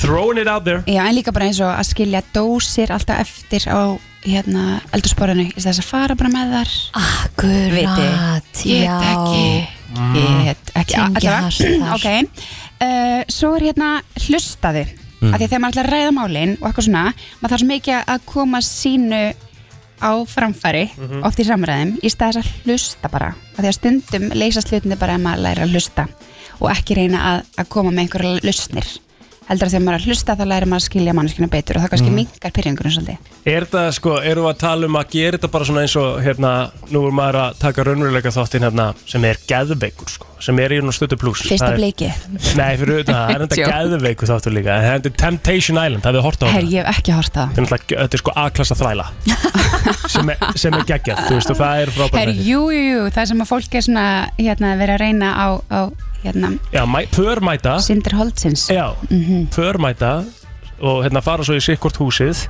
Throwing it out there
Já, en líka bara eins og að skilja dósir alltaf eftir á hérna, eldursporinu í þess að fara bara með þar
Akkurat,
Viti, ég veit
já.
ekki Ég veit ekki a-
Tengja
allavega
þar.
ok, uh, svo er hérna hlustaðu
Mm.
af því að þegar maður ætlar að ræða málin og eitthvað svona maður þarf svo mikið að koma sínu á framfæri
Mhm.
oft í samræðum í stað þess að hlusta bara af því að stundum leysast hlutinni bara um að maður læra að hlusta og ekki reyna að, að koma með einhverja lausnir heldur að þegar maður er að hlusta þá læra maður að skilja manneskina betur og það kannski
Mhm.
mm. mingar pyrringurinn svolítið
Er það sko, erum við að tala um að gera þetta bara svona eins og hérna, nú er maður að taka raunveruleika þáttinn hérna sem er geðveikur sko, sem er í nú stötu pluss
fyrsta
Það er-
bleikið
Nei, fyrir auðvitað, það er þetta
Joke.
geðveikur þáttur líka, það er þetta Temptation Island, það við horta á
Herri,
það
ég hef ekki hort það
Það er náttúrulega, þetta er sko A-klassa þvæla sem er, sem er geggjað, þú veist, og það er frábært
Herri, jú, jú, jú, það sem að fólk er svona hérna, verið að reyna á, á hérna,
Já, mæ, pörmæta
Sindir Mhm. Holtsins
Já, pörmæta og hérna fara svo í sikkort húsið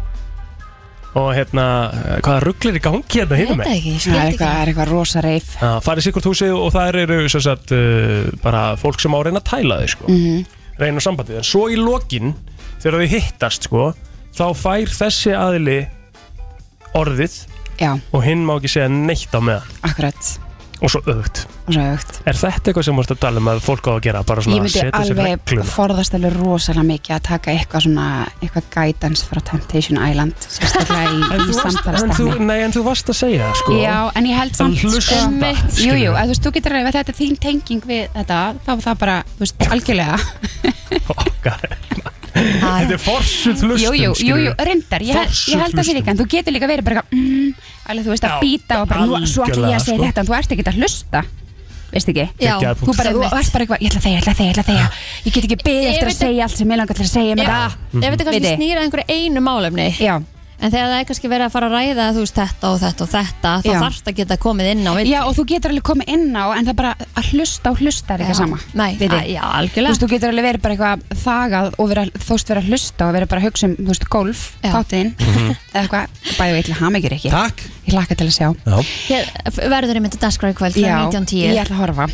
og hérna eh, hvaða rugglir í gangi hérna hinum megin?
það er eitthvað, það er eitthvað rosa reif
Já, farið sikkort húsið og það eru sem sagt, uh, bara fólk sem á að reyna að tæla þau sko.
Mhm.
reyna sambandið, en svo í lokin þegar þau hittast sko, þá fær þessi aðili orðið
Já.
og hinn má ekki segja neitt á meðan
Akkurat
og svo öðvögt
og svo öðvögt
Er þetta eitthvað sem þú ert að tala um að fólk á að gera bara svona
Ég myndi
að setja sér
alveg
reglum
forðast alveg rosalega mikið að taka eitthvað svona eitthvað guidance frá Temptation Island sérstaklega í, í
En þú varst- en
samtalastafni
þú- Nei, en þú varst að segja það sko
Já, en ég held samt
hlusta,
Jú,
skilur
jú,
við.
að þú veist, þú getur ræðið Þetta er þín tenging við þetta Þá er það bara, þú veist, algjörlega
Þetta er um, forsuð hlustun
Jú, jú, jú, jú, reyndar Ég, ég held að því líka, en þú getur líka verið bara eitthvað, mm, alveg, þú veist, að
Já,
býta og bara, nú, svo ætla ég að segja
algjörlega, sko.
þetta en þú ert ekki að hlusta, veist ekki
Já,
þú
Geggjaður punktur.
bara, þú
einmitt.
ert bara eitthvað, ég ætla að þegja, ég ætla að þegja, ég ætla að þegja ég get ekki beðið
Ef
eftir að
þetta-
segja allt sem ég langar til að segja með það
Ef þetta kannski snýra einhverju einu málefni
Já
En þegar það er kannski verið að fara að ræða þú veist þetta og þetta og þetta þá
Já.
þarfst að geta komið inn á
Já, og þú getur alveg komið inn á en það bara að hlusta og hlusta er ekki
Já.
sama
Nei,
Viti.
að- já, algjörlega.
Þú veist, þú getur alveg verið bara eitthvað þagað og vera, þóst vera að hlusta og vera bara að hugsa um, þú veist, golf, þáttiðinn
Mhm.
eða eitthvað, bæði og eitthvað hamingir ekki
Takk
Ég laka til að sjá
Hér, Verður um einmitt að dagskráði kvöld
Já,
frá 19.10
ég ætla að horfa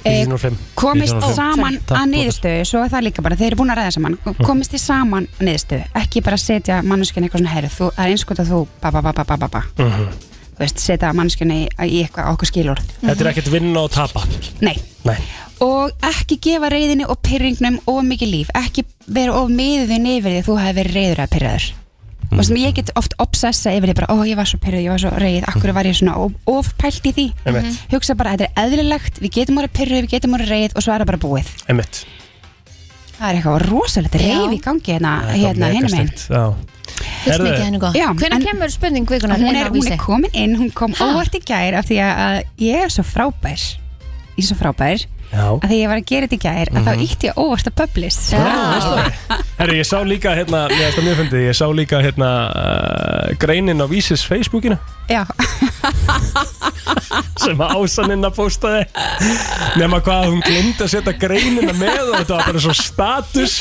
Eh,
19.05.
komist
19.05.
saman að
Takk, Hm. Róbert.
niðurstöðu svo er það líka bara, þeir eru búin að ræða saman komist þið saman að niðurstöðu, ekki bara setja mannskjörn eitthvað svona herð, þú það er einskot að þú ba ba ba ba ba ba ba
Mhm.
þú veist, setja mannskjörn í, í eitthvað á okkur skilur
Þetta er ekkert vinna og tapa
Nei.
Nei.
og ekki gefa reyðinni og pyrringnum of mikið líf, ekki vera of miðuðin yfir því að þú hefði verið reyður að pyrraður mm. og sem ég get oft obsessa yfir því bara, ó ég var svo pyrruð, ég var svo reyð akkur var ég svona of- ofpælt í því Mhm.
Einmitt.
hugsa bara að þetta er eðlilegt, við getum orðið pyrruð við getum orðið reyð og svo er það bara búið
Einmitt
það er eitthvað rosalegt reyð í gangi hérna, hérna hinum einn
Fyrst mikið henni góð Hvernig kemur spurning vikunar
hún
inn
er,
á
hún
vísi?
er komin inn, hún kom óvart í gær af því að að ég er svo frábær ég er svo frábær
Já. Mhm.
að því að ég var að gera þetta í gær að þá ítti ég óvart að publish
Herri, ég sá líka hérna, ég veist að mjög fyndið, ég sá líka hérna uh, greinin á Vísis Facebookinu
Já.
sem að ásaninna postaði nema hvað hún glemdi að setja greinina með og þetta var bara svo status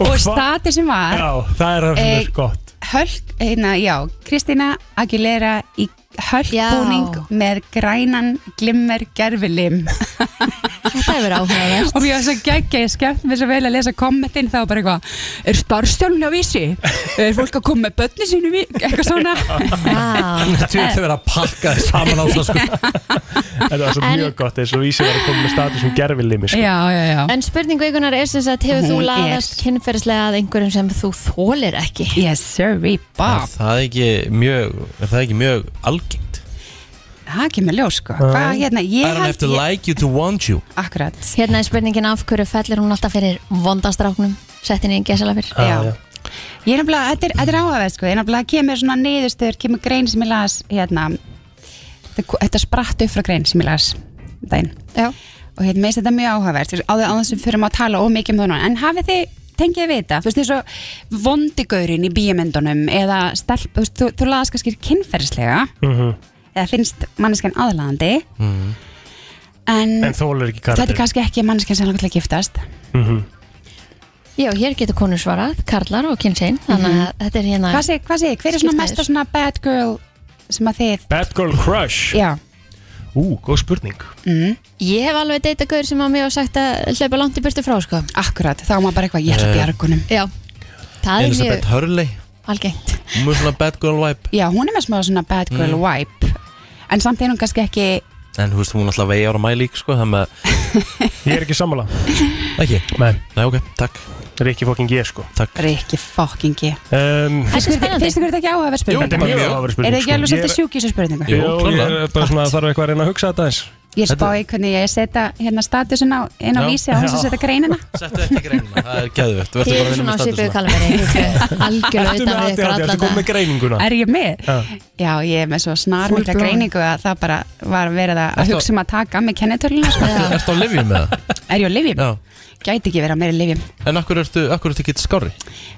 og
hva-
statusin var
Já, það er sko. að
Eh,
finna gott
Hölk, hérna, já, Kristína Aguilera í hölkbúning með grænan glimmer gerfilim
Þetta hefur áhugaverð
og ég var svo geggja, ég skemmt mér svo vel að lesa kommentin þá bara eitthvað er starfstjálun á vísi? er fólk að koma með börni sínu í- eitthvað svona Ah.
Þú ert að vera að pakka þið saman á það sko
Þetta var svo
En-
mjög gott eins og Vísi var að koma með status um gerfilimi sko.
Já, já, já
En spurning vikunar er sem sagt hefur þú
Hún er-
laðast kynferðislega að einhverjum sem þú þólir ekki
Yes sir, we
Er það ekki mjög, er það ekki mjög algengt?
það kemur ljós sko hvað hérna,
I
ég
don't have to like you to want you
akkurat
Hérna er spurningin af hverju fellur hún alltaf fyrir vondastráknum Sett henni í gesalafir
Já. Ég er nefnilega, þetta er, þetta er áhugaverð sko, ég er nefnilega kemur svona niðurstöður, kemur grein sem ég las, hérna, þetta, þetta spratt upp frá grein sem ég las um daginn.
Já.
Og hérna, meðist þetta mjög áhugaverð, þú veist, áður áður sem fyrir maður að tala ómikið um það núna, en hafið þið tengið við þetta, þú veist, eins og vondigaurin í bíomendunum eða stelp, þú veist, þú, þú laðast kannski kynferðislega,
Mhm.
eða finnst manneskan aðlaðandi, en,
En þólar
Mm.
ekki
þetta er
karakter
kannski ekki manneskan sem langar til að giftast.
Mhm.
Já, hér getur konur svarað, karlar og kynsinn Þannig að þetta er hérna
Mhm. Hvað segir, hvað segir, hver er svona
Skipta
mesta
þér.
svona bad girl sem að þið,
Bad girl crush
já,
Ú, góð spurning
mm.
Ég hef alveg deyta gaur sem að mér hafa sagt að hlaupa langt í burtu frá sko.
Akkurat, þá er maður bara eitthvað ég ætla að
Eh.
bjarga honum
Já, það er mjög
Elisabeth Hurley
algengt
Hún er svona bad girl vibe
Já, hún er með smá svona bad girl
Mm.
vibe En samt er hún kannski ekki
En þú veist, hún er alltaf vegi ára mæ lík sko, þannig að
Ég er ekki sammála
Ekki?
Nei
Nei, ok, takk
Rikki fokkin ég sko
Takk
Rikki fucking ég
um,
Finnst ykkur þetta ekki áhugaverð
Jú,
spurning?
þetta er mjög áhugaverð spurning,
Er þið ekki
sko.
alveg
Ég er-
svolítið sjúk í þessu spurningu?
Jú, ég er bara svona þarf eitthvað að reyna að hugsa þetta eins
Ég spái hvernig ég setja hérna statusin á, inn á
Já.
vísi á hans að
Já.
setja greinina
Settu ekki greinina, það er gæðvögt
Þið
Þú ertu bara
eru
að vinna
svona á
með hérna.
svipuðu
statusna.
kalabæri Algjörlega
Ertu með
utan við ykkur
ADHD, ertu
allan
komið með greininguna?
Er ég með?
Já.
Já, ég er með svo snarmikla
Full blown.
greiningu að það bara var verið að
Ertu-
hugsa um að taka með kennitöluna sko.
Ertu á livjum með það?
Er ég á livjum?
Já.
Gæti ekki verið á meiri livjum
En akkur ertu, akkur ertu ekki skári?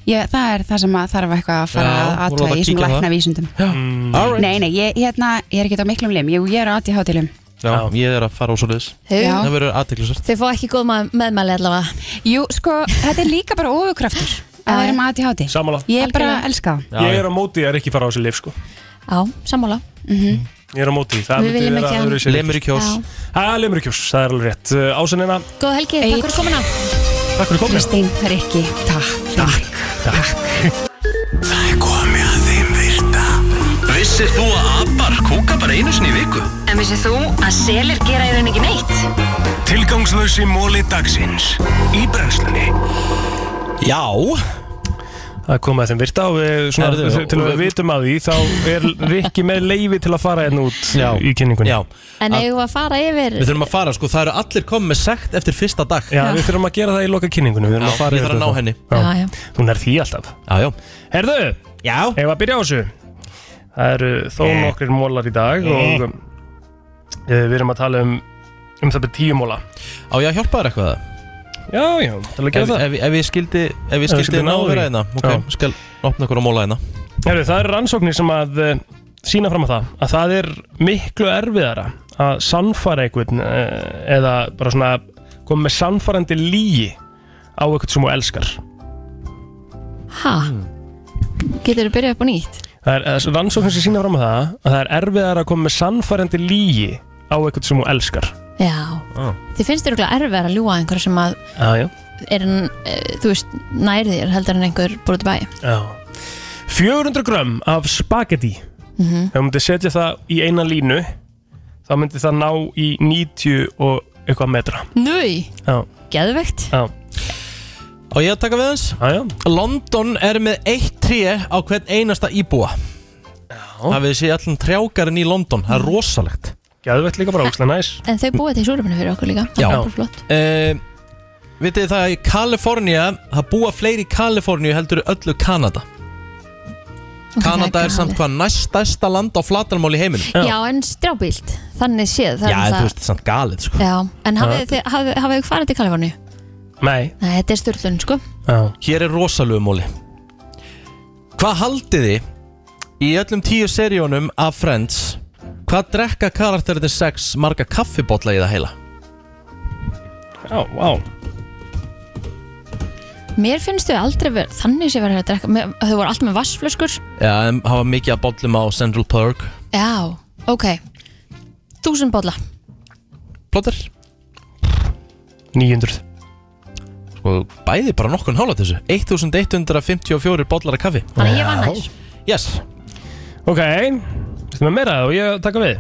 ég, Það er það sem að þarf eitthvað að fara
Já,
að
voru að
atvæða í sem
kíkja á það?
lækna vísundum
Mm.
Alright.
Nei, nei, ég, hérna, ég er ekki á miklum lim Jú, ég er á aðti hátilum
Já, ég er að fara úr svo liðs
Hey. Já.
Það verður aðteklisvert
Þið fá ekki góð ma- meðmæli allavega
Jú, sko, þetta er líka bara ofurkraftur að vera með aðti háti
Sammála
Ég er bara að elska það
Ég er á móti að Rikki fara á þessi lif sko
Já, sammála
Mhm.
Ég er á móti því, það
Við
myndi
viljum
vera
ekki
öðruvísi
hann.
lyf.
Lemurkjós. Já.
Ha, Lemurkjós, það er alveg rétt Uh, Ásynina,
Góð helgi, takk fyrir komuna
takk fyrir komin
Kristín, Rikki, takk Takk,
takk
Það er komið að þeim virta Vissir þú að abar kúka bara einu sinni í viku?
En vissið þú að selir gera í raun ekki neitt?
Tilgangslösi móli dagsins Í brennslunni
Já
Það komið að þeim virta og við, svona,
Herðu,
til að
og-
við vitum að því þá er Rikki með leifi til að fara hérna út já, í kynningunni
Já,
En eigum við að fara yfir
Við þurfum að fara, sko, það eru allir komið með sekt eftir fyrsta dag
já, við þurfum að gera það í loka kynningunni Við þurfum
Já,
að fara
ég þarf að
yfir
ná
það.
henni.
Já, já.
Þú nær því alltaf
Já, já
Herðu,
já.
hefur að byrja á þessu Það eru þó
Eh.
nokkrir mólar í dag
Eh.
og um, eh, við erum að tala um um það byrja tíu móla
Á ég að hjálpa þér eitthvað?
Já, já, til að
Ef,
gera það
ef, ef ég skildi, ef ég
Ef við
skildi ná að vera hérna
því.
Ok,
Já.
skal opna ykkur á móla hérna
Herru, það eru rannsóknir sem að eh, sína fram að það, að það er miklu erfiðara að sannfara einhvern eh, eða bara svona koma með sannfarandi lígi á einhvern sem þú elskar
Ha,
Mm.
getur þú byrjað upp á nýtt?
Það er eh, rannsóknir sem sína fram að það að það er erfiðara að koma með sannfarandi lígi á einhvern sem þú elskar
Já, þið finnst þér okkur erfið að ljúga að einhver sem að
Já, já
er, eh, þú veist, nær þér heldur en einhver búið til bæ
Já 400 grömm af spagetti
Mhm.
Ef þú myndir setja það í eina línu þá myndir það ná í 90 og eitthvað metra
Núi,
Já
geðvegt
Já
Og ég að taka við hans
já, já.
London er með eitt tré á hvern einasta íbúa Það við séu allan trjákarinn í London Það er rosalegt
Gæðvett Mm. líka bara ógstlega næs
En þau búið til súruminu fyrir okkur líka Það
Já.
er bara flott.
uh, Vitið þið það að í Kalifornía Það búa fleiri í Kaliforníu heldur en öllu Kanada
Ok, það
Kanada
er
er samt
galið.
hvað næstæsta land á flatarmál í heiminum
Já, en strjábílt, þannig séð það er
Já,
um
en
það-
þú veist, samt galið sko.
Já, en hafið
Já.
þið hafið- hafið þið farið til Kaliforni?
Nei,
Nei, þetta er styrlun, sko
Hér er rosalegu móli Hvað haldið þið í öllum tíu seríunum af Friends Hvað drekka karakterið 6 marga kaffibotla í það heila?
Já, vá
Mér finnst þau aldrei verið, þannig sé verið að drekka mér- Þau voru alltaf með vassflöskur
Já, en hafa mikið að bollum á Central Park
Já, ok Þúsund bolla
Plotter
900
Sko, bæði bara nokkun hálfa þessu 1154 bollar af kaffi
Þannig að ég var nær
Yes
Ok, þetta með meira og ég taka við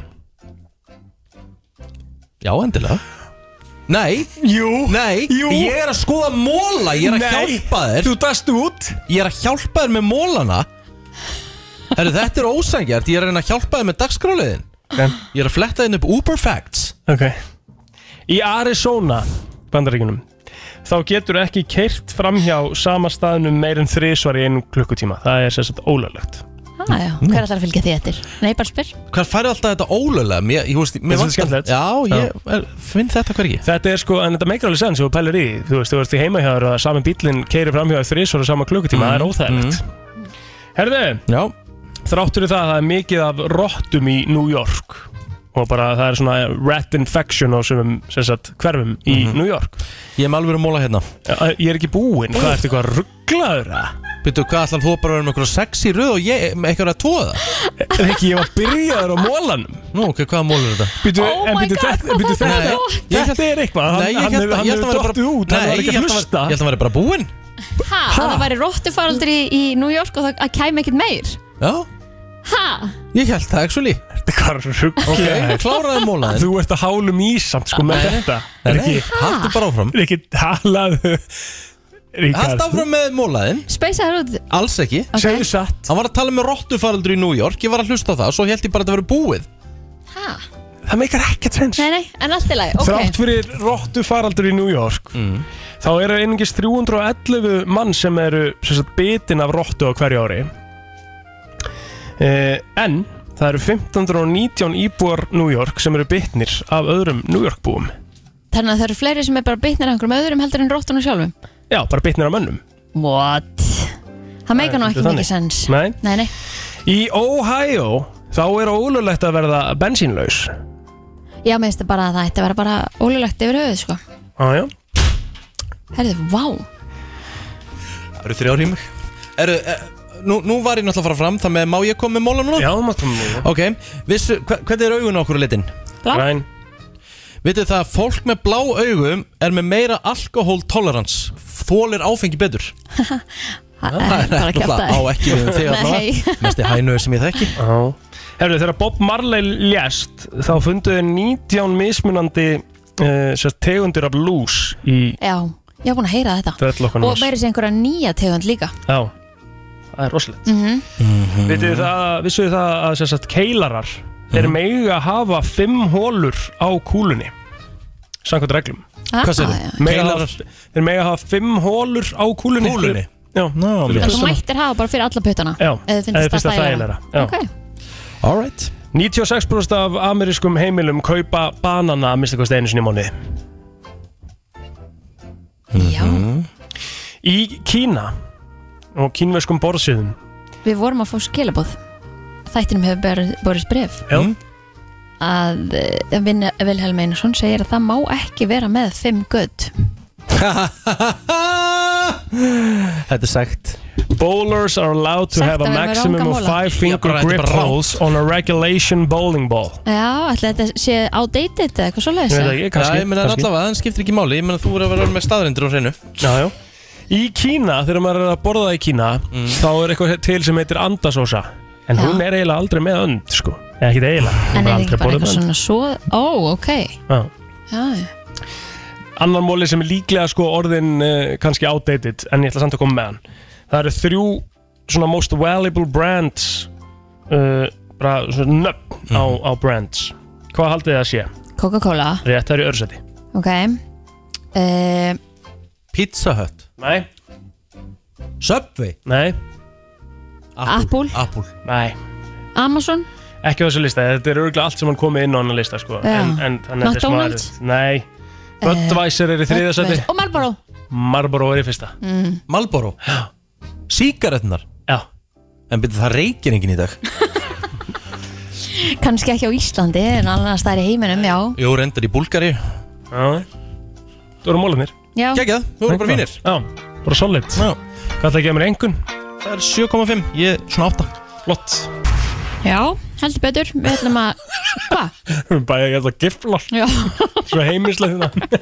Já, endilega Nei Jú Nei
Jú.
Ég er að skoða móla Ég er að
Nei.
hjálpa þér
Þú dast út
Ég er að hjálpa þér með mólana Herru, þetta er ósangjart Ég er að reyna að hjálpa þér með dagskráliðin
okay.
Ég er að fletta þín upp Uber Facts
Ok Í Arizona, bandaríkunum þá getur ekki keirt framhjá sama staðnum meir en þrísvar í einum klukkutíma það er sérstætt ólöglegt
ah, já, Hver ætlar að fylgja því eftir? Nei, bara spyr
Hvað færði alltaf þetta ólega? Mér, ég, veist, mér
Mér finnst
vantar-
þetta skemmtilegt
Já, ég er, finn þetta hvergi
Þetta er sko, en þetta meikar alveg sens og pælir í því. Þú veist, þú veist í heimahjáður og sami bílinn keirir framhjáður þrísvar og sama klukkutíma, það er óþægilegt Herðu
Mhm, Já
Þráttur í það að það er mikið af rottum í New York og bara það er svona rat infection á sem sagt hverfum í New York
Mhm. Ég er með alveg að móla hérna
Ég er ekki búinn, hvað ertu eitthvað rugglaður
Býttu, hvað ætlan þú bara að vera með einhverja sex í röð og ég með eitthvað að tóða það?
Eh, Ekki, ég var byrjaður á mólanum
Nú, ok, hvaða mólur er þetta?
Býtu, oh en býtu, þetta, býtu, þetta, þetta er eitthvað
Nei,
hann,
ég
hann,
held að-
hann
ég
hefur
held að hann væri bara-
dottið út, hann
Nei,
var ekki
ég
að
held að hann-
hlusta
Ég held að hann væri bara búinn
Ha, ha? það væri róttufaraldur í, í New York og það kæmi ekkert meir
Já
Ha?
Ég held það, actually
Hvað rugg
Ok, kláraði mólaðin
Þú ert að hálum í samt sko með
Nei, nei.
þetta
Nei, nei, haltu bara áfram
Er ekki talað
Haltu áfram með mólaðin
Speysa þær út
Alls ekki okay.
Segðu satt
Hann var að tala með rottufaraldur í New York Ég var að hlusta á það Svo held ég bara að þetta verið búið
Ha?
Það meikar ekkert sens
Nei, nei, en allt í lagi, ok Mm.
Þrátt fyrir róttu faraldur í New York Þá eru einungis 311 mann sem eru sem sagt, bitin af róttu á hverju ári eh, En það eru 1519 íbúar New York sem eru bitnir af öðrum New York búum
Þannig að það eru fleiri sem er bara bitnir af einhverjum öðrum heldur en róttunum sjálfum
Já, bara bitnir af mönnum Eh,
What? Það meika nú ekki mikið sens
Nei
Nei, nei
Í Ohio þá er ólulegt að verða bensínlaus
Já, mér finnst bara að það ætti að vera bara ólulegt yfir höfuð, sko
Jájá
Herðu, vá
Það eru þrjár í mig Eru, eh, nú, nú var ég náttúrulega að fara fram Þannig að má ég koma með mólan núna?
Já, maður koma með
Ok, vissu, hva, hvernig er augun á okkur á litin?
Blá.
Græn
Vitið það að fólk með blá augum er með meira alkohól tolerance Þólir áfengi betur
Það er bara að kjæfta
náttúrulega á ekki við um þig allavega.
Nei
Mesti hænuður sem ég þekki
Herru, þegar Bob Marley lést þá funduðu 19 mismunandi uh, sérst, tegundir af lús í
Já, ég hef búin að heyra þetta
döðlokkunum
Og meiri sem einhverja nýja tegund líka
Já, það er rosalegt
mm
Mhm.
mm. Vitið þið það, vissuðu það að sem sagt, keilarar
Mhm.
er meiga að hafa fimm hólur á kúlunni samkvæmt reglum
Ah, Hvað segirðu? já, já.
Keilarar Þeir mega að hafa fimm hólur á kúlunni
Kúlunni?
Já no,
En þú mættir hafa bara fyrir alla puttana
Já,
Eða finnst það þægilega
Já.
Ok,
Alright
96% af amerískum heimilum kaupa banana að mista kosti einu sinni í mánuði.
Já
Mm.
Í Kína og kínverskum borðsýðum
við vorum að fá skilabóð Þættinum hefur ber- borist bref
Já
Mm.
að eh, Vin- Vilhelm Einarsson segir að það má ekki vera með fimm gutt
Þetta er sagt
Bowlers are allowed to
Sagt
have
að
a
við erum
maximum
ranga
of
móla.
five
Já,
finger
bara- þetta er
grip
bara rangt.
holes on a regulation bowling ball
Já, ætli þetta sé outdated eða eitthvað svoleiðis
Ég veit ekki, kannski,
Já, ég meina það er
kannski.
allavega, það skiptir ekki máli Ég meina þú verður að vera með staðrindur á hreinu
Já, já Í Kína, þegar maður er að borða í Kína
Mm.
þá er eitthvað til sem heitir andasósa en hún er eiginlega aldrei með önd sko. eða ekki eiginlega hún
En er
bara
ekki
aldrei
bara
borðað
eitthvað
með
svona
önd.
svo Ó, ok
Já.
Já, já.
Annar móli sem er líklega sko, orðin uh, kannski outdated en ég ætla samt að koma með hann Það eru þrjú svona most valuable brands uh, bara svona nöfn á,
Mhm.
á brands Hvað haldið þið að sé?
Coca-Cola,
Rétt það er í örsæti
ok uh,
Pizza Hut
Nei
Subway
Nei
Apple.
Apple
Nei
Amazon
Ekki á þessu lista, þetta er örgulega allt sem hann komið inn á hann lista sko.
Já.
en, en, þannig að þetta er smá
McDonald's? Eh.
erfitt. Nei Budweiser er í þriðja seti
Og Marlboro
Marlboro er í fyrsta
mm.
Malboro Sígaretnar
Já
En byrju það reykir enginn í dag
Kannski ekki á Íslandi en annars það er í heiminum, já
Jó, reyndar í Búlgari
Já Þú eru mólanir
Já.
Kekjað, þú eru bara fínir
Já, bara solid Já Hvað það gefur engun?
Það er 7,5, ég svona 8
Flott
Já, heldur betur Við ætlum að Hva?
Bæði ég ætla að gifla
Já
Svo hérna. heiminslega þetta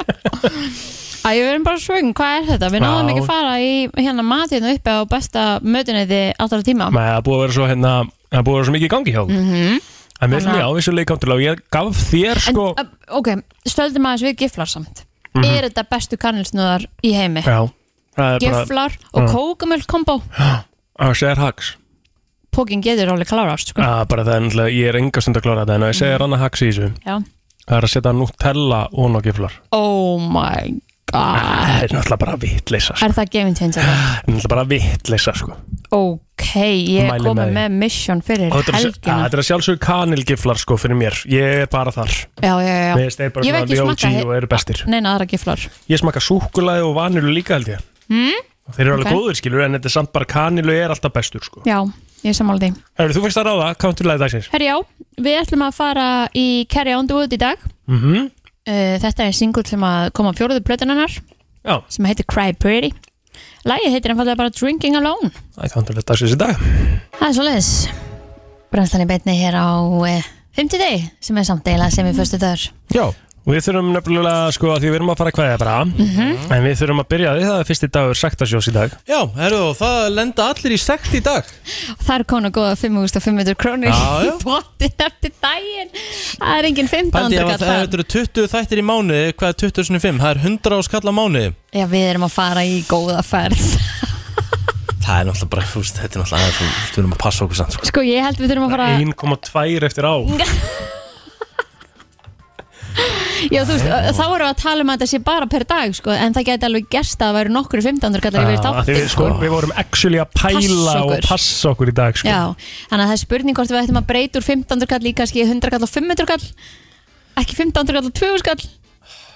Æ, við erum bara svögn, hvað er þetta? Við náðum
Já.
ekki að fara í hérna matinu uppi á besta mötunniði alltaf tíma
Nei, það er búið að vera svo hérna Það er búið að vera svo mikið í gangi hjá okkur.
Mhm.
En mér finnst
Þannig
ég
að-
ávísulega í kanturlega Ég gaf þér
En,
sko
uh, ok, stöldum aðeins við giflar samt
Mhm.
Er þetta bestu kannilsnúðar í heimi?
Já það er bara- Mm.
Giflar og
Já.
kókumöld kombo
Já, segir hags
Pókin getur alveg klárast sko.
Já, bara það er náttúrulega Ég er engast að klára þetta En ef ég segir annað hags í þessu
Já.
Það er að setja Nutella og á giflar
Oh my god
Það Ah, er náttúrulega bara vitleisa sko.
Er það game changer?
Það er náttúrulega bara vitleisa sko.
Ok, ég er
Mæli
komið
með því.
með mission fyrir
Og Þetta er að- að-
helgina
þetta er að sjálfsögðu kanilgiflar sko, fyrir mér Ég er bara þar
Já, já, já
Mér finnst þeir bara
Ég hef
svona
ekki
the
smakkað
OG og eru bestir
Neina aðra giflar
Ég smakka súkulaði og vanilu líka held ég
mm?
Og Þeir eru alveg
Ok.
góðir skilur En þetta er samt bara kanilu er alltaf bestur sko.
Já, ég er sammála því
Herru, þú fyrst að ráða, counturlæði dagsins
Herri já, við ætlum að fara í Carry On Do It í dag
mm -hmm.
Uh, þetta er singull sem að koma á fjóruðu plötunarnar
Já.
sem heitir Cry Pretty Lægið heitir einfallega bara Drinking Alone
Það er counturlæði dagsins í dag
Það er svoleiðis Brænslan í beinni hér á eh, 50 deg sem er samt deila sem er fyrstu dagur
Já
Við þurfum nefnilega, sko, að því við erum að fara að kvæða bara
Mhm.
En við þurfum að byrja því það er fyrsti dagur Saktasjós í dag
Já, herru, og það lenda allir í sekt í dag
Það er konu góða 5500 krónur
Já, já.
í bóttin eftir daginn Það er engin 15.
Pældi, ef
kall
að það- þetta
þar.
eru 20 þættir í mánuði, hvað er 2005? Það er 100 áskall á mánuði
Já, við erum að fara í góða ferð
Það er náttúrulega bara, þú veist, þetta er náttúrulega aðeins og við erum að passa okkur samt sko.
Sko, ég held við þurfum að fara
1,2 eftir á
Já, þú veist, þá erum við að tala um að þetta sé bara per dag, sko En það gæti alveg gerst að það væri nokkur 15. kallar yfir
Já, af því
þáttir,
við, sko, við vorum actually að pæla
Passa okkur.
og passa okkur í dag sko.
Já, þannig að það er spurning hvort við ættum að breyta úr 15. kall í kannski 100 kall og 500 kall ekki 15 kall og 200 kall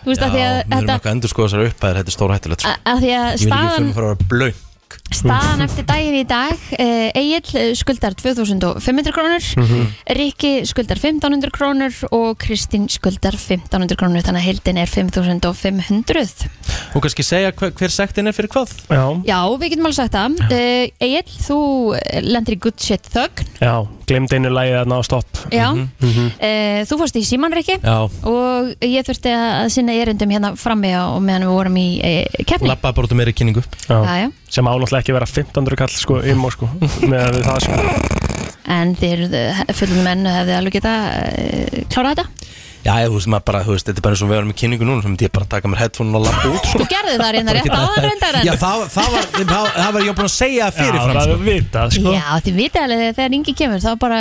Þú veist,
Já,
að því að,
við erum
þetta,
eitthvað að endur skoða þessar uppæðir, þetta er stóra hættulegt sko.
að, að því að
Ég vil ekki
staðan,
fyrir mig fara að vera blöng
staðan eftir daginn í dag uh, Egil skuldar 2500 krónur
Mhm.
Rikki skuldar 1500 krónur og Kristín skuldar 1500 krónur þannig að heildin er 5500
Og kannski segja hver, hver sektin er fyrir hvað
Já,
Já, við getum alveg sagt það uh, Egil, þú eh, lendir í good shit þögn
Já glemd einu lægið að ná stopp
Já.
Mhm.
Uh, þú fórst í síman, Rikki
Já.
og ég þurfti að sinna erindum hérna frammi á- og meðan við vorum í e, keppni
Lappa bara út um meiri kynningu
Já, já.
Sem ánáttúrulega ekki að vera 1500 kall sko, ymmo sko, með við það sko.
en eh, þeir fullum menn hefði alveg geta e, klárað þetta
Já, ég, þú veist, maður bara, þú veist, þetta er bara eins og við erum í kynningu núna Svo myndi ég bara taka mér headphone og lappa út sko.
Þú gerði það reynda rétt áðan reyndar en
Já, það, það, var, það, það var ég búin að segja
Já,
fyrirfram
það er vitað sko.
Já, þið vitið alveg þegar- þegar yngi kemur þá bara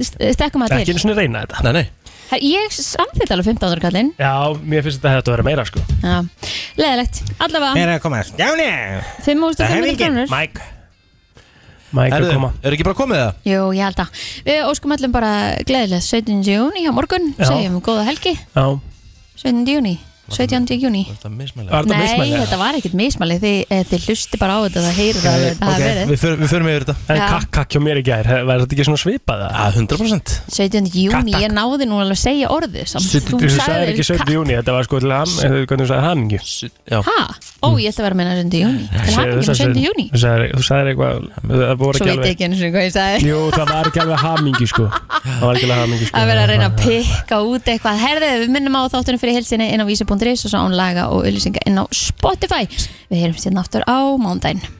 st- stekkum að
Ekki einu
til
sinni reyna þetta
Nei, nei
Her- Ég samþýtt alveg 15. kallinn
Já, mér finnst þetta hefði að vera meira sko
Já. Leðilegt, allavega
að koma þess Já, nei
5.500 krónur
Mike Mike
Herðu,
að koma
Er ekki bara komið það?
Jú, ég held að Við óskum öllum bara gleðilegt 17. júni á morgun
Já.
Segjum góða helgi
Já
17. júni 17. júni
Þetta er mismæli
Nei, þetta var ekkert mismæli Þið, eh, þið hlusti bara á þetta Það heyrir það okay, það hafi verið
Við förum- við förum yfir þetta
En
Já.
kakk, kakk hjá mér í gær, he- var þetta ekki svona svipað? Já,
100%
17. júni, ég náði nú alveg að segja orðið samt
Þú sagðir ekki 17. júni, þetta var sko til ham, eða hvernig þú sagði hamingju
Hæ? Ó, ég ætla að vera að meina 17. júni Til hann ekki 17. júni
Þú sagðir þú sagðir eitthvað, það voru
Svo
ekki
veit ég
alveg
ekki eins og hvað ég sagði
Jú, það var ekki alveg hamingju sko Það var ekki alveg hamingju sko
Að vera að reyna að pikka út eitthvað Herðu, við minnum á þáttunum fyrir hilsinni inn á vísi.is og svo án laga og auðlýsinga inn á Spotify Við heyrum sérna aftur á mándaginn